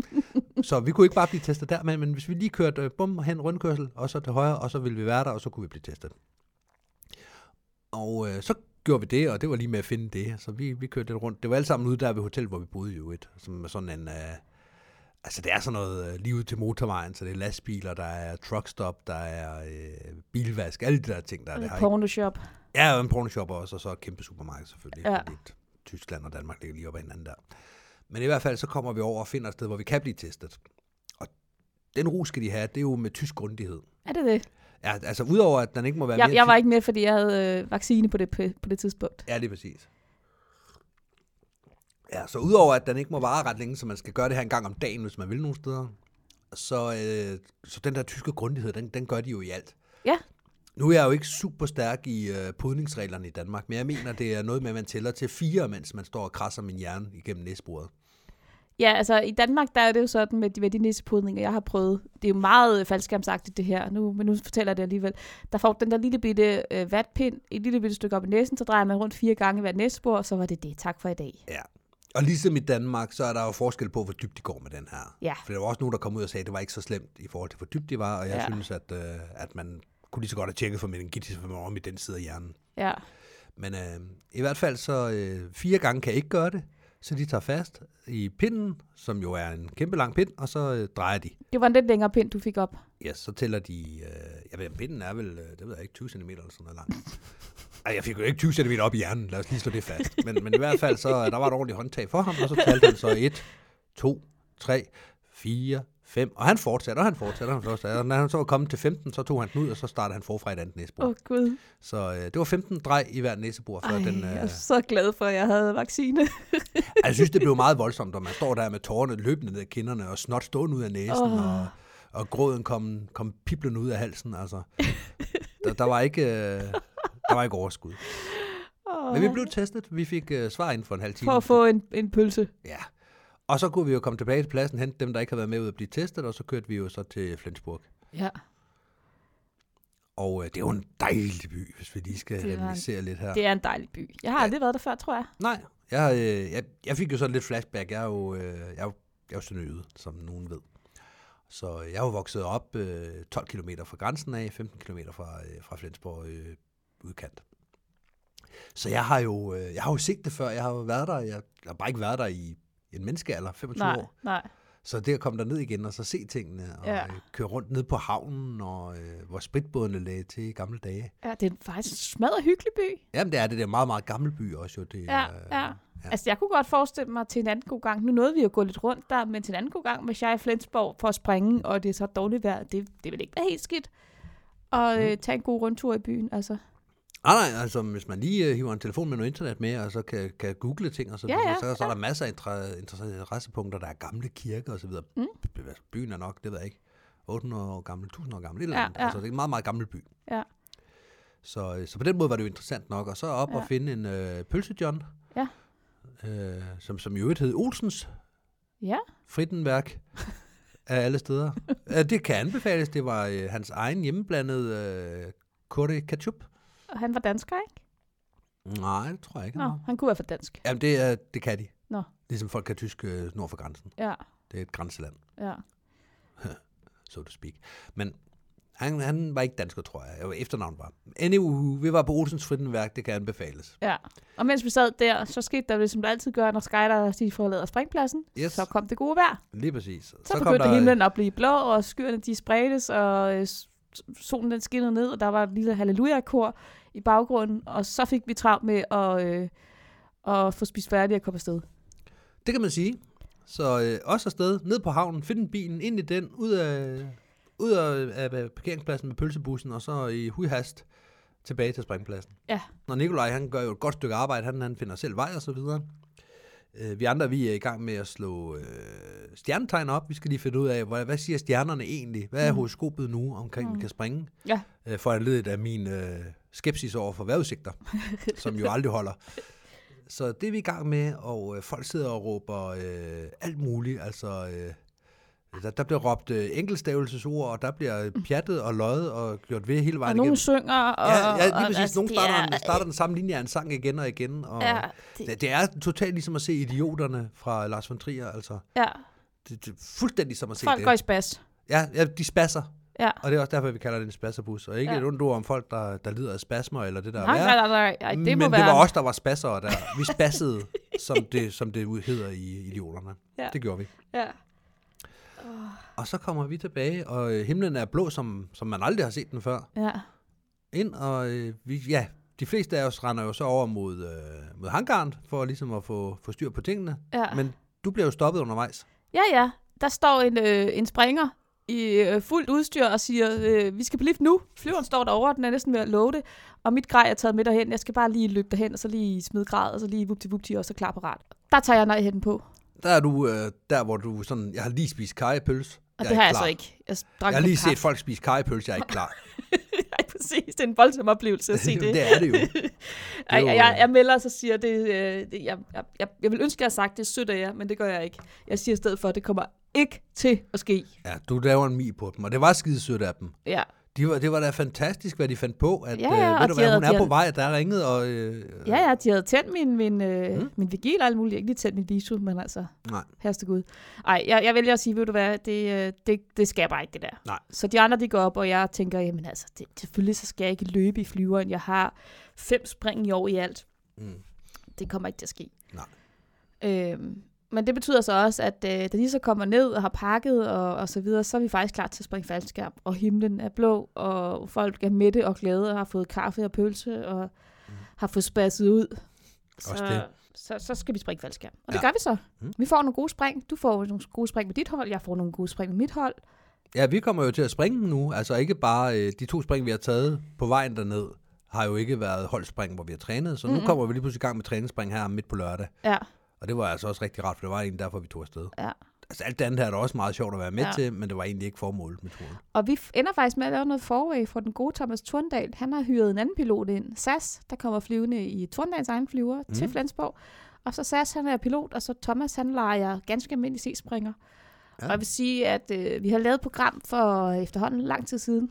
Så vi kunne ikke bare blive testet der, men, men hvis vi lige kørte øh, bum hen rundkørsel, og så til højre, og så ville vi være der, og så kunne vi blive testet. Og øh, så gjorde vi det, og det var lige med at finde det. Så vi, vi kørte lidt rundt. Det var alt sammen ude der ved hotel, hvor vi boede jo et, som er sådan en... Øh, Altså, det er sådan noget øh, lige ud til motorvejen, så det er lastbiler, der er truckstop, der er øh, bilvask, alle de der ting, der er. Det har Ja, ikke- Pornoshop. Ja, og en pornoshop også, og så et kæmpe supermarked selvfølgelig. Ja. Ja. Fordi at Tyskland og Danmark ligger lige op ad hinanden der. Men i hvert fald, så kommer vi over og finder et sted, hvor vi kan blive testet. Og den ro skal de have, det er jo med tysk grundighed. Er det det? Ja, altså udover, at den ikke må være Jeg, mere jeg end var ti- ikke med, fordi jeg havde øh, vaccine på det, p- på det tidspunkt. Ja, lige præcis. Ja, så udover, at den ikke må vare ret længe, så man skal gøre det her en gang om dagen, hvis man vil nogle steder, så, øh, så den der tyske grundighed, den, den gør de jo i alt. Ja. Nu er jeg jo ikke super stærk i øh, podningsreglerne i Danmark, men jeg mener, det er noget med, at man tæller til fire, mens man står og krasser min hjerne igennem næsbordet. Ja, altså i Danmark, der er det jo sådan med de, med de nissepodninger, jeg har prøvet. Det er jo meget øh, faldskærmsagtigt det her, nu, men nu fortæller jeg det alligevel. Der får den der lille bitte øh, vatpind, et lille bitte stykke op i næsen, så drejer man rundt fire gange i hvert næsebord, og så var det det. Tak for i dag. Ja. Og ligesom i Danmark, så er der jo forskel på, hvor dybt de går med den her. Ja. For der var også nogen, der kom ud og sagde, at det var ikke så slemt i forhold til, hvor dybt de var, og jeg ja. Ja. synes, at, øh, at man kunne lige så godt have tjekket for meningitis, for man var om i den side af hjernen. Ja. Men øh, i hvert fald så øh, fire gange kan jeg ikke gøre det, så de tager fast i pinden, som jo er en kæmpe lang pind, og så øh, drejer de. Det var en lidt længere pind, du fik op. Ja, så tæller de, øh, jeg ved, om pinden er vel, øh, det ved jeg ikke, 20 cm eller sådan noget lang. Ej, jeg fik jo ikke 20 cm op i hjernen, lad os lige slå det fast. Men, men i hvert fald, så øh, der var et ordentligt håndtag for ham, og så talte han så 1, 2, 3, 4, 5, og han fortsatte, og han fortsatte, og han fortsatte. Og når han så var kommet til 15, så tog han den ud, og så startede han forfra i et andet næsebor. Åh Okay. oh, gud. Så øh, det var 15 drej i hver næsebor, før Ej, den... øh, jeg er så glad for, at jeg havde vaccine. [LAUGHS] Altså, Jeg synes, det blev meget voldsomt, når man står der med tårerne løbende ned ad kinderne, og snot stående ud af næsen, oh. Åh. og, og gråden kom, kom piblen ud af halsen. Altså. Der, der, var ikke, øh, der var ikke overskud. Åh, Men vi blev testet. Vi fik øh, svar inden for en halv time. For at få en, en pølse. Ja. Og så kunne vi jo komme tilbage til pladsen, hente dem, der ikke havde været med ud at blive testet, og så kørte vi jo så til Flensburg. Ja. Og øh, det er jo en dejlig by, hvis vi lige skal Det var en- reminiscere lidt her. Det er en dejlig by. Jeg har aldrig været der før, tror jeg. Nej, jeg, øh, jeg, jeg fik jo sådan lidt flashback. Jeg er jo, øh, jeg er jo, jeg er jo sønderjyde, som nogen ved. Så jeg er jo vokset op øh, 12 km fra grænsen af, 15 km fra, øh, fra Flensborg øh, udkant. Så jeg har, jo, øh, jeg har jo set det før. Jeg har jo været der. Jeg, jeg har bare ikke været der i en menneskealder, 25 Nej, år. nej. Så det at komme derned igen og så se tingene, og ja. Ja. øh, køre rundt ned på havnen, og øh, hvor spritbådene lagde til i gamle dage. Ja, det er faktisk en smadret hyggelig by. Jamen det er det der meget, meget gammel by også jo. Det, Ja, øh, ja. Altså, jeg kunne godt forestille mig til en anden god gang. Nu nåede vi jo at gå lidt rundt der, men til en anden god gang, hvis jeg er i Flensborg for at springe, og det er så dårligt vejr, det, det vil ikke være helt skidt. Og øh, tage en god rundtur i byen, altså. Nej, nej, altså hvis man lige øh, hiver en telefon med noget internet med, og så kan, kan google ting og så Ja, videre, ja, så, så er ja. der masser af inter- interessepunkter, der er gamle kirker og så videre. Mm. Byen er nok, det ved jeg ikke, 800 år gammel, 1000 år gammel, et eller Ja, andet. ja. Altså det er en meget, meget gammel by. Ja. Så, øh, så på den måde var det jo interessant nok, og så op ja. Ja. og finde en øh, pølsejohn, Ja. øh, som, som i øvrigt hed Olsens Ja, Frittenværk af alle [LAUGHS] steder. Ja, det kan anbefales, det var øh, hans egen hjemmeblandede øh, korte ketchup. og han var dansker, ikke? Nej, det tror jeg ikke. Nå, han var. han kunne være for dansk. Jamen, det, er, det kan de. Nå. Ligesom folk kan tysk øh, nord for grænsen. Ja, Det er et grænseland, ja. so to speak. Men han, han var ikke dansker, tror jeg. Jo, Efternavn var. Anywho, vi var på Olsens Frittenværk, det kan anbefales. Ja, og mens vi sad der, så skete der det, som det altid gør, når skyders de forlader springpladsen. Yes. Så kom det gode vejr. Lige præcis. Så, øh, Så, så begyndte der... himlen at blive blå, og skyerne de spredtes, og øh, s- solen den skinnede ned, og der var et lille halleluja-kor i baggrunden, og så fik vi travlt med at, øh, at få spist færdigt og komme afsted. Det kan man sige. Så øh, også afsted, ned på havnen, find bilen, ind i den, ud af, ud af, af- af parkeringspladsen med pølsebussen, og så i hujhast tilbage til springpladsen. Ja. Når Nikolaj, han gør jo et godt stykke arbejde, han, han finder selv vej og så videre. Øh, Vi andre, vi er i gang med at slå øh, stjernetegn op. Vi skal lige finde ud af, hvad, hvad siger stjernerne egentlig? Hvad er horoskopet nu omkring, mm. vi kan springe? Ja. Øh, for anledet af min øh, skepsis over for [LAUGHS] vejrudsigter, som jo aldrig holder. Så det er vi i gang med, og øh, folk sidder og råber øh, alt muligt. Altså, øh, der, der bliver råbt øh, enkeltstavelsesord, og der bliver øh, pjattet og løjet og gjort ved hele Og vejen nogen igennem. synger, og... Ja, ja, lige og- præcis. altså, Nogle det starter, er- den, starter den samme linje af en sang igen og igen. Og Ja, det, det, det er totalt ligesom at se Idioterne fra Lars von Trier. Altså, ja. det, det er fuldstændig som at se folk det. går i spas. Ja, ja, de spasser. Ja. Og det er også derfor, vi kalder det en spasserbus. Og ikke ja. Ja. et ondt ord om folk, der, der lider af spasmer eller det der er Nej, værre. nej, nej, nej, nej, det må Men være... det var os, der var spassere der. Vi [LAUGHS] spassede, som det, som det hedder i Idioterne. Ja. Det gjorde vi. Ja. Og så kommer vi tilbage, og øh, himlen er blå, som, som man aldrig har set den før. Ja. Ind, og øh, vi, ja, de fleste af os render jo så over mod, øh, mod hangaren, for ligesom at få, få styr på tingene. Ja. Men du bliver jo stoppet undervejs. Ja, ja. Der står en, øh, en springer i øh, fuldt udstyr og siger, øh, vi skal på lift nu. Flyveren står derovre, den er næsten ved at love det. Og mit grej er taget med derhen. Jeg skal bare lige løbe derhen, og så lige smide grejet, og så lige vupti vupti, og så klar på ret. Der tager jeg nejhætten på. Og Der er du øh, der, hvor du sådan, jeg har lige spist kajepøls. jeg er det har jeg klar. så ikke. Jeg, drak Jeg har en lige kop [LAUGHS] set folk spise kajepøls, jeg er ikke klar. kaffe. Ej, præcis. Det er en voldsom oplevelse at se det. [LAUGHS] det er det jo. [LAUGHS] Ej, jo, jeg, jeg, øh. jeg melder os og siger, det, øh, det, jeg, jeg- jeg, jeg vil ønske, at jeg har sagt, det er sødt af jer, men det gør jeg ikke. Jeg siger i stedet for, at det kommer ikke til at ske. Ja, du laver en mi på dem, og det var skide sødt af dem. Ja, De var, det var da fantastisk, hvad de fandt på, at Ja, ja, ja, ja, øh, og ved du de hvad, havde- hun de er på havde- vej, der er ringet, og øh, Ja, ja, de havde tændt min, min, øh, Mm. min vigil og alt muligt. Ikke lige tændt min visu, men altså, Nej. herste Gud. Ej, jeg, jeg vælger at sige, ved du hvad, det, øh, det, det skal jeg bare ikke, det der. Nej. Så de andre, de går op, og jeg tænker, jamen altså, det, selvfølgelig så skal jeg ikke løbe i flyveren. Jeg har fem spring i år i alt. Mm. Det kommer ikke til at ske. Nej. Øhm, men det betyder så også, at øh, da de så kommer ned og har pakket og, og så videre, så er vi faktisk klar til at springe faldskærm. Og himlen er blå, og folk er mætte og glade og har fået kaffe og pølse og har fået spasset ud. Mhm. Også det. Så, så skal vi springe faldskærm. Og det Ja. gør vi så. Mm. Vi får nogle gode spring. Du får nogle gode spring med dit hold, jeg får nogle gode spring med mit hold. ja, vi kommer jo til at springe nu. Altså ikke bare øh, de to spring, vi har taget på vejen derned, har jo ikke været holdspring, hvor vi har trænet. Så nu kommer vi lige pludselig i gang med træningsspring her midt på lørdag. Ja, Og det var altså også rigtig rart, for det var egentlig derfor, vi tog afsted. ja. Altså alt det andet her er da også meget sjovt at være med Ja. ja. til, men det var egentlig ikke formålet med turen. Og vi f- ender faktisk med at lave noget forway for den gode Thomas Turndal. Han har hyret en anden pilot ind, SAS, der kommer flyvende i Turndals egen flyver Mhm. mm. til Flensborg. Og så SAS, han er pilot, og så Thomas, han leger ganske almindelig C-springer. Ja. Ja. Og jeg vil sige, at øh, vi har lavet et program for øh, efterhånden lang tid siden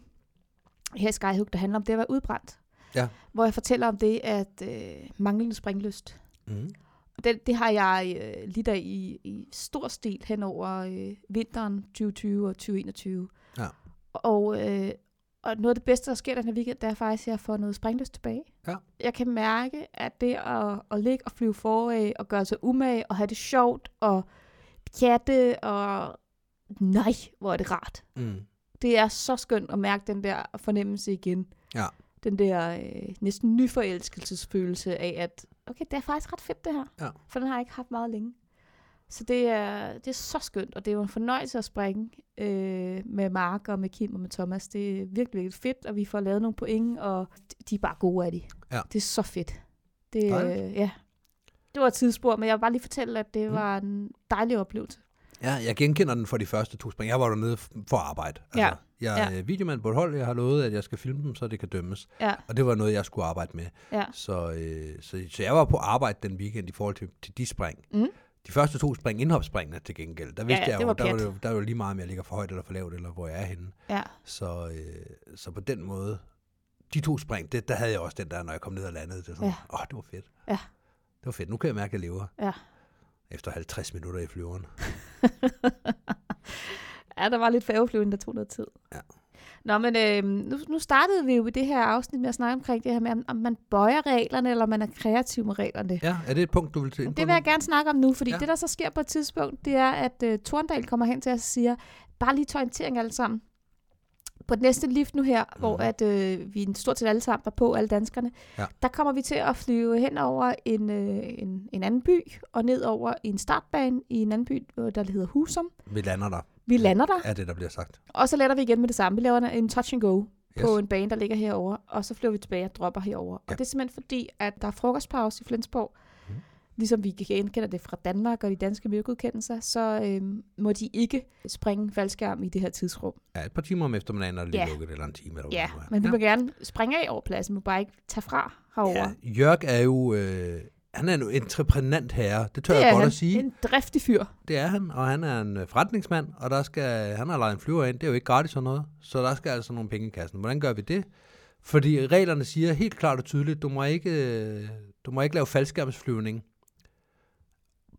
her i Skyhook, der handler om det at være udbrændt. Ja. Hvor jeg fortæller om det, at øh, manglende springlyst. Mm. Og Det, det har jeg øh, lidt af i, i stor stil hen over øh, vinteren 2020 og 2021. Ja. Og, øh, og noget af det bedste, der sker den her weekend, det er faktisk, at jeg får noget springlyst tilbage. Ja. Jeg kan mærke, at det at, at ligge og flyve forad og gøre sig umage og have det sjovt og pjatte og... Nej, hvor er det rart. Mm. Det er så skønt at mærke den der fornemmelse igen. Ja. Den der øh, næsten nyforelskelsesfølelse af, at okay, det er faktisk ret fedt det her. Ja. For den har jeg ikke haft meget længe. Så det er, det er så skønt, og det er jo en fornøjelse at springe øh, med Mark og med Kim og med Thomas. Det er virkelig, virkelig fedt, og vi får lavet nogle point, og de er bare gode af det. Ja. Det er så fedt. Det, Dejligt. øh, ja. det var et tidsspur, men jeg vil bare lige fortælle, at det Mm. var en dejlig oplevelse. Ja, jeg genkender den for de første to spring. Jeg var dernede f- for arbejde. Altså, Ja. Jeg er ja. videomand på et hold, jeg har lovet, at jeg skal filme dem, så det kan dømmes. Ja. Og det var noget, jeg skulle arbejde med. Ja. Så, øh, så, så jeg var på arbejde den weekend i forhold til, til de spring. Mm. De første to spring, indhopspringene til gengæld, der vidste ja, jeg det jo, var der var, pjat. jo, der var jo lige meget, om jeg ligger for højt eller for lavt, eller hvor jeg er henne. Ja. Så, øh, så på den måde, de to spring, det, der havde jeg også den der, når jeg kom ned og landede. Det var sådan, åh, det var fedt. Ja. Det var fedt. Nu kan jeg mærke, at jeg lever. Ja. Efter 50 minutter i flyveren. [LAUGHS] Ja, der var lidt færgeflyvning, der tog noget tid. Ja. Nå, men øh, nu, nu startede vi jo i det her afsnit med at snakke omkring det her med, om- om man bøjer reglerne, eller om man er kreativ med reglerne. Ja, er det et punkt, du vil til ind på Det vil nu? jeg gerne snakke om nu, fordi ja. Ja. det, der så sker på et tidspunkt, det er, at øh, Torndal kommer hen til os og siger, bare lige til orientering alle sammen. På det næste lift nu her, mm. hvor at, øh, vi stort set alle sammen var på, alle danskerne, Ja. der kommer vi til at flyve hen over en, øh, en, en anden by, og ned over en startbane i en anden by, øh, der hedder Husum. Vi lander der, Vi lander der. er det, der bliver sagt. Og så letter vi igen med det samme. Vi laver en touch and go yes. Yes. på en bane, der ligger herover, og så flyver vi tilbage og dropper herover. Ja. Ja. Mhm. Og det er simpelthen fordi, at der er frokostpause i Flensborg. Mm. Ligesom vi genkender det fra Danmark og de danske miljøgodkendelser, så øhm, må de ikke springe faldskærm i det her tidsrum. Ja, et par timer om eftermiddagen er det lige Ja. lukket, eller en time. Eller Ja, hvad det nu er. men vi må gerne springe af over pladsen, må bare ikke tage fra herover. ja. Jørg er jo... Øh, han er en entreprenant herre, det tør det jeg godt han at sige. altså en driftig fyr. Det er han, og han er en øh, forretningsmand, og der skal, han har lejet en flyver ind. Det er jo ikke gratis og noget, så der skal altså nogle penge i kassen. Hvordan gør vi det? Fordi reglerne siger helt klart og tydeligt, du må ikke, øh, du må ikke lave faldskærmsflyvning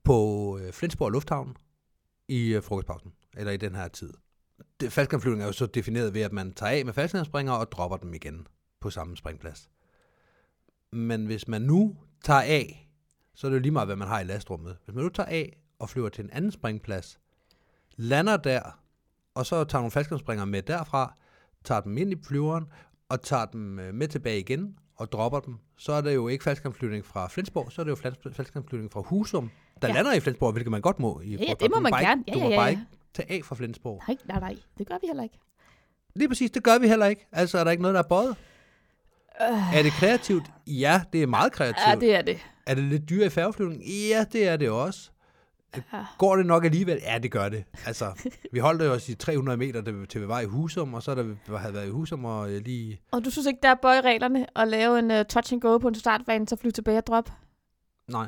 på øh, Flensborg Lufthavn i øh, frokostpausen, eller i den her tid. Det, faldskærmsflyvning er jo så defineret ved, at man tager af med faldskærmsspringer og dropper dem igen på samme springplads. Men hvis man nu tager af, så er det jo lige meget, hvad man har i lastrummet. Hvis man nu tager af og flyver til en anden springplads, lander der og så tager nogle faldskærmsspringere med derfra, tager dem ind i flyveren, og tager dem øh, med tilbage igen, og dropper dem. Så er det jo ikke faldskærmsflyvning fra Flensborg, så er det jo fals- faldskærmsflyvning fra Husum, der Ja. ja. lander i Flensborg, hvilket man godt må. I ja, Frogtbak. det må Du man bare gerne. Ikke, Ja, du ja, må ja, bare ja. ikke tage af fra Flensborg. Nej, nej, nej. Det gør vi heller ikke. Lige præcis, det gør vi heller ikke. Altså, er der ikke noget, der er bøjet? Øh. Er det kreativt? Ja, det er meget kreativt. Ja, det er det. Er det lidt dyrere i færgeflyvning? Ja, det er det også. Ja. Går det nok alligevel? Ja, det gør det. [LAUGHS] Altså, vi holdt jo os i 300 meter, da vi- til vi var i Husum, og så da vi havde været i Husum og øh, lige... Og du synes ikke, der er bøj i reglerne at lave en uh, touch and go på en startbane, så flyve tilbage og drop? Nej,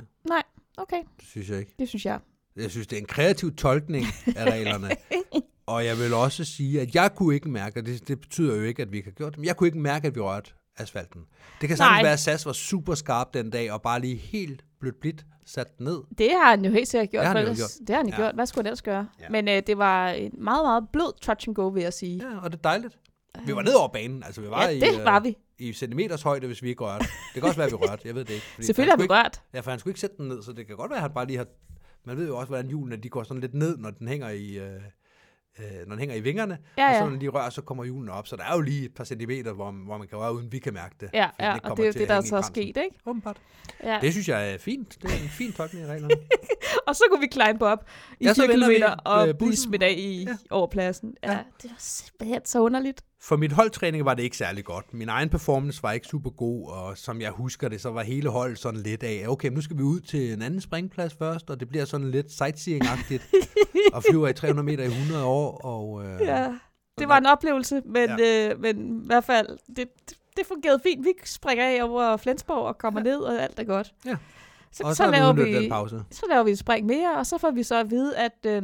Okay, det synes jeg ikke. det synes jeg. Jeg synes, det er en kreativ tolkning af reglerne. [LAUGHS] og jeg vil også sige, at jeg kunne ikke mærke, og det, det betyder jo ikke, at vi ikke har gjort det, men jeg kunne ikke mærke, at vi rørte asfalten. Det kan Nej. sagtens være, at SAS var super skarp den dag, og bare lige helt blødt blidt sat den ned. Det har han jo helt sikkert gjort. Det har han for jo ellers- Det har han jo Ja. gjort. Hvad skulle han ellers gøre? Ja. Men øh, det var en meget, meget blød touch and go, vil jeg sige. Ja, og det er dejligt. Vi var ned over banen, altså vi var Øh. ja i... det øh, var vi. i centimeters højde, hvis vi ikke rørte. Det kan også være, at vi rørte. Jeg ved det ikke. [LAUGHS] Fordi Selvfølgelig han har vi skulle rørt. ikke, Ja, for han skulle ikke sætte den ned, så det kan godt være, at han bare lige har... Man ved jo også, hvordan hjulene de går sådan lidt ned, når den hænger i... Øh, øh, når den hænger i vingerne, Ja, og ja. så når den lige rører, så kommer hjulene op. Så der er jo lige et par centimeter, hvor, hvor man kan røre, uden vi kan mærke det. Ja, fordi den ja, ikke og det kommer er jo til det, at der hænge i så er bremsen. sket, ikke? Åbenbart. Ja. Det synes jeg er fint. Det er en fin tolkning af [LAUGHS] reglerne. Og så kunne vi climb op i Ja, ja, så 4 vender vi, km og øh, bussen. blive smidt af i ja. Ja. overpladsen. Ja, ja, Ja. det var simpelthen så underligt. For mit holdtræning var det ikke særlig godt. Min egen performance var ikke super god, og som jeg husker det, så var hele holdet sådan lidt af, okay, nu skal vi ud til en anden springplads først, og det bliver sådan lidt [LAUGHS] sightseeing-agtigt, og flyver i 300 meter i 100 år, og øh, Ja. ja. Det Sådan var er- en oplevelse, men, ja. øh, men i hvert fald, det, det- det fungerede fint. Vi springer af over Flensborg og kommer ja. ned, og alt er godt. Ja. [LAUGHS] Så, og så, så, laver vi, den pause. så laver vi et spring mere, og så får vi så at vide, at øh,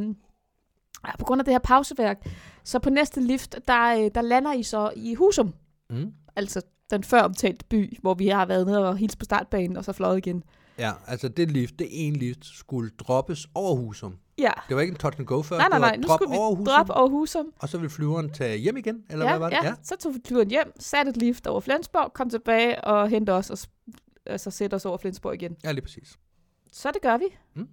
på grund af det her pauseværk, så på næste lift, der, øh, der lander I så i Husum. Mm. Altså den før omtalte by, hvor vi har været nede og hilse på startbanen, og så fløjet igen. Ja, altså det lift, det ene lift, skulle droppes over Husum. Ja. Det var ikke en touch and go først, Nej, nej, det var nej. Nu drop skulle vi over Husum, drop over Husum. og så ville flyveren tage hjem igen, eller ja, hvad var det? Ja. så tog vi turen hjem, satte et lift over Flensborg, kom tilbage og hentede os og sp- altså, sætte os over Flensborg igen. ja lige præcis. Så det gør vi. Øh,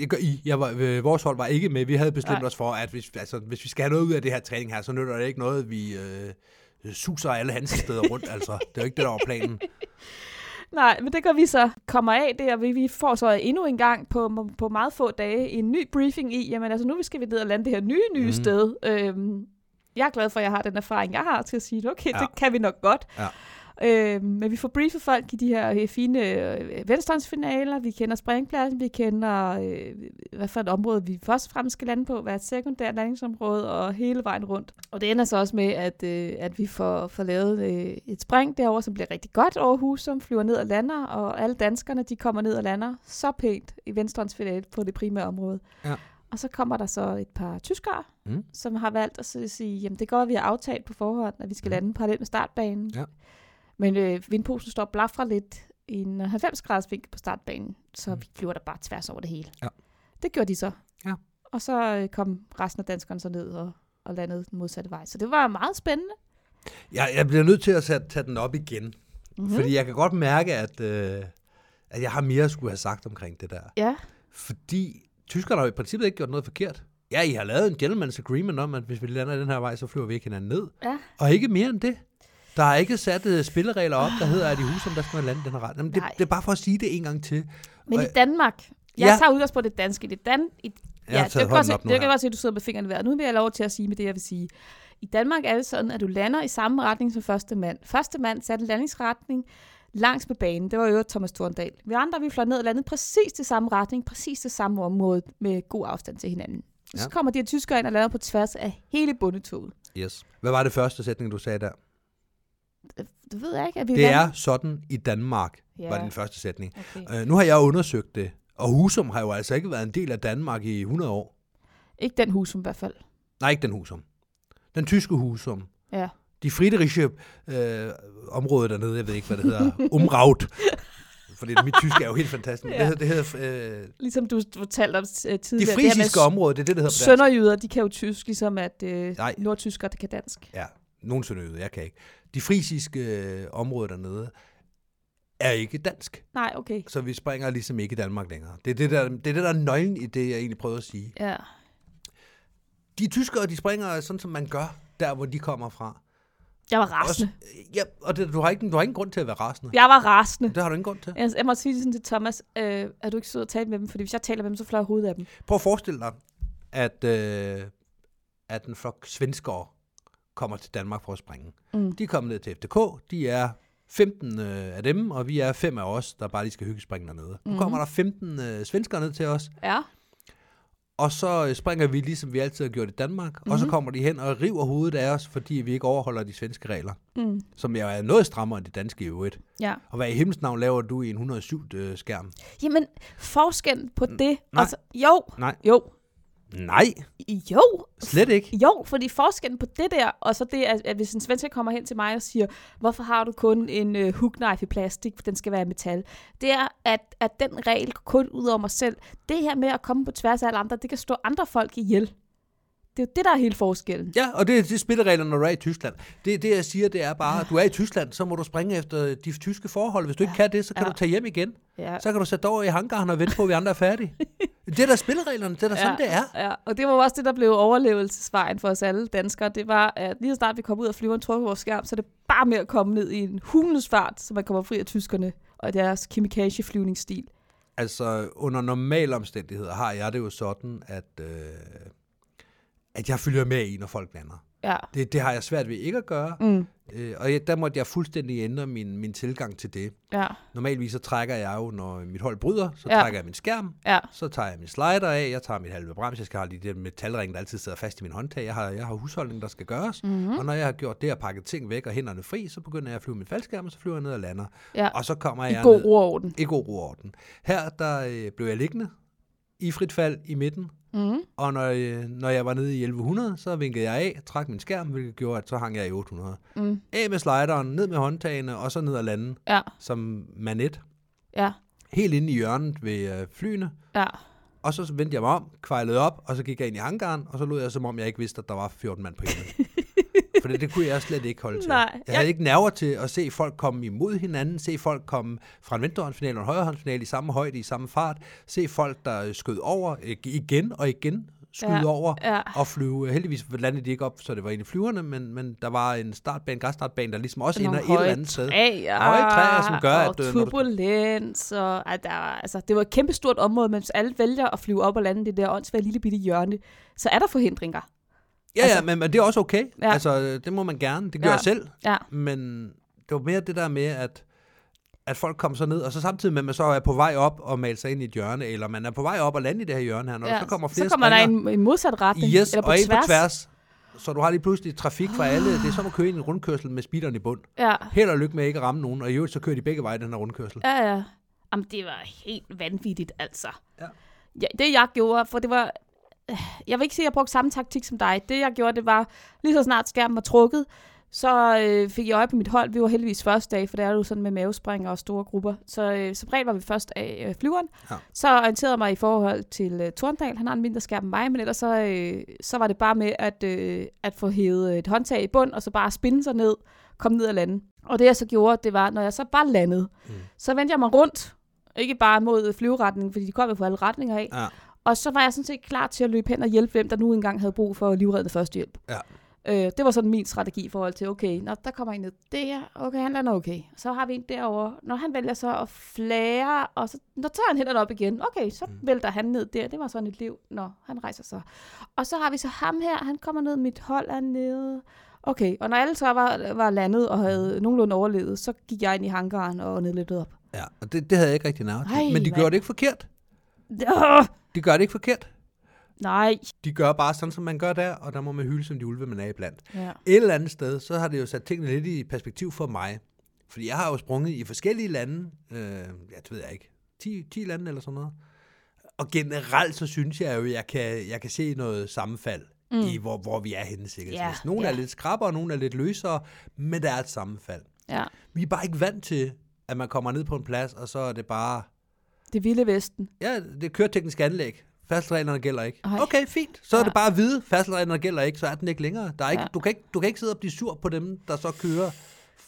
Jeg, gør- I, jeg var, øh, vores hold var ikke med. Vi havde bestemt Nej. Nej. os for, at hvis, altså, hvis vi skal have noget ud af det her træning her, så nytter det ikke noget, vi øh, suser alle hans steder rundt. Altså. Det er jo ikke det, der var planen. Nej, men det gør vi så. Kommer af det, og vi, vi får så endnu en gang på, på meget få dage en ny briefing i, jamen altså nu skal vi ned og lande det her nye, nye mm. Mhm. sted. Øhm, jeg er glad for, at jeg har den erfaring, jeg har til at sige, okay, ja. Ja. det kan vi nok godt. Ja. Øhm, men vi får briefet folk i de her øh, fine øh, venstrehåndsfinaler, vi kender springpladsen, vi kender, øh, hvad for et område vi først og fremmest skal lande på, hvad er et sekundært landingsområde, og hele vejen rundt. Og det ender så også med, at, øh, at vi får, får lavet øh, et spring derover, som bliver rigtig godt over Husum, flyver ned og lander, og alle danskerne, de kommer ned og lander så pænt i venstrehåndsfinale på det primære område. Ja. Og så kommer der så et par tyskere, Mm. som har valgt at s- sige, jamen det går, at vi har aftalt på forhånd, at vi skal lande parallelt med startbanen. Mm. Ja. Men øh, vindposen står og blafrer lidt i en 90-graders vinkel på startbanen, så Mm. vi flyver der bare tværs over det hele. Ja. Det gjorde de så. Ja. Og så øh, kom resten af danskerne så ned og, og landede den modsatte vej. Så det var meget spændende. Jeg, jeg bliver nødt til at sætte, tage den op igen, mm-hmm. Mm-hmm. fordi jeg kan godt mærke, at, øh, at jeg har mere at skulle have sagt omkring det der. Ja, Fordi tyskerne har jo i princippet ikke gjort noget forkert. Ja, I har lavet en gentleman's agreement om, at hvis vi lander den her vej, så flyver vi ikke hinanden ned. Ja. Og ikke mere end det. Der er ikke sat uh, spilleregler op, der hedder, at i Husum, der skal man lande den her ret. Jamen, det, Nej. det er bare for at sige det en gang til. men Og- i Danmark. Jeg Ja. tager udgangspunkt i det danske. Det dan, i, Jeg har taget det kan godt hånden se, op nu det kan her. godt se, at du sidder med fingrene i vejret. Nu vil jeg lov til at sige med det, jeg vil sige. I Danmark er det sådan, at du lander i samme retning som første mand. Første mand satte landingsretning langs med banen. Det var jo Thomas Thorndal. Vi andre, vi fløj ned og landede præcis det samme retning, præcis det samme område med god afstand til hinanden. Ja. Så Ja. kommer de her tyskere ind og lander på tværs af hele bundetoget. Yes. Hvad var det første sætning, du sagde der? Det ved jeg ikke, at vi Det lander- er sådan i Danmark, Ja. ja. var den første sætning. Okay. Øh, nu har jeg undersøgt det, og Husum har jo altså ikke været en del af Danmark i 100 år. Ikke den husum i hvert fald. Nej, ikke den Husum. Den tyske Husum. Ja. De friedrichsche øh, område dernede, jeg ved ikke, hvad det hedder, umraut. Fordi mit tysk er jo helt fantastisk. Ja. Ja. Det, hedder, det hedder øh, Ligesom du fortalte om øh, de tidligere. det her med frisiske område, det er det, der hedder på dansk. Sønderjyder, de kan jo tysk, ligesom at øh, Nej. nordtyskere, der kan dansk. Ja, nogen sønderjyde, jeg kan ikke. De frisiske øh, områder dernede er ikke dansk. Nej, okay. Så vi springer ligesom ikke i Danmark længere. Det er det, der, det er det, der er nøglen i det, jeg egentlig prøvede at sige. Ja. de tyskere, de springer sådan, som man gør, der hvor de kommer fra. Jeg var rasende. ja, og det, du, har ikke, du har ingen grund til at være rasende. Jeg var rasende. Det har du ingen grund til. Jeg, jeg må sige sådan til Thomas, øh, er du ikke sød at tale med dem? Fordi hvis jeg taler med dem, så flår jeg hovedet af dem. Prøv at forestille dig, at, øh, at en flok svenskere kommer til Danmark for at springe. Mm. De er kommet ned til FDK. De er 15 øh, af dem, og vi er fem af os, der bare lige skal hygge springe dernede. Nu kommer der 15 øh, svenskere ned til os, Ja. og så øh, springer vi, ligesom vi altid har gjort i Danmark. Mm-hmm. Og så kommer de hen og river hovedet af os, fordi vi ikke overholder de svenske regler, Mm. som jo er noget strammere end de danske i øvrigt. ja. Og hvad i himlens navn laver du i en 107-skærm? Jamen, forskellen på det... Mm. nej. Altså, jo, Nej. jo, Nej, jo, slet ikke. jo, fordi forskellen på det der, og så det, at, at hvis en svensker kommer hen til mig og siger, hvorfor har du kun en øh, hookknife i plastik, for den skal være i metal, det er, at, at den regel går kun ud over mig selv. Det her med at komme på tværs af alle andre, det kan stå andre folk ihjel. Det er jo det, der er hele forskellen. Ja, og det, det er spillereglerne, når du er i Tyskland. Det, det jeg siger, det er bare, at du er i Tyskland, så må du springe efter de tyske forhold. Hvis du ikke kan det, så kan Ja. du tage hjem igen. Ja. Så kan du sætte dig over i hangaren og vente på, at vi andre er færdige. Det er da spillereglerne, det er da sådan, det er. Ja, og det var jo også det, der blev overlevelsesvejen for os alle danskere. Det var, at lige så snart vi kom ud af flyveren, trukker vores skærm, så er det bare med at komme ned i en hulens fart, så man kommer fri af tyskerne og deres kamikaze-flyvningsstil. Altså, under normale omstændigheder har jeg det jo sådan, at, øh, at jeg følger med i, når folk lander. Ja. Det, det har jeg svært ved ikke at gøre. Mm. Øh, og jeg, der måtte jeg fuldstændig ændre min, min tilgang til det. Ja. Normalvis så trækker jeg jo, når mit hold bryder, så Ja. ja. trækker jeg min skærm, Ja. Så tager jeg min slider af, jeg tager mit halve brems, jeg skal have lige det metalring, der altid sidder fast i min håndtag. Jeg har, jeg har husholdning, der skal gøres. Mm-hmm. Mhm. Og når jeg har gjort det og pakket ting væk og hænderne fri, så begynder jeg at flyve min faldskærm, og så flyver jeg ned og lander. ja. Og så kommer I jeg god ned. ro og orden. I god ro og orden. Her der øh, blev jeg liggende i frit fald i midten. Mm. Og når, øh, når jeg var nede i 1100, så vinkede jeg af, trak min skærm, hvilket gjorde, at så hang jeg i 800. Mm. Af med slideren, ned med håndtagene, og så ned og lande Ja. som manet. Ja. Helt inde i hjørnet ved øh, flyene. Ja. Og så vendte jeg mig om, kvejlede op, og så gik jeg ind i hangaren, og så lød jeg, som om jeg ikke vidste, at der var 14 mand på [LAUGHS] himlen. For det, det kunne jeg slet ikke holde til. Nej, jeg havde ikke nerver til at se folk komme imod hinanden, se folk komme fra en venstrehåndsfinale og en højrehåndsfinale i samme højde, i samme fart, se folk, der skød over øh, igen og igen, skyde Ja, over ja. og flyve. Heldigvis landede de ikke op, så det var en i flyverne, men, men der var en startbane, græsstartbane, der ligesom også ender et eller andet sted. træer, Høje træer, som gør, og at, øh, når du- turbulens, og ej, der, var- altså, det var et kæmpestort område, men hvis alle vælger at flyve op og lande i det der åndsvære lille bitte hjørne, så er der forhindringer. Ja, Altså- ja, men, men det er også okay. Ja. Ja. Altså, øh, det må man gerne. Det gør Ja. ja. jeg selv. Ja. Men det var mere det der med, at, at folk kom så ned, og så samtidig med, at man så er på vej op og maler sig ind i et hjørne, eller man er på vej op og lande i det her hjørne her, når ja, så kommer flere så kommer der springer, en, en modsat retning. yes, eller på og tværs. en på tværs. Så du har lige pludselig trafik fra alle. Det er som at køre ind i en rundkørsel med speederen i bund. Ja, Held og lykke med ikke at ramme nogen, og i øvrigt så kører de begge veje i den her rundkørsel. ja, ja. Jamen, det var helt vanvittigt, altså. Ja. ja det jeg gjorde, for det var... øh, Jeg vil ikke sige, at jeg brugte samme taktik som dig. Det jeg gjorde, det var, lige så snart skærmen var trukket, så øh, fik jeg øje på mit hold. Vi var heldigvis første dag, for det er jo sådan med mavespringer og store grupper. Så øh, som regel var vi først af øh, flyveren. Ja. Så orienterede jeg mig i forhold til øh, Torndal. Han har en mindre skærm end mig, men ellers så, øh, så var det bare med at, øh, at få hævet et håndtag i bund, og så bare spinde sig ned, komme ned og lande. Og det jeg så gjorde, det var, når jeg så bare landede, mm. så vendte jeg mig rundt. Ikke bare mod flyveretningen, fordi de kom jo fra alle retninger af. Ja. Og så var jeg sådan set klar til at løbe hen og hjælpe, hvem der nu engang havde brug for livreddende førstehjælp. Ja. Øh, det var sådan min strategi i forhold til, okay, nå, der kommer en ned der, okay, han lander okay. Så har vi en derovre. Når han vælger så at flære, og så når tager han hænderne op igen. Okay, så mm. vælter han ned der. Det var sådan et liv. Nå, han rejser sig. Og så har vi så ham her, han kommer ned, mit hold er nede. Okay, og når alle så var, var landet og havde nogenlunde overlevet, så gik jeg ind i hangaren og nedløbte op. Ja, og det, det havde jeg ikke rigtig nerve Ej, til. Men de mand. gør det ikke forkert. Øh, De gør det ikke forkert. nej. De gør bare sådan, som man gør der, og der må man hylde som de ulve, man er iblandt. Ja. Et eller andet sted, så har det jo sat tingene lidt i perspektiv for mig. Fordi jeg har jo sprunget i forskellige lande, øh, ja, det ved jeg ikke, 10, 10 lande eller sådan noget. Og generelt så synes jeg jo, at jeg kan, jeg kan se noget sammenfald mm. i, hvor, hvor vi er henne sikkerhedsmæssigt. Ja, Nogle ja. er lidt skrappere, nogle er lidt løsere, men der er et sammenfald. ja. Vi er bare ikke vant til, at man kommer ned på en plads, og så er det bare, Det vilde vesten. ja, det er køreteknisk anlæg. Fastreglerne gælder ikke. Ej. Okay, fint. Så er Ja. det bare at vide, fastreglerne gælder ikke, så er den ikke længere. Der er ikke, Ja. du, kan ikke, du kan ikke sidde og blive sur på dem, der så kører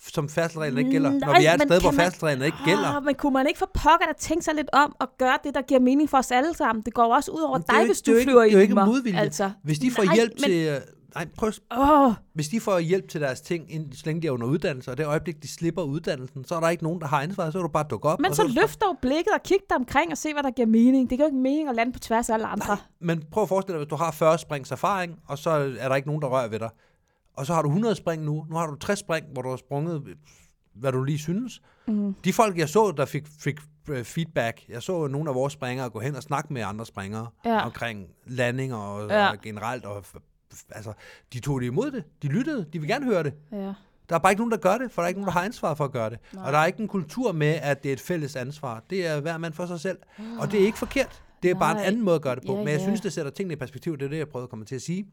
som færdselsreglerne ikke gælder? Mm, Nej, Når vi er et men sted, hvor kan man- færdselsreglerne ikke gælder? Ah, men kunne man ikke for pokker, der tænke sig lidt om og gøre det, der giver mening for os alle sammen? Det går jo også ud over Men det er jo dig, ikke- hvis det er du jo ikke- flyver det er jo i ikke mig. modvilje. Altså, Hvis de får Nej, hjælp men- til... øh, Nej, prøv, at- åh, hvis de får hjælp til deres ting, inden- så længe de er under uddannelse, og det øjeblik, de slipper uddannelsen, så er der ikke nogen, der har ansvaret, så er du bare dukke op. men og så er du- løft dog blikket og kig dig omkring og se, hvad der giver mening. Det giver jo ikke mening at lande på tværs af alle andre. Men prøv at forestille dig, hvis du har 40 springs erfaring, og så er der ikke nogen, der rører ved dig. Og så har du 100 spring nu. Nu har du 60 spring, hvor du har sprunget, øh, hvad du lige synes. Mm. De folk, jeg så, der fik, fik øh, feedback, jeg så nogle af vores springere gå hen og snakke med andre springere Ja. omkring landinger og, Ja. ja. og generelt. Og, f- f- altså, de tog det imod det. De lyttede. De vil gerne høre det. Ja. Der er bare ikke nogen, der gør det, for der er ikke nogen, der har ansvar for at gøre det. Nej. Og der er ikke en kultur med, at det er et fælles ansvar. Det er hver mand for sig selv. Og det er ikke forkert. Det er bare en Nej. anden måde at gøre det på. Ja, Men jeg ja. synes, det sætter tingene i perspektiv. Det er det, jeg prøvede at komme til at sige.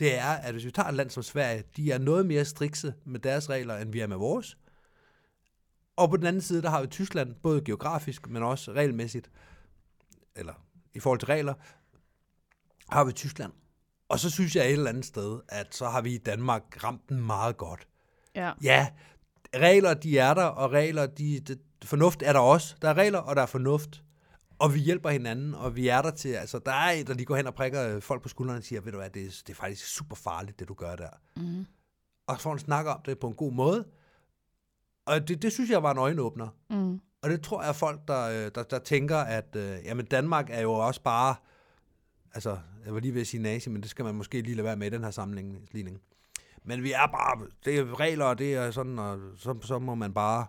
Det er, at hvis vi tager et land som Sverige, de er noget mere strikse med deres regler, end vi er med vores. Og på den anden side, der har vi Tyskland, både geografisk, men også regelmæssigt, eller i forhold til regler, har vi Tyskland. Og så synes jeg et eller andet sted, at så har vi i Danmark ramt den meget godt. ja. Ja, regler de er der, og regler, de, de, fornuft er der også. Der er regler, og der er fornuft. Og vi hjælper hinanden, og vi er der til, altså der er en, der lige går hen og prikker øh, folk på skuldrene og siger, ved du hvad, det, er- det er faktisk super farligt, det du gør der. Mm. Og så får en snak om det på en god måde. Og det, det synes jeg var en øjenåbner. Mm. Og det tror jeg er folk, der, øh, der, der tænker, at øh, jamen Danmark er jo også bare, altså jeg var lige ved at sige nazi, men det skal man måske lige lade være med i den her sammenligning. Men vi er bare, det er regler, og det er sådan, og så, så må man bare,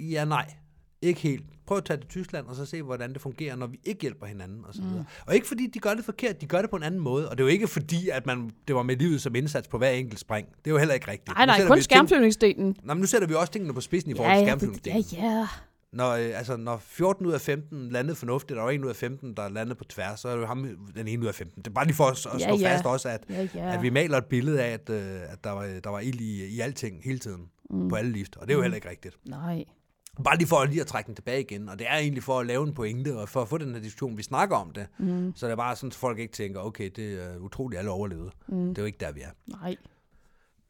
ja nej, ikke helt. Prøv at tage til Tyskland, og så se, hvordan det fungerer, når vi ikke hjælper hinanden, og så Mm. videre. Og ikke fordi, de gør det forkert, de gør det på en anden måde, og det er jo ikke fordi, at man, det var med livet som indsats på hver enkelt spring. Det er jo heller ikke rigtigt. Nej, Nu nej, sætter vi kun ting- skærmflyvningsdelen. Nå, men nu sætter vi også tingene på spidsen i Ja, forhold til ja, det- skærmflyvningsdelen. ja, ja. Når, øh, altså, når 14 ud af 15 landede fornuftigt, og der var 1 ud af 15, der landede på tværs, så er det jo ham, den ene ud af 15. Det er bare lige for os at Ja, slå ja. fast også, at, Ja, ja. at vi maler et billede af, at, øh, at der, var, der var ild i, i alting hele tiden, mm. på alle lift, og det er jo heller ikke rigtigt. Nej. Bare lige for lige at trække den tilbage igen, og det er egentlig for at lave en pointe, og for at få den her diskussion, vi snakker om det, mm. så det er bare sådan, at folk ikke tænker, okay, det er utroligt, alle overlevede. Mm. Det er jo ikke der, vi er. Nej.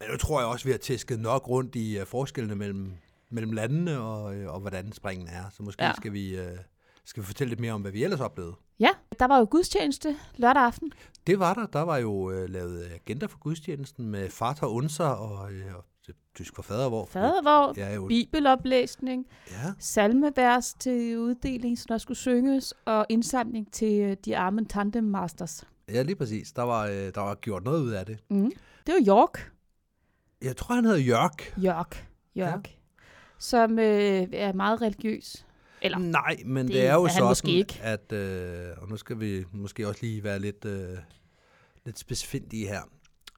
Men nu tror jeg også, vi har tæsket nok rundt i uh, forskellene mellem, mellem landene og, uh, og hvordan springen er. Så måske Ja. ja. skal, vi, uh, skal vi fortælle lidt mere om, hvad vi ellers oplevede. Ja, der var jo gudstjeneste lørdag aften. Det var der. Der var jo uh, lavet agenda for gudstjenesten med Vater Unser og, uh, og det- tysk for fadervor. Fadervor, Ja, jo. bibeloplæsning, Ja. salmevers til uddeling, som der skulle synges, og indsamling til øh, de arme tandem masters. ja, lige præcis. Der var, uh, der var gjort noget ud af det. Det var York. Jeg tror, han hedder Jørg. York. York. Ja. Som øh, er meget religiøs. Eller, mm. Nej, men det, Det det er jo er han sådan, måske ikke. at... Øh, og nu skal vi måske også lige være lidt, øh, lidt specifindige her.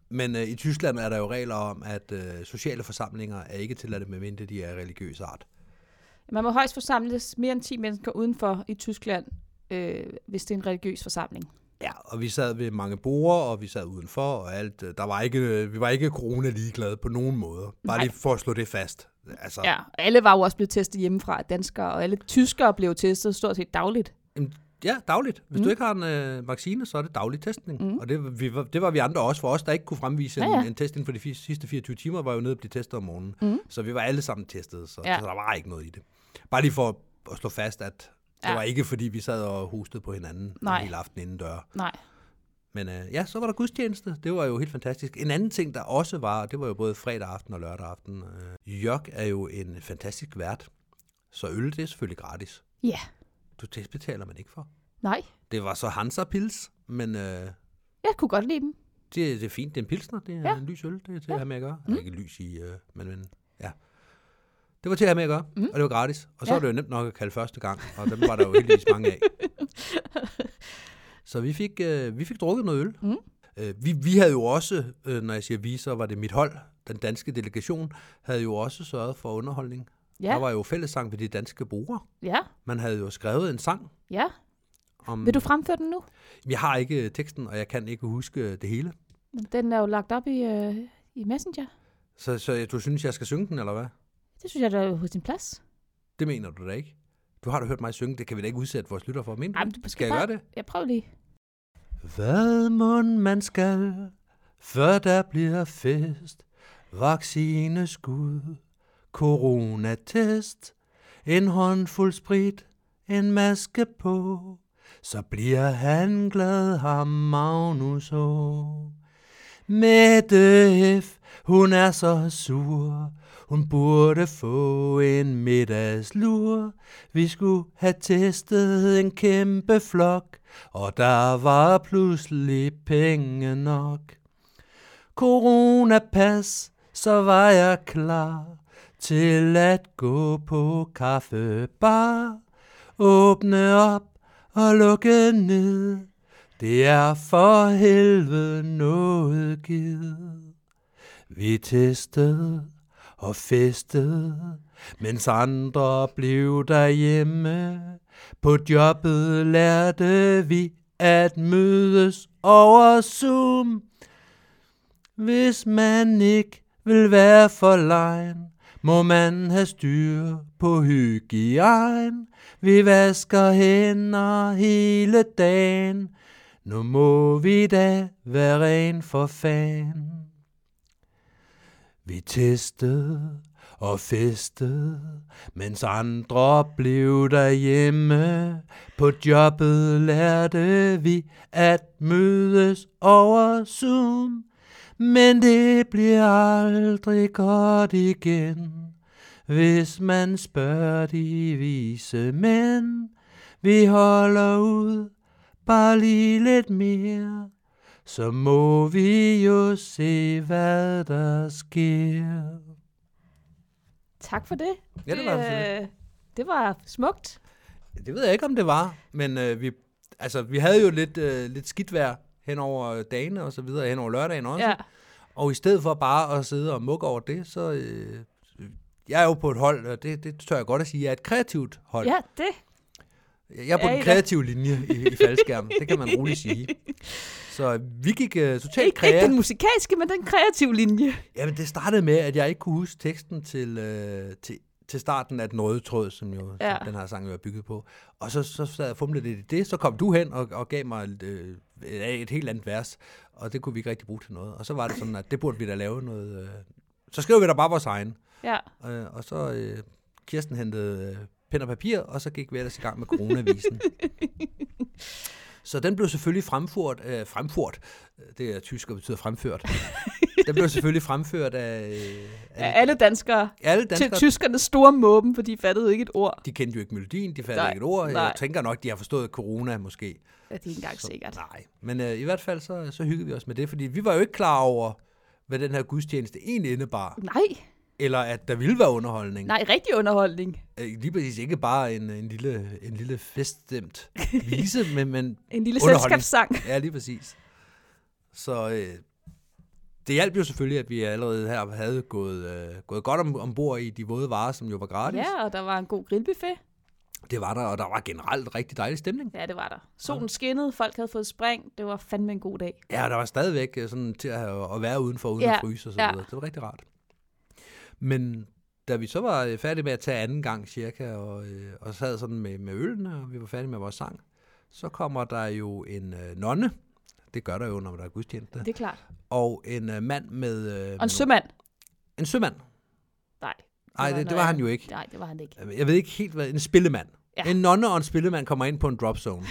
Men øh, i Tyskland er der jo regler om, at øh, sociale forsamlinger er ikke tilladte, medmindre de er af religiøs art. man må højst forsamles mere end 10 mennesker udenfor i Tyskland, øh, hvis det er en religiøs forsamling. Ja, og vi sad ved mange borer, og vi sad udenfor, og alt. øh, Der var ikke, øh, vi var ikke corona-ligeglade på nogen måde. Bare Nej. lige for at slå det fast. Altså, Ja, og alle var jo også blevet testet hjemmefra af danskere, og alle tyskere blev testet stort set dagligt. Jamen, Ja, dagligt. Hvis mm. du ikke har en øh, vaccine, så er det daglig testning. Mm. Og det, vi, var- det var vi andre også. For os, der ikke kunne fremvise ja, Ja, ja. ja. En, en test inden for de fi- sidste 24 timer, var jo nede og blive testet om morgenen. Mm. Så vi var alle sammen testet, så, Ja. ja. så der var ikke noget i det. Bare lige for at- at slå fast, at det Ja. ja. var ikke fordi, vi sad og hostede på hinanden Nej. hele aften inden dør. Nej. Men øh, ja, så var der gudstjeneste. Det var jo helt fantastisk. En anden ting, der også var, og det var jo både fredag aften og lørdag aften. Øh, Jørg er jo en fantastisk vært, så øl det er selvfølgelig gratis. Ja. Du det betaler man ikke for. Nej, Det var så Hansa Pils, men øh, jeg kunne godt lide dem. det, det er fint. Det er en pilsner, det er Ja. ja. en lys øl, det er til ja. at have med at gøre. Mm. Ikke lys i, øh, men, men ja. Det var til at have med at gøre, mm. og det var gratis. Og så Ja. ja. er det jo nemt nok at kalde første gang, og dem var der jo heldigvis mange [LAUGHS] af. Så vi fik, øh, vi fik drukket noget øl. Mm. Øh, vi, vi havde jo også, øh, når jeg siger vi, så var det mit hold, den danske delegation, havde jo også sørget for underholdning. Ja, Der var jo fællessang ved de danske brugere. ja, Man havde jo skrevet en sang. ja. Om, Vil du fremføre den nu? Jeg har ikke øh, teksten, og jeg kan ikke huske øh, det hele. Den er jo lagt op i, øh, i Messenger. Så, så du synes, jeg skal synge den, eller hvad? Det synes jeg, der er jo på sin plads. Det mener du da ikke? Du har da hørt mig synge, det kan vi da ikke udsætte vores lytter for. Men Jamen, du skal jeg bare- gøre det? Jeg prøver lige. Hvad mund man skal, før der bliver fest, vaccineskud coronatest, en håndfuld sprit, en maske på, så bliver han glad, ham Magnus så. Mette F., hun er så sur, hun burde få en middagslur. Vi skulle have testet en kæmpe flok, og der var pludselig penge nok. Coronapas, så var jeg klar til at gå på kaffebar. Åbne op og lukke ned. Det er for helvede noget givet. Vi testede og festede, mens andre blev derhjemme. På jobbet lærte vi at mødes over Zoom. Hvis man ikke vil være for lejen, må man have styr på hygiejne. Vi vasker hænder hele dagen. Nu må vi da være ren for fan. Vi testede og festede, mens andre blev derhjemme. På jobbet lærte vi at mødes over Zoom. Men det bliver aldrig godt igen, hvis man spørger de vise mænd. Vi holder ud, bare lige lidt mere, så må vi jo se, hvad der sker. Tak for det. Ja, det var det. øh, det var smukt. Det ved jeg ikke, om det var, men øh, vi, altså, vi havde jo lidt, øh, lidt skidt vejr hen over øh, dagene og så videre, hen over lørdagen også. Ja. Og i stedet for bare at sidde og mukke over det, så... Øh, jeg er jo på et hold, og det, det tør jeg godt at sige, jeg er et kreativt hold. ja, det. Jeg er på Ja, den I da. kreative linje i, i faldskærmen, det kan man roligt [LAUGHS] sige. Så vi gik uh, totalt Ikke, ikke kreativt. den musikalske, men den kreative linje. Jamen, det startede med, at jeg ikke kunne huske teksten til, øh, til, til starten af Den Røde Tråd, som jo ja. Ja. som den her sang jo er bygget på. Og så, så sad jeg og fumlede lidt i det, så kom du hen og, og gav mig et, øh, et, et helt andet vers, og det kunne vi ikke rigtig bruge til noget. Og så var det sådan, at det burde vi da lave noget... Øh, så skrev vi da bare vores egen. Ja. Øh, og så øh, Kirsten hentede øh, pen og papir, og så gik vi ellers i gang med coronavisen. [LAUGHS] så den blev selvfølgelig fremført, øh, fremført, det er tysk og betyder fremført, den blev selvfølgelig fremført af, øh, Af af alle danskere. alle Til danskere. tyskernes store måben, for de fattede ikke et ord. De kendte jo ikke melodien, de fandt Nej, ikke et ord. Jeg nej. tænker nok, de har forstået corona måske. Ja, det er ikke engang sikkert. Nej, men øh, i hvert fald så, så hyggede vi os med det, fordi vi var jo ikke klar over, hvad den her gudstjeneste egentlig indebar, Nej, eller at der ville være underholdning. nej, rigtig underholdning. Øh, Lige præcis ikke bare en, en, lille, en lille feststemt vise, men, men En lille Underholdning. selskabssang. ja, lige præcis. Så øh, det hjalp jo selvfølgelig, at vi allerede her havde gået, øh, gået godt om, ombord i de våde varer, som jo var gratis. Ja, og der var en god grillbuffet. Det var der, og der var generelt rigtig dejlig stemning. Ja, det var der. Solen skinnede, folk havde fået spring. Det var fandme en god dag. Ja, og der var stadigvæk øh, sådan til at, at være udenfor, uden Ja, at fryse og så ja. videre. Det var rigtig rart. Men da vi så var øh, færdige med at tage anden gang cirka, og, øh, og sad sådan med, med ølene, og vi var færdige med vores sang, så kommer der jo en øh, nonne, det gør der jo, når der er gudstjeneste, Det er klart. og en øh, mand med... Øh, med Og en nogle- sømand. en sømand. Nej. Nej, det, det var han jo ikke. Nej, det var han ikke. Jeg ved ikke helt, hvad... En spillemand. Ja. Ja. En nonne og en spillemand kommer ind på en drop zone.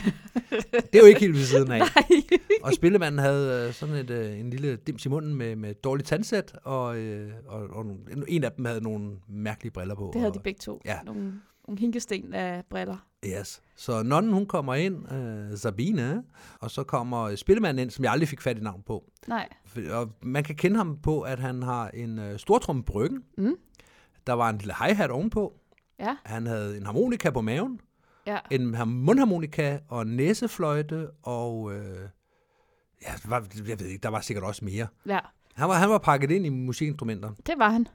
det er jo ikke helt ved siden af. [LAUGHS] Nej. Og spillemanden havde øh, sådan et, øh, en lille dims i munden med, med et dårligt tandsæt, og, øh, og, og nogle- en af dem havde nogle mærkelige briller på. Det havde de og, begge to. Ja. Nogle, nogle hinkesten af briller. yes. Så nonnen, hun kommer ind, øh, Sabine, og så kommer spillemanden ind, som jeg aldrig fik fat i navn på. Nej. For- Og man kan kende ham på, at han har en øh, stortrum på ryggen. Mm. Der var en lille hi-hat ovenpå. Ja. Han havde en harmonika på maven, Ja. en har- mundharmonika og en næsefløjte, og øh, ja, der var, jeg ved ikke, der var sikkert også mere. ja. Han var, han var pakket ind i musikinstrumenter, Det var han.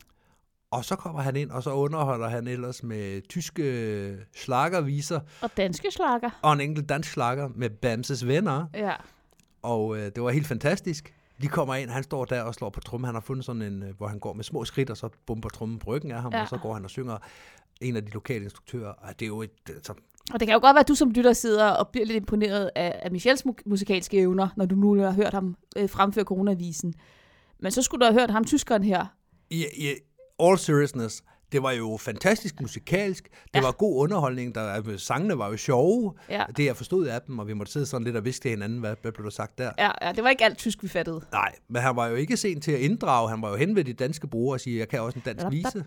og så kommer han ind, og så underholder han ellers med tyske øh, slagerviser Og danske slakker. og en enkelt dansk slager med Bamses venner, Ja. og øh, det var helt fantastisk. De kommer ind, han står der og slår på trummen. Han har fundet sådan en, øh, hvor han går med små skridt, og så bomber trummen på ryggen af ham, ja. Ja. og så går han og synger en af de lokale instruktører. Og det er jo et, altså, Og det kan jo godt være, at du som lytter sidder og bliver lidt imponeret af, af Michels mu- musikalske evner, når du nu har hørt ham øh, fremføre coronavisen. Men så skulle du have hørt ham tyskeren her. i, i all seriousness, Det var jo fantastisk musikalsk. Det Ja. ja. var god underholdning. Der, altså, sangene var jo sjove. Ja. Det jeg forstod af dem, og vi måtte sidde sådan lidt og viske til hinanden, hvad, hvad blev der sagt der? Ja, ja, det var ikke alt tysk, vi fattede. Nej, men han var jo ikke sen til at inddrage. Han var jo hen ved de danske brugere og sige, jeg kan også en dansk vise.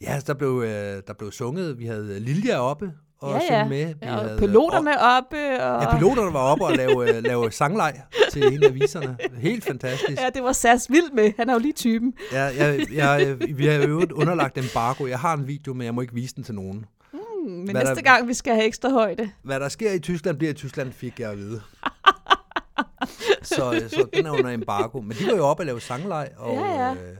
Ja, altså, der blev, øh, der blev sunget. Vi havde Lilja oppe og Ja, synge ja. med. Vi Ja, havde, og piloterne oppe. Og... Ja, piloterne var oppe og lave, øh, lave sangleg til en af viserne. Helt fantastisk. Ja, det var SAS vild med. Han er jo lige typen. Ja, jeg, jeg, øh, vi har i øvrigt underlagt embargo. Jeg har en video, men jeg må ikke vise den til nogen. Hmm, Men Hvad er næste der- gang, vi skal have ekstra højde. Hvad der sker i Tyskland, bliver i Tyskland, fik jeg at vide. Så, øh, så den er under embargo. Men de var jo oppe og lave sangleg. Og, Ja, ja. Øh,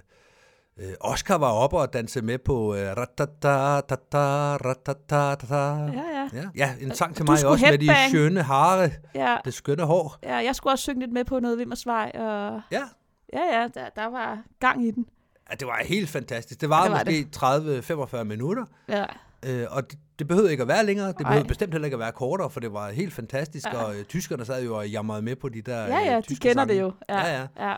øh, Oscar var oppe og danse med på øh, ratata, tata, ratata, tata. Ja, ja. Ja, ja, en sang til Du mig skulle også med de headbang. skønne hare, Ja, det skønne hår. ja, jeg skulle også synge lidt med på noget Vimmersvej. Og... Ja, Ja, ja, der, der var gang i den. Ja, det var helt fantastisk. Det varede Ja, det måske 30-45 minutter, Ja. øh, og det, det behøvede ikke at være længere. Det Ej. behøvede bestemt heller ikke at være kortere, for det var helt fantastisk, Ja. ja. og øh, tyskerne sad jo og jamrede med på de der Ja, ja, øh, de tyske kender sange. det jo. Ja, ja. ja.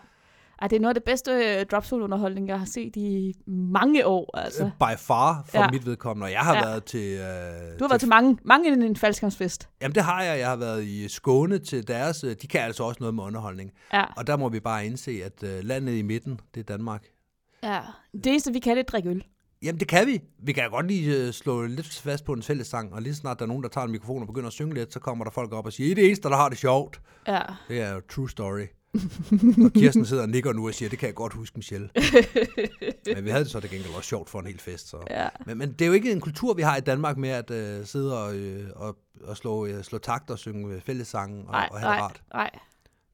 Ej, det er noget af det bedste øh, dropzone-underholdning, jeg har set i mange år. Altså. Øh, By far for Ja. ja. mit vedkommende, og jeg har Ja. ja. været til... Øh, Du har været til mange, mange en faldskærmsfest. Jamen det har jeg. Jeg har været i Skåne til deres... øh, De kan altså også noget med underholdning. Ja. Og der må vi bare indse, at øh, landet i midten, det er Danmark. ja. Det eneste, vi kan, det er drikke øl. Jamen, det kan vi. Vi kan godt lige øh, slå lidt fast på en fællessang, og lige så snart der er nogen, der tager en mikrofon og begynder at synge lidt, så kommer der folk op og siger, I er det eneste, der har det sjovt. Ja. Det er jo true [LAUGHS] story. og Kirsten sidder og nikker nu og siger, det kan jeg godt huske, [LAUGHS] Michelle. men vi havde det så til gengæld også sjovt for en hel fest. Så. Ja. Men, men det er jo ikke en kultur, vi har i Danmark med at øh, sidde og, øh, og, og slå, øh, slå takt og synge øh, fællessange og, Nej, og have det nej, rart. nej,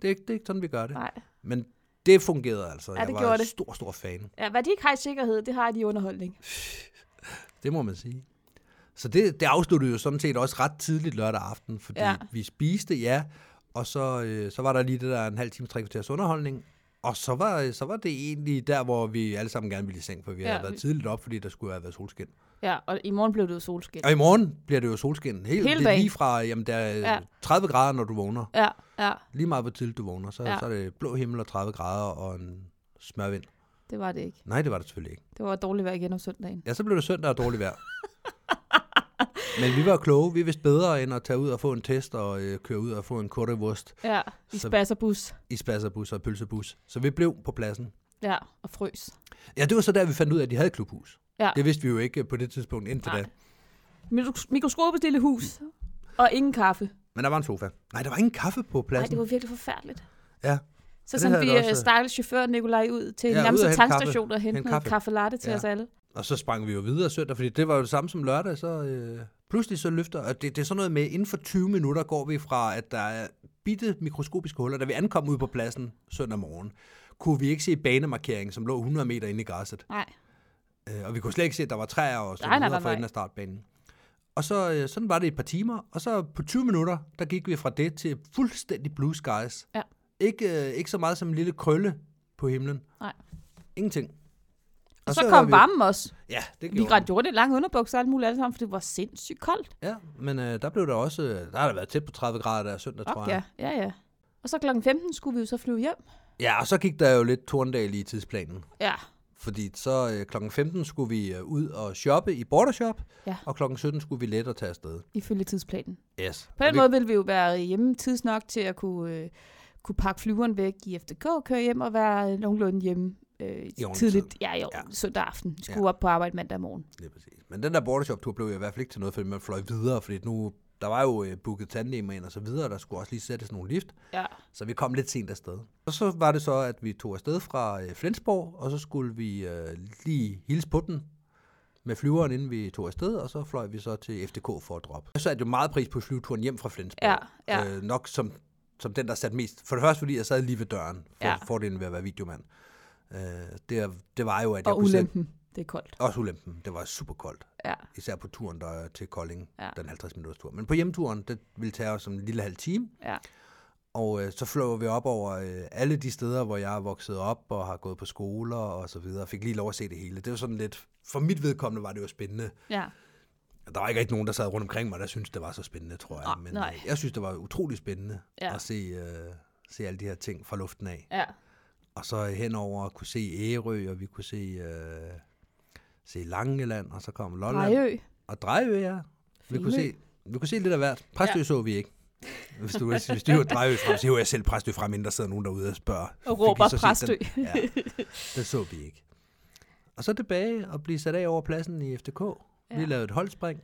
Det er, ikke, det er ikke sådan, vi gør det. nej. Men det fungerede altså. Ja, det jeg var gjorde en det. stor, stor fan. Ja, hvad de ikke har i sikkerhed, det har de i underholdning. Det må man sige. Så det, det afsluttede jo sådan set også ret tidligt lørdag aften, fordi Ja. ja. vi spiste, ja, og så, øh, så var der lige det der en halv time, tre kvarters underholdning, og så var, så var det egentlig der, hvor vi alle sammen gerne ville i seng, for vi Ja, ja, havde været vi- tidligt op, fordi der skulle have været solskin. Ja, og i morgen blev det jo solskin. Og i morgen bliver det jo solskin. Helt, Hele det er dagen. lige fra jamen, der er Ja. ja. 30 grader, når du vågner. Ja, ja, Lige meget, hvor tidligt du vågner, så, Ja. ja. så er det blå himmel og 30 grader og en smørvind. det var det ikke. Nej, det var det selvfølgelig ikke. Det var dårligt vejr igen om søndagen. Ja, så blev det søndag og dårligt [LAUGHS] vejr. Men vi var kloge. Vi vidste bedre end at tage ud og få en test og øh, køre ud og få en korte wurst Ja, i Så- spasserbus. i spasserbus og pølsebus. Så vi blev på pladsen. Ja, og frøs. Ja, det var så der, vi fandt ud af, at de havde et klubhus. Ja. Det vidste vi jo ikke øh, på det tidspunkt indtil Nej. da. Mikros- Mikroskopisk lille hus. Og ingen kaffe. Men der var en sofa. Nej, der var ingen kaffe på Nej, pladsen. det var virkelig forfærdeligt. Ja. Og Så det sendte havde vi jeg da øh, også. stakkels chauffør Nikolaj ud til Ja, ja, ud nærmeste og hente tankstation og hente Hente noget kaffe. kaffe latte til Ja. os alle. Og så sprang vi jo videre søndag, fordi det var jo det samme som lørdag. Så øh, pludselig så løfter... Og det, det er sådan noget med, inden for 20 minutter går vi fra, at der er bitte mikroskopiske huller. Da vi ankom ud på pladsen søndag morgen, kunne vi ikke se banemarkeringen, som lå 100 meter inde i græsset. Nej, Øh, og vi kunne slet ikke se, at der var træer og så Nej, nej, nej, videre for nej. enden af startbanen. Og så, øh, sådan var det i et par timer, og så på 20 minutter, der gik vi fra det til fuldstændig blue skies. Ja. Ikke, øh, ikke så meget som en lille krølle på himlen. Nej. Ingenting. og så, var kom vi- varmen også. Ja, det Vi gjorde den. gjorde det lange underbukser og alt muligt alle sammen, for det var sindssygt koldt. Ja, men øh, der blev der også, øh, der har der været tæt på 30 grader der søndag, tror Op, jeg. ja. ja, ja. Og så klokken 15 skulle vi jo så flyve hjem. ja, og så gik der jo lidt torndal i tidsplanen. Ja, Fordi så øh, klokken 15 skulle vi øh, ud og shoppe i Bordershop, Ja. og klokken 17 skulle vi let og tage afsted. ifølge tidsplanen. Yes. På Og den vi- måde ville vi jo være hjemme tids nok til at kunne, øh, kunne pakke flyveren væk i FDK, køre hjem og være nogenlunde hjemme øh, ordentlig tidligt. Ja, jo, ja. Ja. søndag aften. Skulle ja. op på arbejde mandag morgen. Lige præcis. Men den der bordershop-tur blev jo i hvert fald ikke til noget, fordi man fløj videre, fordi nu, der var jo øh, booket tandem ind og så videre, og der skulle også lige sættes nogle lift, Ja, så vi kom lidt sent afsted. Og så var det så, at vi tog afsted fra øh, Flensborg, og så skulle vi øh, lige hilse på den med flyveren, inden vi tog afsted, og så fløj vi så til FDK for at droppe. Jeg satte jo meget pris på flyveturen hjem fra Flensborg. Ja, ja. Øh, nok som, som den, der satte mest. For det første, fordi jeg sad lige ved døren, for Ja. ja. fordelen ved at være videomand. Øh, det, det var jo, at jeg og kunne sætte... ulempen. Det er koldt. Også ulempen. Det var super koldt Ja, især på turen der til Kolding, Ja. ja. den 50 minutters tur. Men på hjemturen, det ville tage os en lille halv time, ja. og øh, så fløj vi op over øh, alle de steder, hvor jeg er vokset op og har gået på skoler og så videre, og fik lige lov at se det hele. Det var sådan lidt, for mit vedkommende var det jo spændende. ja. Der var ikke rigtig nogen, der sad rundt omkring mig, der syntes, det var så spændende, tror jeg. Nå, Men Ah, nej. øh, jeg synes, det var utrolig spændende Ja. ja. at se, øh, se alle de her ting fra luften af. Ja. Og så henover kunne se Ærø, og vi kunne se, øh, se Langeland, og så kom Lolland. Drejø. Og Drejø, ja. Vi kunne, se, Femø. vi kunne se lidt af hvert. Præstø ja. så vi ikke. Hvis du, hvis du hiver Drejø frem, så hiver jeg selv Præstø frem, inden der sidder nogen derude og spørger. Og "Fik I råber så set Præstø. Den? Ja, det så vi ikke. Og så tilbage og blive sat af over pladsen i FDK. Ja. Vi Ja. lavede et holdspring.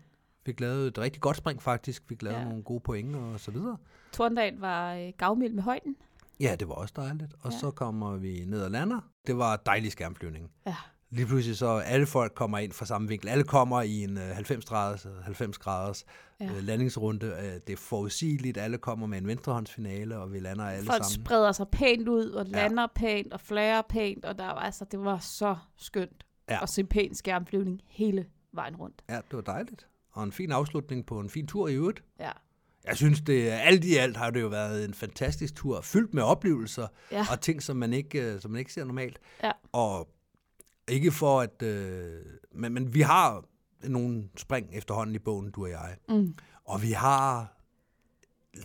Fik lavet et rigtig godt spring, faktisk. Fik lavet ja. Ja. nogle gode point og så videre. Torndal var øh, gavmild med højden. Ja, det var også dejligt. Og ja. Ja. så kommer vi ned og lander. Det var dejlig skærmflyvning. Ja. Lige pludselig så alle folk kommer ind fra samme vinkel. Alle kommer i en øh, 90-graders, øh, 90-graders Ja. ja. øh, landingsrunde. Øh, det er forudsigeligt. Alle kommer med en venstrehåndsfinale, og vi lander alle Folk sammen. spreder sig pænt ud, og lander pænt, og flager pænt, og der var, altså, det var så skønt Ja. at se pæn skærmflyvning hele vejen rundt. Ja, det var dejligt. Og en fin afslutning på en fin tur i øvrigt. Ja. Jeg synes, det alt i alt har det jo været en fantastisk tur, fyldt med oplevelser Ja. og ting, som man ikke, øh, som man ikke ser normalt. Ja. Og ikke for at... Øh, men, men vi har nogle spring efterhånden i bogen, du og jeg. Mm. Og vi har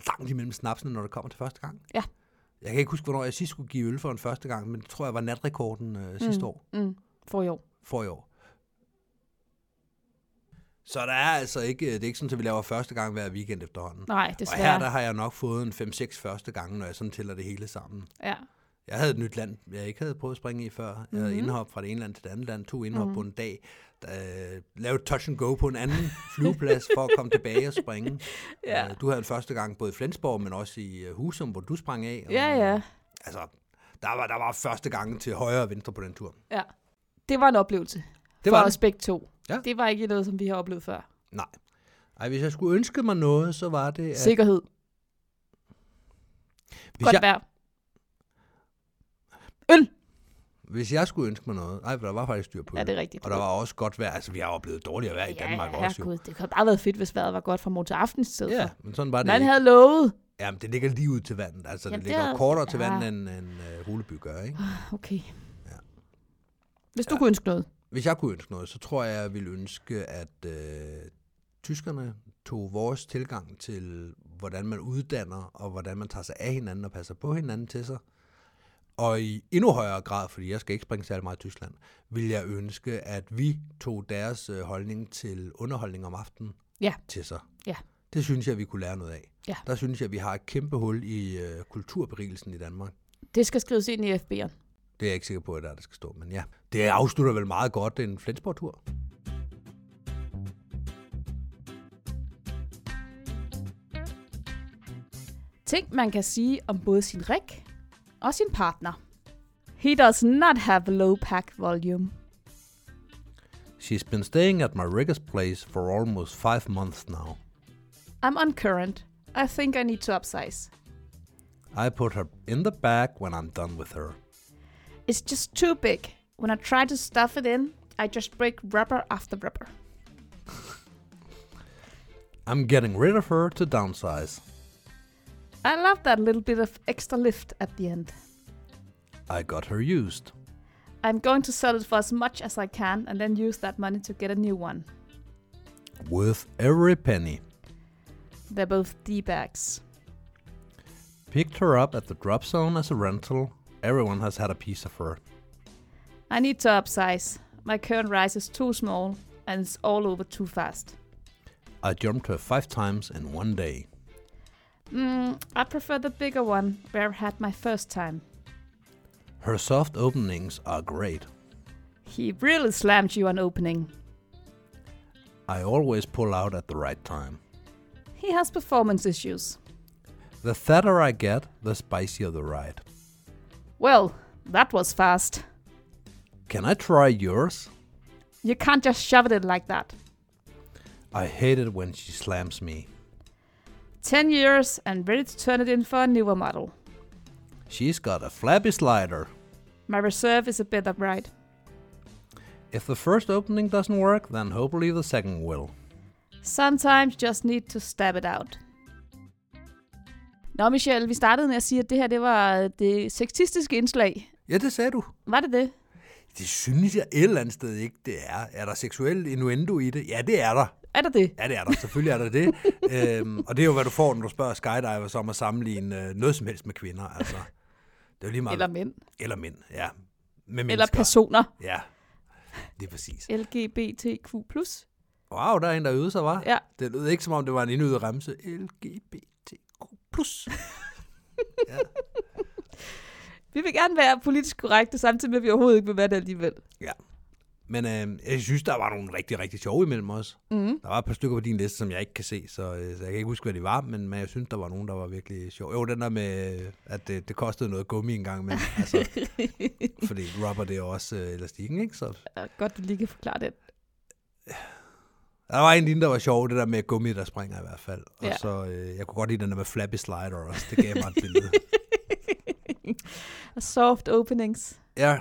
langt imellem snapsene, når det kommer til første gang. Ja. Jeg kan ikke huske, hvornår jeg sidst skulle give øl for en første gang, men det tror jeg var natrekorden øh, sidste år, Mm. For i år. for i år. Så der er altså ikke, det er ikke sådan, at vi laver første gang hver weekend efterhånden. Nej, Og her desværre. der har jeg nok fået en 5-6 første gange, når jeg sådan tæller det hele sammen. Ja. Jeg havde et nyt land, jeg ikke havde prøvet at springe i før. Jeg havde Mhm. mm-hmm. indhop fra det ene land til det andet land, to indhop mm-hmm. på en dag. Øh, lavede touch and go på en anden flyveplads for at komme tilbage og springe. [LAUGHS] Ja. Øh, du havde en første gang både i Flensborg, men også i øh, Husum, hvor du sprang af. Og, Ja, ja. Altså, der var, der var første gang til højre og venstre på den tur. ja. Det var en oplevelse Det for var os det. begge to. Ja. Det var ikke noget, som vi har oplevet før. Nej. Ej, hvis jeg skulle ønske mig noget, så var det... At, Sikkerhed. hvis, Godt jeg, vejr. Øl. hvis jeg skulle ønske mig noget... Nej, der var faktisk styr på Ja, øl. det er rigtigt. Og der var også godt vejr. Altså, vi har oplevet dårligere vejr i Danmark ja, også jo. herregud, Det kunne bare have været fedt, hvis vejret var godt fra morgen til aften i stedet Ja, for. men sådan var det Man ikke. havde lovet. Jamen, det ligger lige ud til vandet. Altså, Jamen, det det ligger er- kortere til ja. vandet, end, end uh, Holeby gør, ikke? Okay. Hvis du kunne ønske noget. Hvis jeg kunne ønske noget, så tror jeg, jeg ville ønske, at øh, tyskerne tog vores tilgang til, hvordan man uddanner, og hvordan man tager sig af hinanden og passer på hinanden til sig. Og i endnu højere grad, fordi jeg skal ikke springe særlig meget i Tyskland, vil jeg ønske, at vi tog deres øh, holdning til underholdning om aftenen Ja. til sig. Ja. Det synes jeg, vi kunne lære noget af. Ja. Der synes jeg, vi har et kæmpe hul i øh, kulturberigelsen i Danmark. Det skal skrives ind i FB'eren. Det er jeg ikke sikker på, at der, er, der skal stå, men ja. Det afslutter vel meget godt en Flensborg-tur. Ting, man kan sige om både sin rig og sin partner. He does not have low pack volume. She's been staying at my Riggers place for almost five months now. I'm on current. I think I need to upsize. I put her in the bag when I'm done with her. It's just too big. When I try to stuff it in, I just break rubber after rubber. I'm getting rid of her to downsize. I love that little bit of extra lift at the end. I got her used. I'm going to sell it for as much as I can and then use that money to get a new one. Worth every penny. They're both D bags. Picked her up at the drop zone as a rental. Everyone has had a piece of her. I need to upsize. My current rise is too small and it's all over too fast. I jumped her five times in one day. Mm, I prefer the bigger one where I had my first time. Her soft openings are great. He really slammed you on opening. I always pull out at the right time. He has performance issues. The fatter I get, the spicier the ride. Well, that was fast. Can I try yours? You can't just shove it in like that. I hate it when she slams me. 10 years and ready to turn it in for a newer model. She's got a flabby slider. My reserve is a bit upright. If the first opening doesn't work, then hopefully the second will. Sometimes just need to stab it out. Nå, Michelle, vi startede med at sige, at det her det var øh, det sexistiske indslag. Ja, det sagde du. Var det det? Det synes jeg et eller andet sted ikke, det er. Er der seksuel innuendo i det? Ja, det er der. Er det det? Ja, det er der. Selvfølgelig er der [LAUGHS] det. øhm, og det er jo, hvad du får, når du spørger skydivers om at sammenligne øh, noget som helst med kvinder. Altså. Det er jo lige meget. Eller mænd. eller mænd, ja. Med Eller mennesker. personer. Ja, det er præcis. LGBTQ+. Wow, der er en, der øvede sig, var. Ja. Det lød ikke, som om det var en indøvet remse. LGBTQ+. Vi vil gerne være politisk korrekte, samtidig med, at vi overhovedet ikke vil være det alligevel. Men øh, jeg synes, der var nogle rigtig, rigtig sjove imellem os. Mm. Der var et par stykker på din liste, som jeg ikke kan se, så, øh, så jeg kan ikke huske, hvad det var, men, men jeg synes, der var nogen, der var virkelig sjov. Jo, den der med, øh, at det, det kostede noget gummi engang, [LAUGHS] men altså, fordi rubber, det er jo også øh, elastikken, ikke? Så Godt, du lige kan forklare det. Der var en lignende, der var sjov, det der med gummi, der springer i hvert fald. Og Ja. så, øh, jeg kunne godt lide den der med flappy slider også. Det gav mig et [LAUGHS] billede. [LAUGHS] Og soft openings. Ja,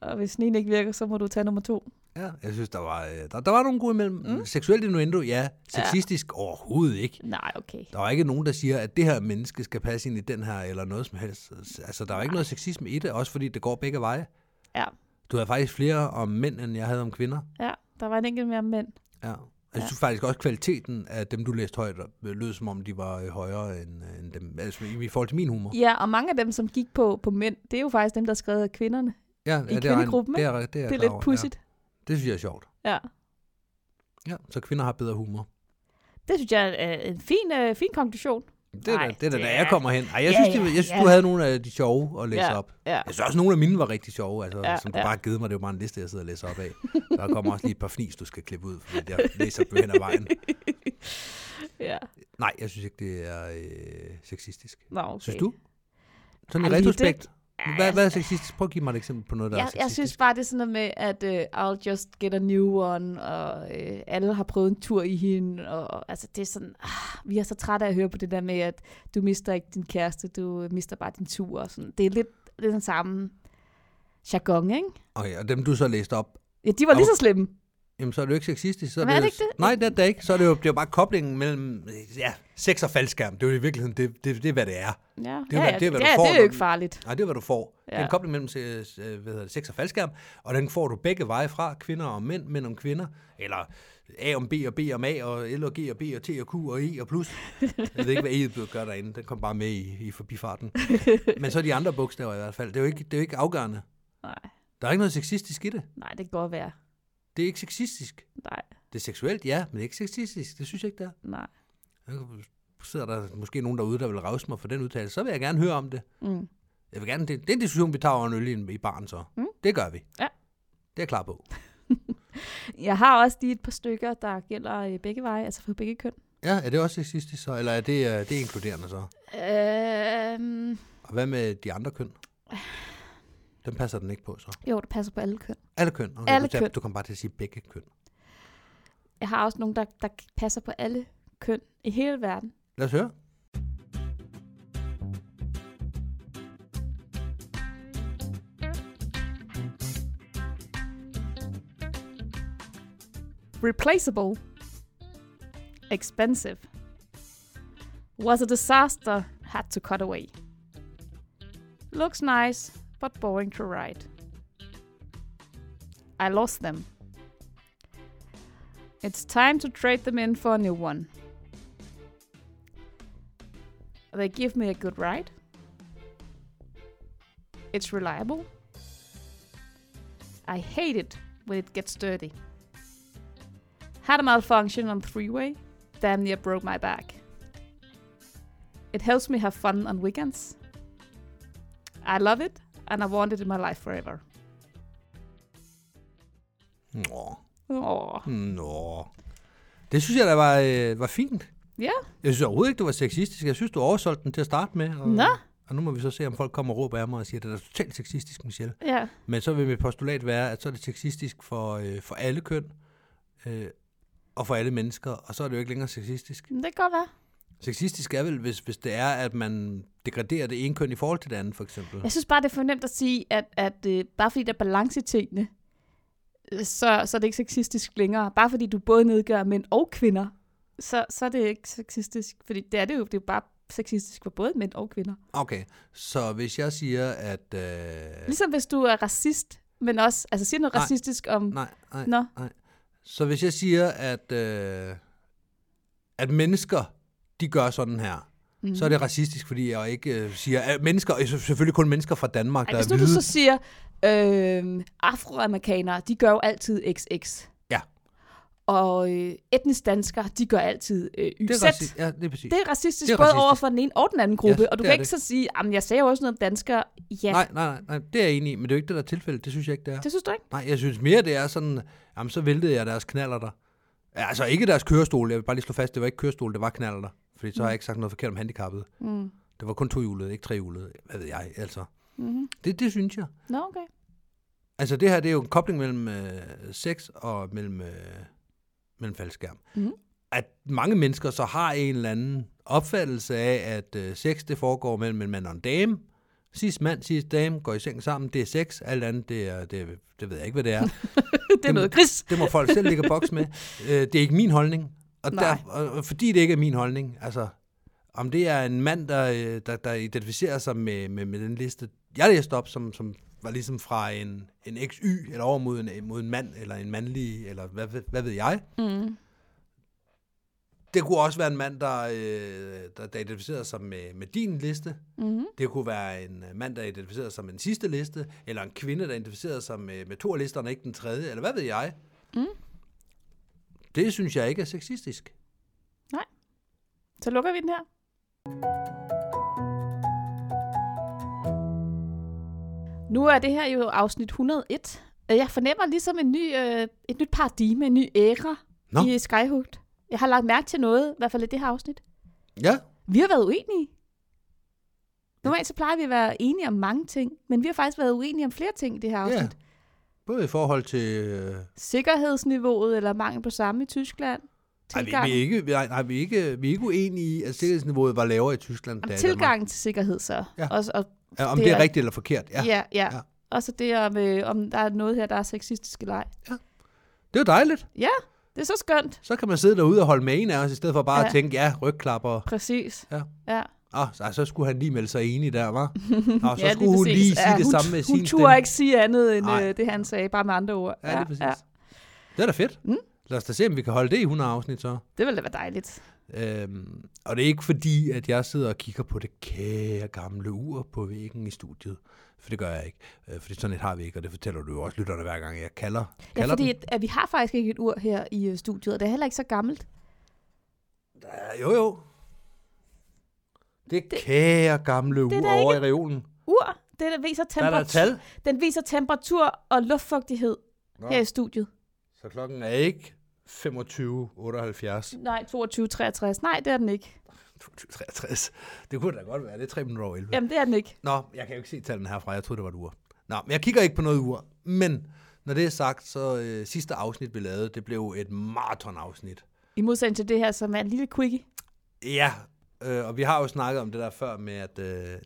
Og hvis den ene ikke virker, så må du tage nummer to. ja jeg synes, der var, øh, der, der var nogle gode imellem. Mm. Seksuelt innuendo, ja. Sexistisk ja. overhovedet ikke. Nej, okay. Der var ikke nogen, der siger, at det her menneske skal passe ind i den her, eller noget som helst. Altså, der var ikke noget sexisme i det, også fordi det går begge veje. Ja, Du havde faktisk flere om mænd, end jeg havde om kvinder. ja. Der var en enkelt mere mænd. Ja. Altså, Jeg synes ja. faktisk også, kvaliteten af dem, du læste højt, op, øh, lød som om, de var øh, højere end, øh, end dem. Altså, i i forhold til min humor. Ja, og mange af dem, som gik på, på mænd, det er jo faktisk dem, der er skrevet af kvinderne. Ja, ja, det er, kvindegruppen, det er, det er, jeg det er klar lidt over, pudsigt. Ja. Det synes jeg er sjovt. Ja. ja. Ja, så kvinder har bedre humor. Det synes jeg er en fin, øh, fin konklusion. Det er, Ej, da, det er da, det da er- jeg kommer hen. Ej, jeg Ja, synes, ja, det, jeg synes ja. du havde nogle af de sjove at læse Ja, op. ja. Jeg synes Altså, også, nogle af mine var rigtig sjove, altså, Ja, ja, som du ja. ja. bare har givet mig. Det er jo bare en liste, jeg sidder og læser op af. Der kommer også lige et par fnis, du skal klippe ud, fordi jeg læser på hen ad vejen. [LAUGHS] Ja. Nej, jeg synes ikke, det er øh, sexistisk. Nå, okay. Synes du? Sådan Ej, i lige det- retrospekt. Ja, Hvad, jeg- hvad er sexistisk? Prøv at give mig et eksempel på noget, der er Jeg, sexistisk. jeg synes bare, det er sådan noget med, at uh, I'll just get a new one, og øh, alle har prøvet en tur i hende, og altså det er sådan, ah, vi er så trætte af at høre på det der med, at du mister ikke din kæreste, du øh, mister bare din tur, og sådan. Det er lidt, lidt den samme jargon, ikke? Okay, og dem, du så læste op, Ja, de var lige så slemme. jamen, så er det jo ikke sexistisk. Så Men er jo- det ikke det? Nej, det er det ikke. Så er det jo, det er jo bare koblingen mellem øh, ja, sex og faldskærm. Det er jo i virkeligheden, det, det, det er, hvad det er. Ja, Det er jo, ja, hvad- ja, det er, hvad ja, du får, det er når jo ikke du- farligt. Nej, det er, hvad du får. Ja. Det er Ja. en kobling mellem øh, øh, hvad hedder det, sex og faldskærm, og den får du begge veje fra, kvinder og mænd, mænd om kvinder, eller A om B og B om A, og L og G og B og T og Q og E og plus. Jeg ved ikke, hvad E'et gør derinde, den kom bare med i, i forbifarten. Men så de andre bogstaver i hvert fald, det er jo ikke, det er jo ikke afgørende. Nej, Der er ikke noget sexistisk i det. nej, det kan godt være. Det er ikke sexistisk. Nej, Det er seksuelt, ja, men det er ikke sexistisk. Det synes jeg ikke, det er. nej. Så sidder der måske nogen derude, der vil rause mig for den udtalelse, så vil jeg gerne høre om det. Mm. Jeg vil gerne, det, det er en diskussion, vi tager over en øl i, i baren så. Mm. Det gør vi. Ja. Det er jeg klar på. Jeg har også lige et par stykker, der gælder øh, begge veje, altså for begge køn. Ja, er det også sexistisk så, eller er det, øh, det er inkluderende så? Øhm, Og hvad med de andre køn? Den passer den ikke på så. jo, det passer på alle køn. Alle køn? Okay, Alle du, sagde- køn. Du kom bare til at sige begge køn. Jeg har også nogen, der, der passer på alle køn i hele verden. Lad os høre. Replaceable. Expensive. Was a disaster. Had to cut away. Looks nice, but boring to ride. I lost them. It's time to trade them in for a new one. They give me a good ride. It's reliable. I hate it when it gets dirty. Had a malfunction on three-way. Damn near broke my back. It helps me have fun on weekends. I love it, and I want it in my life forever. Nå. Åh, Nå. Det synes jeg, der var, øh, var fint. ja. Jeg synes overhovedet ikke, det var sexistisk. Jeg synes, du oversolgte den til at starte med. Og, Nå. og nu må vi så se, om folk kommer og råber af mig og siger, at det er da totalt sexistisk, Michelle. Ja. Men så vil mit postulat være, at så er det sexistisk for, øh, for alle køn øh, og for alle mennesker, og så er det jo ikke længere sexistisk. Det kan godt være. Sexistisk er vel, hvis, hvis det er, at man degraderer det ene køn i forhold til det andet, for eksempel. Jeg synes bare, det er for nemt at sige, at, at øh, bare fordi der er balance i tingene, øh, så, så er det ikke sexistisk længere. Bare fordi du både nedgør mænd og kvinder, så, så er det ikke sexistisk. Fordi det er det jo, det er jo bare sexistisk for både mænd og kvinder. Okay, så hvis jeg siger, at... Øh, Ligesom hvis du er racist, men også, altså siger noget Nej. racistisk om... nej, nej. Nå, Så hvis jeg siger, at, øh, at mennesker, de gør sådan her, mm. så er Mhm. det racistisk, fordi jeg ikke øh, siger, at mennesker, øh, selvfølgelig kun mennesker fra Danmark, Ej, der hvis er nu du hvide. så siger, øh, afroamerikanere, de gør jo altid XX. Ja. Og øh, etnisk danskere, de gør altid øh, YZ. det er racistisk. Ja, det er præcis. det er racistisk Det er både racistisk. over for den ene og den anden gruppe, Ja, og du det kan er ikke det. så sige, at jeg sagde jo også noget om danskere. Ja, Nej, nej, nej, nej, det er jeg enig i, men det er jo ikke det, der er tilfældet. Det synes jeg ikke, det er. det synes du ikke? Nej, jeg synes mere, det er sådan, jamen så væltede jeg deres knaller der. Altså ikke deres kørestol, jeg vil bare lige slå fast, det var ikke kørestol, det var knaller der. Fordi så har jeg ikke sagt noget forkert om handicappede. Mm. Det var kun tohjulet, ikke trehjulet. Hvad ved jeg, altså. Mm-hmm. Det, det synes jeg. Nå, okay. Altså det her, det er jo en kobling mellem øh, sex og mellem, øh, mellem faldskærm. Mhm. At mange mennesker så har en eller anden opfattelse af, at øh, sex det foregår mellem en mand og en dame. Sidst mand, sidst dame, går i seng sammen, det er sex. Alt andet, det, er, det, det ved jeg ikke, hvad det er. det er Dem- noget gris. Det må folk selv ligge og boks med. Øh, det er ikke min holdning. Og, Nej. der, og, og fordi det ikke er min holdning, altså, om det er en mand, der, øh, der, der identificerer sig med, med, med den liste, jeg læste op, som, som var ligesom fra en, en XY, eller over mod en, mod en mand, eller en mandlig, eller hvad, ved- hvad ved jeg. Mm. Det kunne også være en mand, der, øh, der, der identificerer sig med, med din liste. Mm-hmm. Det kunne være en øh, mand, der identificerer sig med den sidste liste, eller en kvinde, der identificerer sig øh, med, med to af listerne, ikke den tredje, eller hvad ved jeg. Mm. Det synes jeg ikke er sexistisk. Så lukker vi den her. Nu er det her jo afsnit 101. Øh, Jeg fornemmer ligesom en ny, øh, et nyt paradigme, en ny æra Nå. i Skyhooked. Jeg har lagt mærke til noget, i hvert fald i det her afsnit. Ja, Vi har været uenige. Normalt så plejer vi at være enige om mange ting, men vi har faktisk været uenige om flere ting i det her afsnit. ja. Både i forhold til... Øh, Sikkerhedsniveauet eller mangel på samme i Tyskland. ej, vi, vi, er Tilgangen, ikke, vi, er, nej, vi, er ikke, vi er ikke uenige i, at sikkerhedsniveauet var lavere i Tyskland. Jamen, end tilgangen til sikkerhed så. Ja. Og, og i Danmark. Ja, om det det er er- rigtigt eller forkert. Ja. Ja, ja. ja. Ja. Og så det om, øh, om der er noget her, der er sexistisk eller ej. Det er jo dejligt. Ja, det er så skønt. Så kan man sidde derude og holde med en af os, i stedet for bare ja. Ja. at tænke, ja, rygklapper. Præcis. Ja. ja. Ah, så, så skulle han lige melde sig enig der, [LAUGHS] var. Og så ja, skulle hun præcis. lige sige ja, det hun, samme med hun sin turde ikke sige andet end Nej. øh, det, han sagde, bare med andre ord. Ja, det er præcis. Ja. Ja. Det er da fedt. Mm. Mm. Lad os da se, om vi kan holde det i 100 afsnit så. Det ville da være dejligt. Øhm, og det er ikke fordi, at jeg sidder og kigger på det kære gamle ur på væggen i studiet. For det gør jeg ikke. Øh, fordi sådan et har vi ikke, og det fortæller du jo også lytterne hver gang, jeg kalder, kalder Ja, fordi den. at, at vi har faktisk ikke et ur her i øh, studiet, og det er heller ikke så gammelt. Ja, jo, jo. Det, det kære gamle er ur da over i reolen. Ur, det der viser Der er der et temperatur, tal. den viser temperatur og luftfugtighed Nå, her i studiet. Så klokken er ikke 25.78. Nej, 22,63. Nej, det er den ikke. 23. Det kunne da godt være. Det er 3 minutter over 11. Jamen, det er den ikke. Nå, jeg kan jo ikke se tallene herfra. Jeg troede, det var et ur. Nå, men jeg kigger ikke på noget ur. Men når det er sagt, så øh, sidste afsnit, vi lavede, det blev et maratonafsnit. I modsætning til det her, som er en lille quickie. Ja, øh, og vi har jo snakket om det der før med, at øh,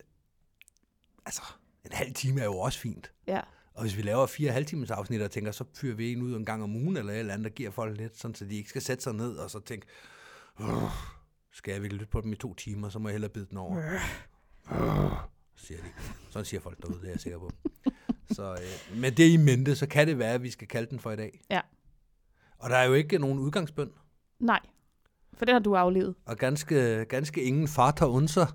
altså, en halv time er jo også fint. Ja. Og hvis vi laver fire halvtimes afsnit og tænker, så fyrer vi en ud en gang om ugen eller et eller andet, der giver folk lidt, sådan, så de ikke skal sætte sig ned og så tænke, "Åh, skal jeg virkelig lytte på dem i to timer, så må jeg hellere bide den over. "Åh," siger de. Sådan siger folk derude, det er jeg sikker på. Så øh, med det i mente, så kan det være, at vi skal kalde den for i dag. Ja. Og der er jo ikke nogen udgangsbønd, Nej, for den har du aflevet. og ganske, ganske ingen farter unser.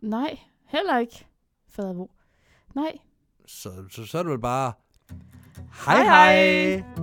Nej, heller ikke, fadervor. Nej, Så, så, så er det vel bare... Hej, hej!